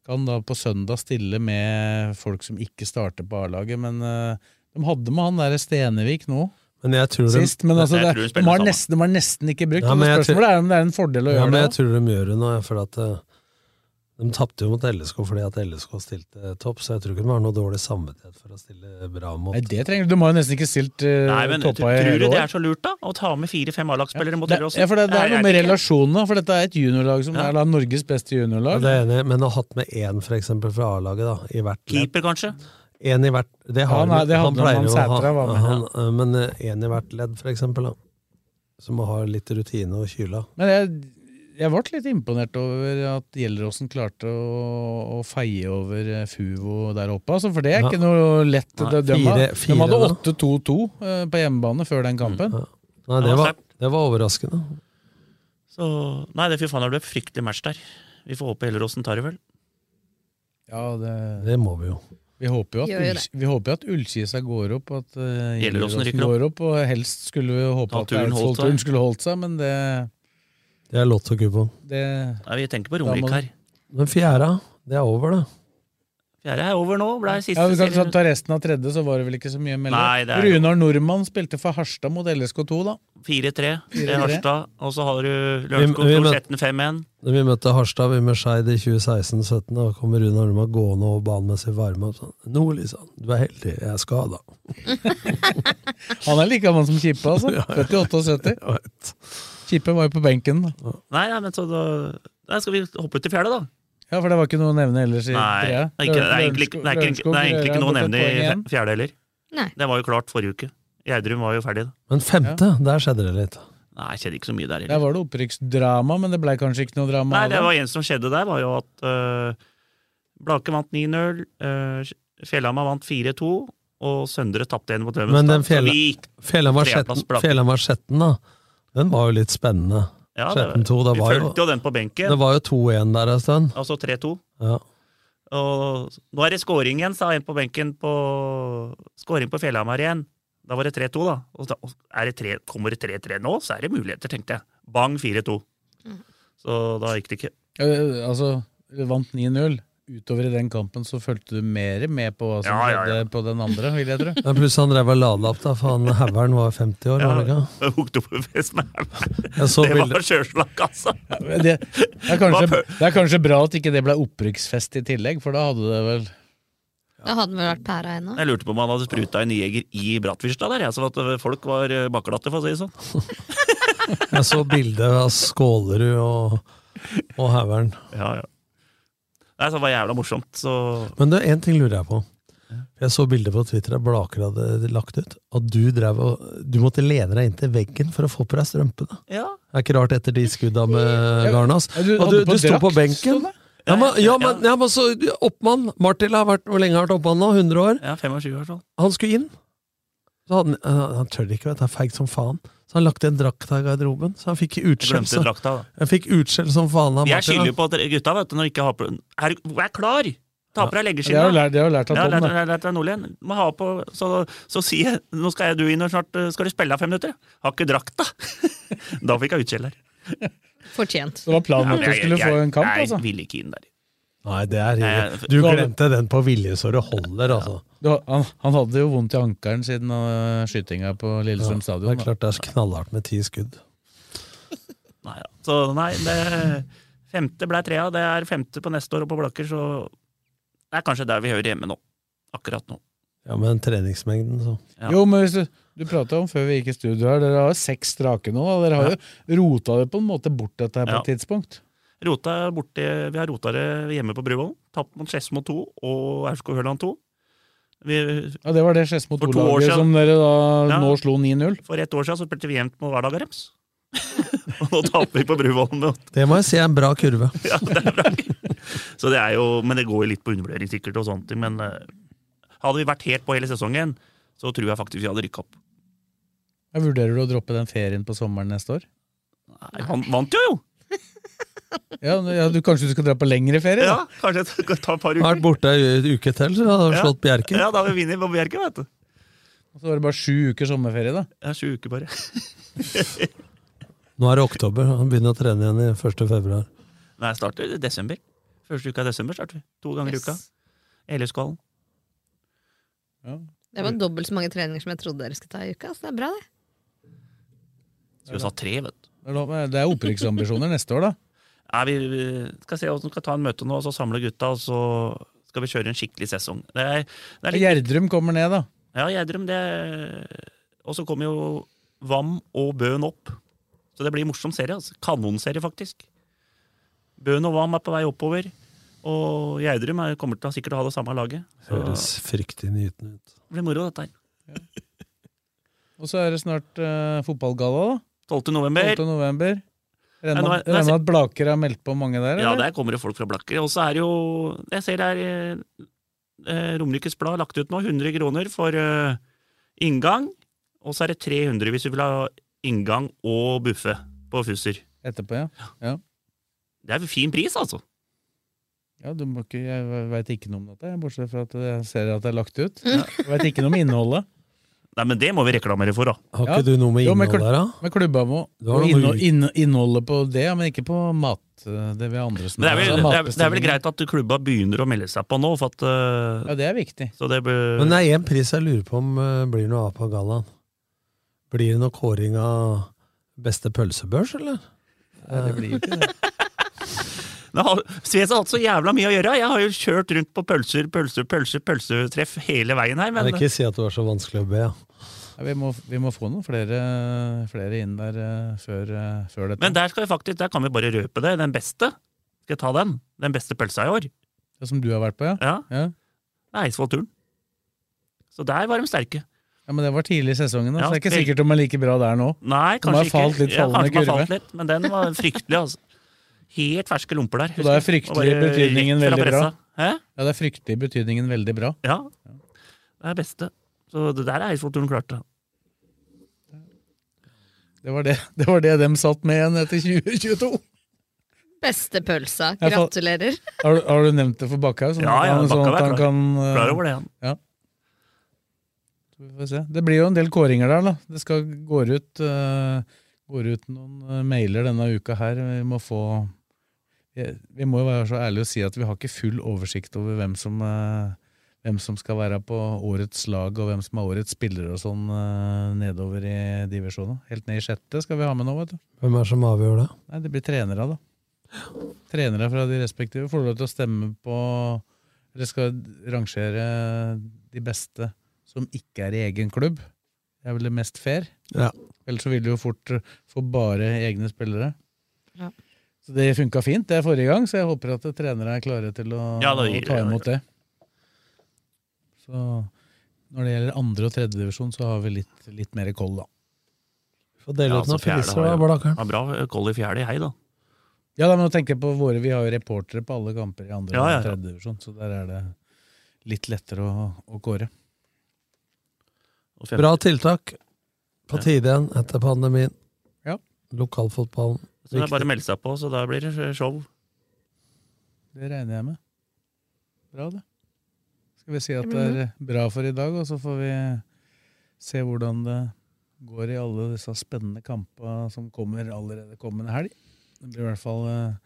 Speaker 4: kan da på søndag stille med folk som ikke starter på A-laget, men eh, de hadde med han der Stenevik nå
Speaker 3: Men jeg tror de-
Speaker 4: sist. Men altså,
Speaker 3: Jeg
Speaker 4: det,
Speaker 3: tror hun
Speaker 4: de,
Speaker 3: spiller
Speaker 4: har
Speaker 3: samme.
Speaker 4: nesten, de har nesten ikke brukt.
Speaker 3: Ja,
Speaker 4: og
Speaker 3: men jeg tror-
Speaker 4: spørsmålet er om det er en fordel å
Speaker 3: Ja,
Speaker 4: gjøre
Speaker 3: men
Speaker 4: det.
Speaker 3: jeg tror de gjør det nå, jeg, for at eh, De tapte jo mot LSK fordi at LSK stilte eh, topp, så jeg tror ikke de har noe dårlig samvittighet for å stille bra mot
Speaker 4: Nei, det trenger du. De har jo nesten ikke stilt eh,
Speaker 6: Nei, men
Speaker 4: toppa i
Speaker 6: Tror
Speaker 4: hele
Speaker 6: du det
Speaker 4: år.
Speaker 6: er så lurt, da? Å ta med fire-fem A-lagsspillere mot
Speaker 4: Det,
Speaker 6: dere også?
Speaker 4: ja, for det, det er noe med
Speaker 6: ikke?
Speaker 4: relasjonene, for dette er et juniorlag som
Speaker 6: Ja.
Speaker 4: er da Norges beste
Speaker 3: Ja,
Speaker 4: juniorlag.
Speaker 3: det er jeg enig, i, men å ha hatt med én for eksempel fra A-laget da, i hvert ledd.
Speaker 6: Keeper, kanskje?
Speaker 3: En i hvert, det har
Speaker 4: Ja, nei,
Speaker 3: de-
Speaker 4: det hadde han,
Speaker 3: pleier jo å ha-
Speaker 4: Sætra var med.
Speaker 3: han, eh, Men én i hvert ledd, for eksempel, da. Som må ha litt rutine og kyla.
Speaker 4: Men jeg, jeg ble litt imponert over at Gjelleråsen klarte å, å feie over eh, Fuvo der oppe. Altså, for det er
Speaker 3: Ja.
Speaker 4: ikke noe lett.
Speaker 3: Nei,
Speaker 4: de, de,
Speaker 3: fire-
Speaker 4: de
Speaker 3: fire, da.
Speaker 4: hadde
Speaker 3: Mm.
Speaker 4: 8-2-2 eh, på hjemmebane før den kampen.
Speaker 3: Nei, det var, det var overraskende.
Speaker 6: Så, nei, det fy faen, det ble et fryktelig match der. Vi får håpe Helleråsen tar det, vel.
Speaker 4: Ja, det,
Speaker 3: Det må vi jo.
Speaker 4: vi håper jo at,
Speaker 6: Gjør jo
Speaker 4: Ull, vi håper jo at Ullkisa går opp, og at uh,
Speaker 6: Gjelleråsen
Speaker 4: Gjelleråsen
Speaker 6: rykker opp.
Speaker 4: går opp. Og helst skulle vi håpe
Speaker 6: Da
Speaker 4: at
Speaker 6: turen holdt seg.
Speaker 4: Eidsvoll-turen skulle holdt seg, men det,
Speaker 3: Det er lotto kupong.
Speaker 4: det
Speaker 6: Nei, vi tenker på
Speaker 4: Da må
Speaker 6: Romerike
Speaker 4: du-
Speaker 6: her.
Speaker 3: Men fjerde, det er over, det.
Speaker 6: Fjerde er over nå. Ble siste
Speaker 4: Ja, vi kan sånn
Speaker 6: serien.
Speaker 4: ta resten av tredje, så var det vel ikke så mye å
Speaker 6: Nei, det
Speaker 4: melde.
Speaker 6: er-
Speaker 4: Runar Nordmann spilte for Harstad mot LSK2, da.
Speaker 6: 4-3 til
Speaker 4: 4-3.
Speaker 6: Harstad. Og så har du
Speaker 3: Vi- vi
Speaker 6: Lørenskog
Speaker 3: må-
Speaker 6: 16-5-1.
Speaker 3: Da vi møtte Harstad, vi med Skeid i 2016-17, da kom Rune Orma gående over banen med sin varme og sånn Nordli, sa han, du er heldig, jeg er skada.
Speaker 4: Han er like gammel som Kippe, altså.
Speaker 3: Ja, ja.
Speaker 4: 78-70. Kippe var jo på benken, da.
Speaker 6: Nei, nei, men så da Nei, skal vi hoppe ut til fjerde, da?
Speaker 4: Ja, for det var ikke noe å nevne ellers i
Speaker 6: Nei, det
Speaker 4: trea.
Speaker 6: er, ikke, det, er egentlig, ikke- det, er ikke, det er egentlig ikke noe å nevne i fe- fjerde heller.
Speaker 5: Nei.
Speaker 6: Det var jo klart forrige uke. Gjerdrum var jo ferdig, da.
Speaker 3: Men femte, der skjedde det litt.
Speaker 6: Nei, skjedde ikke så mye der heller.
Speaker 4: Der var det opprykksdrama, men det blei kanskje ikke noe drama.
Speaker 6: Nei,
Speaker 4: av
Speaker 6: det var en som skjedde der, var jo at uh, Blake vant 9-0, uh, Fjellhamar vant 4-2, og Søndre tapte igjen mot Løvenstad.
Speaker 3: Men den
Speaker 6: Så
Speaker 3: fjella,
Speaker 6: vi gikk
Speaker 3: fjella var
Speaker 6: treplass
Speaker 3: sjetten,
Speaker 6: Blake.
Speaker 3: fjella var sjetten, da. Den var jo litt spennende.
Speaker 6: Ja, det-
Speaker 3: Sjetten to, det
Speaker 6: vi
Speaker 3: var jo
Speaker 6: fulgte jo den på benken.
Speaker 3: Det var jo 2-1 der en stund.
Speaker 6: Altså 3-2.
Speaker 3: Ja.
Speaker 6: Og nå er det scoring igjen, sa en på benken på Scoring på Fjellhamar igjen. Da var det 3-2, da. Og da er det 3, kommer det 3-3 nå, så er det muligheter, tenkte jeg. Bang, 4-2. Så da gikk det ikke.
Speaker 4: Eh, altså, vi vant 9-0. Utover i den kampen så fulgte du mer med på hva som
Speaker 6: Ja, ja, ja.
Speaker 4: skjedde på den andre, vil jeg tro.
Speaker 3: Men pluss han drev og lada opp, da, for han haugeren var 50 år, var det ikke?
Speaker 6: Oktoberfest med
Speaker 3: Jeg så
Speaker 6: Det var
Speaker 3: bilder-
Speaker 6: sjølslag, altså!
Speaker 4: Men Det, det, er kanskje, det er kanskje bra at ikke det ble opprykksfest i tillegg, for da hadde det vel
Speaker 5: Da hadde den vel vært pæra ennå.
Speaker 6: Jeg lurte på om han hadde spruta en jeger i Brattvistad der, jeg, så at folk var eh, bakglatte, for å si det sånn.
Speaker 3: Jeg så bilde av Skålerud og, og haugeren.
Speaker 6: Ja, ja. Nei, så det var jævla morsomt, så
Speaker 3: Men du, en ting lurer jeg på. Jeg så bilder på Twitter av Blaker hadde lagt ut. At du, drev og, du måtte lene deg inntil veggen for å få på deg strømpene.
Speaker 6: Ja.
Speaker 3: Det er ikke rart etter de skudda med Garnas.
Speaker 4: Ja, du
Speaker 3: Og du,
Speaker 4: hadde
Speaker 3: du
Speaker 4: på
Speaker 3: sto på
Speaker 4: drakt,
Speaker 3: benken. Ja, men, ja, men, ja, men så oppmann. Martil har vært, hvor lenge har han vært oppmann nå? 100 år?
Speaker 6: Ja, 25 år sånn.
Speaker 3: Han skulle inn. Så hadde, han- øh, han, han tør ikke, vet du. Han er feig som faen. Så han lagt igjen drakta i garderoben. Så han fikk utskjell
Speaker 6: Glemte
Speaker 3: som,
Speaker 6: drakta, da.
Speaker 3: han fikk utskjell som faen av
Speaker 6: De er
Speaker 3: Martin.
Speaker 6: skyldige
Speaker 3: da.
Speaker 6: på at dere- gutta, vet du, når de ikke har på Er, er klar! Ta på deg
Speaker 4: Det har jo
Speaker 6: leggeskinna.
Speaker 4: lært, det har jo lært av
Speaker 6: Ja,
Speaker 4: Tom,
Speaker 6: lært,
Speaker 4: da.
Speaker 6: lært, lært deg Nordlien. Må ha på, så, så sier jeg nå skal jeg du inn, og snart eh, skal du spille av fem minutter. Har ikke drakta! da fikk jeg utskjell der.
Speaker 5: Fortjent.
Speaker 4: Det var planen
Speaker 6: Ja,
Speaker 4: at
Speaker 6: men
Speaker 4: du
Speaker 6: jeg-
Speaker 4: skulle
Speaker 6: jeg-
Speaker 4: få en kamp,
Speaker 6: jeg
Speaker 4: altså.
Speaker 6: ville ikke inn der.
Speaker 3: Nei, det er
Speaker 6: Nei,
Speaker 3: Du glemte den på vilje så det holder, altså.
Speaker 4: Du, han, han hadde jo vondt i ankelen siden uh, skytinga på Lillestrøm
Speaker 3: Ja,
Speaker 4: stadion.
Speaker 3: Det er
Speaker 4: da.
Speaker 3: klart det er knallhardt med ti skudd.
Speaker 6: Nei, ja. Så nei, det femte ble trea. Det er femte på neste år, og på Blakker, så Det er kanskje der vi hører hjemme nå. Akkurat nå.
Speaker 3: Ja, men treningsmengden, så.
Speaker 4: Jo, men hvis du, du prata om før vi gikk i studio her, dere har jo seks strake nå. Da. Dere har jo rota det på en måte bort dette her på
Speaker 6: Ja.
Speaker 4: et tidspunkt.
Speaker 6: Rota borti, vi har rota det hjemme på Bruvollen. Tapt mot Skedsmo 2 og Aurskog Høland 2. Vi
Speaker 4: Ja, Det var det Skedsmo
Speaker 6: For to år
Speaker 4: 2-laget
Speaker 6: siden.
Speaker 4: som dere da
Speaker 6: Ja.
Speaker 4: nå slo 9-0.
Speaker 6: For ett år siden så spilte vi jevnt mot hverdagen deres. og nå taper vi på Bruvollen. med åtte.
Speaker 3: Det må jeg si er en bra kurve.
Speaker 6: Ja, det er bra. Så det er jo, men det går jo litt på undervurdering sikkert, og sånne ting, men eh, hadde vi vært helt på hele sesongen, så tror jeg faktisk vi hadde rykka opp.
Speaker 4: Jeg vurderer du å droppe den ferien på sommeren neste år?
Speaker 6: Nei, han vant jo, jo!
Speaker 4: Ja, ja du, Kanskje du skal dra på lengre ferie?
Speaker 6: Ja,
Speaker 4: da?
Speaker 6: Kanskje jeg skal ta et par
Speaker 3: Jeg har
Speaker 6: uker.
Speaker 3: vært borte ei uke til, så jeg hadde
Speaker 6: Ja.
Speaker 3: slått Bjerke.
Speaker 6: Ja, da har vi vunnet på Bjerke, vet du.
Speaker 4: Og Så var det bare sju uker sommerferie, da.
Speaker 6: Ja, sju uker bare.
Speaker 3: Nå er det oktober, han begynner å trene igjen i 1. februar.
Speaker 6: Nei, starter i desember. Første uka i desember starter vi. To ganger i
Speaker 5: Yes.
Speaker 6: uka. Elleskålen.
Speaker 5: Det var dobbelt så mange treninger som jeg trodde dere skulle ta i uka. Så det er bra, det.
Speaker 6: Skulle vi ha tre, vet du.
Speaker 4: Det er lov- Det er opprykksambisjoner neste år, da.
Speaker 6: Nei, vi vi skal se hvordan vi skal ta en møte nå, og så samle gutta, og så skal vi kjøre en skikkelig sesong. Det er, det er litt
Speaker 4: Gjerdrum kommer ned, da.
Speaker 6: Ja, Gjerdrum, det Og så kommer jo Vam og Bøhn opp. Så det blir en morsom serie. altså. Kanonserie, faktisk. Bøhn og Vam er på vei oppover. Og Gjerdrum er- kommer til å sikkert å ha det samme laget. Så
Speaker 3: Høres fryktelig nytende ut.
Speaker 6: det blir moro, dette her.
Speaker 4: Og så er det snart eh, fotballgalla, da.
Speaker 6: 12. november.
Speaker 4: 12. november. Regner
Speaker 6: Nei, nå
Speaker 4: med
Speaker 6: er- nå er-
Speaker 4: regner med at Blaker har meldt på mange der?
Speaker 6: Ja,
Speaker 4: eller?
Speaker 6: der kommer det folk fra Blakker. Og så er det jo Jeg ser det er eh, Romerikes Blad har lagt ut nå. 100 kroner for eh, inngang. Og så er det 300 hvis du vil ha inngang og buffe på Fusser.
Speaker 4: Etterpå, ja. ja.
Speaker 6: Det er en fin pris, altså.
Speaker 4: Ja, du må ikke, Jeg veit ikke noe om dette, bortsett fra at jeg ser at det er lagt ut. Jeg veit ikke noe om innholdet.
Speaker 6: Nei, men det må vi reklamere for, da.
Speaker 3: Har ikke du noe med
Speaker 4: Jo,
Speaker 3: innhold
Speaker 4: kl-
Speaker 3: der, da?
Speaker 4: Med klubba må
Speaker 3: Du har noe
Speaker 4: og inno-
Speaker 3: ut-
Speaker 4: inn- innholdet på det, ja, men ikke på mat. eh, Det vi andre
Speaker 6: Men det er, vel,
Speaker 4: snakker om,
Speaker 6: det, er, det er vel
Speaker 4: matbestillinger.
Speaker 6: greit at klubba begynner å melde seg på nå, for at eh,
Speaker 4: Ja, det er viktig.
Speaker 6: Så det bør
Speaker 3: Men det er én pris jeg lurer på om eh, blir noe av på gallaen. Blir det noe kåring av beste pølsebørs, eller?
Speaker 4: Nei, det blir ikke det.
Speaker 6: Nå har- Sves har hatt så jævla mye å gjøre. Jeg har jo kjørt rundt på pølser, pølser, pølser, pølsetreff hele veien her, men
Speaker 3: Jeg vil ikke si at du er så vanskelig å be. ja.
Speaker 4: Ja, vi, må, vi må få noen flere, flere inn der eh, før, eh, før dette.
Speaker 6: Men der, skal vi faktisk, der kan vi bare røpe det. Den beste. Skal jeg ta den? Den beste pølsa i år.
Speaker 4: Ja, som du har vært på, ja?
Speaker 6: Ja.
Speaker 4: ja.
Speaker 6: Det er Eidsvollturen. Så der var de sterke.
Speaker 4: Ja, Men det var tidlig i sesongen, da,
Speaker 6: Ja,
Speaker 4: så det er ikke
Speaker 6: vel-
Speaker 4: sikkert om er like bra der nå.
Speaker 6: Nei,
Speaker 4: De har
Speaker 6: kanskje
Speaker 4: falt
Speaker 6: ikke.
Speaker 4: litt
Speaker 6: Ja,
Speaker 4: fallende
Speaker 6: kanskje de har
Speaker 4: kurve.
Speaker 6: falt litt, men den var fryktelig, altså. Helt ferske lomper der.
Speaker 4: Så da er
Speaker 6: husker jeg. Og
Speaker 4: fryktelig
Speaker 6: bare
Speaker 4: betydningen
Speaker 6: rett fra
Speaker 4: veldig bra.
Speaker 6: pressa. Hæ?
Speaker 4: Ja, det er fryktelig betydningen veldig bra.
Speaker 6: Ja. Det er beste. Så det der er Eidsvollturen klart, da.
Speaker 4: Det var det, det var det dem satt med igjen etter 2022.
Speaker 5: Beste pølsa.
Speaker 4: Jeg får-
Speaker 5: Gratulerer.
Speaker 4: Har, du- har du nevnt det for Bakkhaug? sånn
Speaker 6: Ja,
Speaker 4: at
Speaker 6: ja,
Speaker 4: han- sånn
Speaker 6: Bakkhaug
Speaker 4: at
Speaker 6: er
Speaker 4: han
Speaker 6: klar.
Speaker 4: kan, eh,
Speaker 6: Klar over det, han.
Speaker 4: Ja. Så vi får se. Det blir jo en del kåringer der, da. Det skal går ut, eh, går ut noen eh, mailer denne uka her. Vi må få Vi vi må jo være så ærlige og si at vi har ikke full oversikt over hvem som eh, hvem som skal være på årets lag, og hvem som er årets spillere og sånn eh, nedover i divisjonen. Helt ned i sjette skal vi ha med nå, vet du.
Speaker 3: Hvem er det som avgjør det?
Speaker 4: Nei, det blir trenere, da. Trenere fra de respektive får lov til å stemme på Dere skal rangere de beste som ikke er i egen klubb. Det er vel det mest fair?
Speaker 3: Ja.
Speaker 4: Ellers så vil du jo fort få bare egne spillere.
Speaker 5: Ja.
Speaker 4: Så det funka fint det forrige gang, så jeg håper at trenere er klare til å,
Speaker 6: Ja, da
Speaker 4: å
Speaker 6: gir-
Speaker 4: ta imot det. Så når det gjelder andre- og tredjedivisjon, så har vi litt, litt mer koll, da.
Speaker 3: Få dele ut noen
Speaker 6: fjerde
Speaker 3: priser,
Speaker 6: altså,
Speaker 3: da,
Speaker 6: har jo-
Speaker 3: Blakkaren.
Speaker 6: har Bra koll i fjerde, jeg, da.
Speaker 4: Ja, da, men nå tenker jeg på våre, Vi har jo reportere på alle kamper i andre
Speaker 6: Ja, ja,
Speaker 4: og
Speaker 6: ja.
Speaker 4: tredje divisjon, så der er det litt lettere å, å kåre.
Speaker 6: Og femte.
Speaker 3: Bra tiltak. På
Speaker 6: Ja.
Speaker 3: tide igjen etter pandemien.
Speaker 4: Ja.
Speaker 3: Lokalfotballen.
Speaker 6: Så det er bare å melde seg på, så da blir det show.
Speaker 4: Det regner jeg med. Bra, det. Skal vi si at det er eh, bra for i dag, og så får vi eh, se hvordan det går i alle disse spennende kampene som kommer allerede kommende helg. Det blir i hvert fall eh,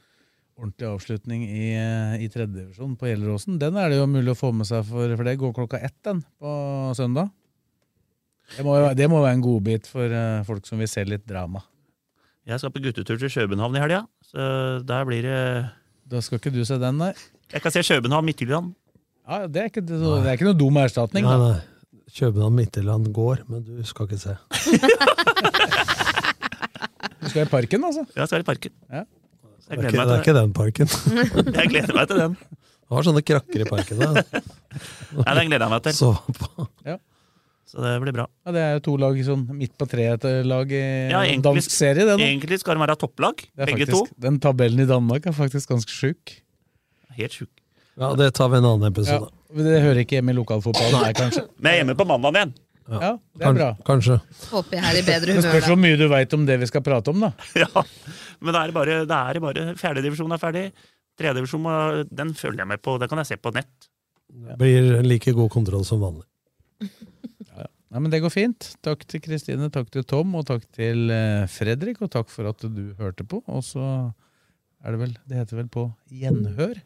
Speaker 4: ordentlig avslutning i, eh, i tredje divisjon på Gjelleråsen. Den er det jo mulig å få med seg, for, for det går klokka ett den på søndag. Det må, jo- det må være en godbit for eh, folk som vil se litt drama.
Speaker 6: Jeg skal på guttetur til København i helga, så der blir det
Speaker 4: Da skal ikke du se den, nei.
Speaker 6: Jeg kan se København, Midtjylland.
Speaker 4: Ja, det er ikke, det er ikke noe dum erstatning.
Speaker 3: Nei,
Speaker 4: Da.
Speaker 3: nei. København Midtjylland går, men du skal ikke se.
Speaker 4: Du skal i parken, altså.
Speaker 6: Ja, skal i parken.
Speaker 4: Ja.
Speaker 3: Det
Speaker 6: Jeg
Speaker 3: er
Speaker 6: gleder
Speaker 3: ikke, det er
Speaker 6: meg
Speaker 3: ikke
Speaker 6: til
Speaker 3: den parken.
Speaker 6: den. Jeg gleder meg til den.
Speaker 3: Du har sånne krakker i parken. Da.
Speaker 6: Nei, den gleder jeg meg til.
Speaker 3: Så på.
Speaker 4: Ja.
Speaker 6: Så det blir bra.
Speaker 4: Ja, det er jo to lag sånn midt på treet-lag i
Speaker 6: Ja, egentlig-
Speaker 4: dansk serie, det. Da.
Speaker 6: Egentlig skal de være topplag,
Speaker 4: Det er
Speaker 6: begge
Speaker 4: faktisk, Den tabellen i Danmark er faktisk ganske sjuk.
Speaker 6: to. Helt sjuk.
Speaker 3: Ja, det tar vi en annen
Speaker 4: Ja,
Speaker 3: episode.
Speaker 4: det hører ikke hjemme i lokalfotballen, der, kanskje.
Speaker 6: Men jeg er hjemme på mandag igjen.
Speaker 4: Ja, det er bra.
Speaker 3: Kanskje.
Speaker 5: Håper jeg er i bedre
Speaker 4: Det
Speaker 5: humør
Speaker 4: spørs
Speaker 5: da.
Speaker 4: hvor mye du veit om det vi skal prate om, da.
Speaker 6: Ja. Men da er det bare, da er det bare fjerdedivisjon er ferdig. Tredjedivisjon må- den følger jeg med på. Den kan jeg se på nett.
Speaker 3: Blir like god kontroll som vanlig.
Speaker 4: Nei, men Det går fint. Takk til Kristine, takk til Tom, og takk til eh, Fredrik. Og takk for at du hørte på. Og så er det vel Det heter vel på gjenhør?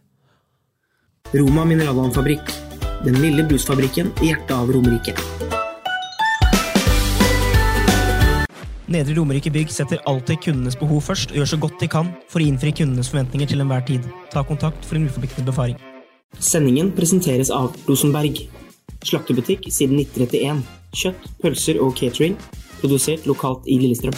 Speaker 1: Roma mineralvannfabrikk. Den lille brusfabrikken i hjertet av Romerike. Nedre Romerike Bygg setter alltid kundenes behov først, og gjør så godt de kan for å innfri kundenes forventninger til enhver tid. Ta kontakt for en uforpliktende befaring. Sendingen presenteres av Rosenberg. Slaktebutikk siden 1931. Kjøtt, pølser og catering. Produsert lokalt i Lillestrøm.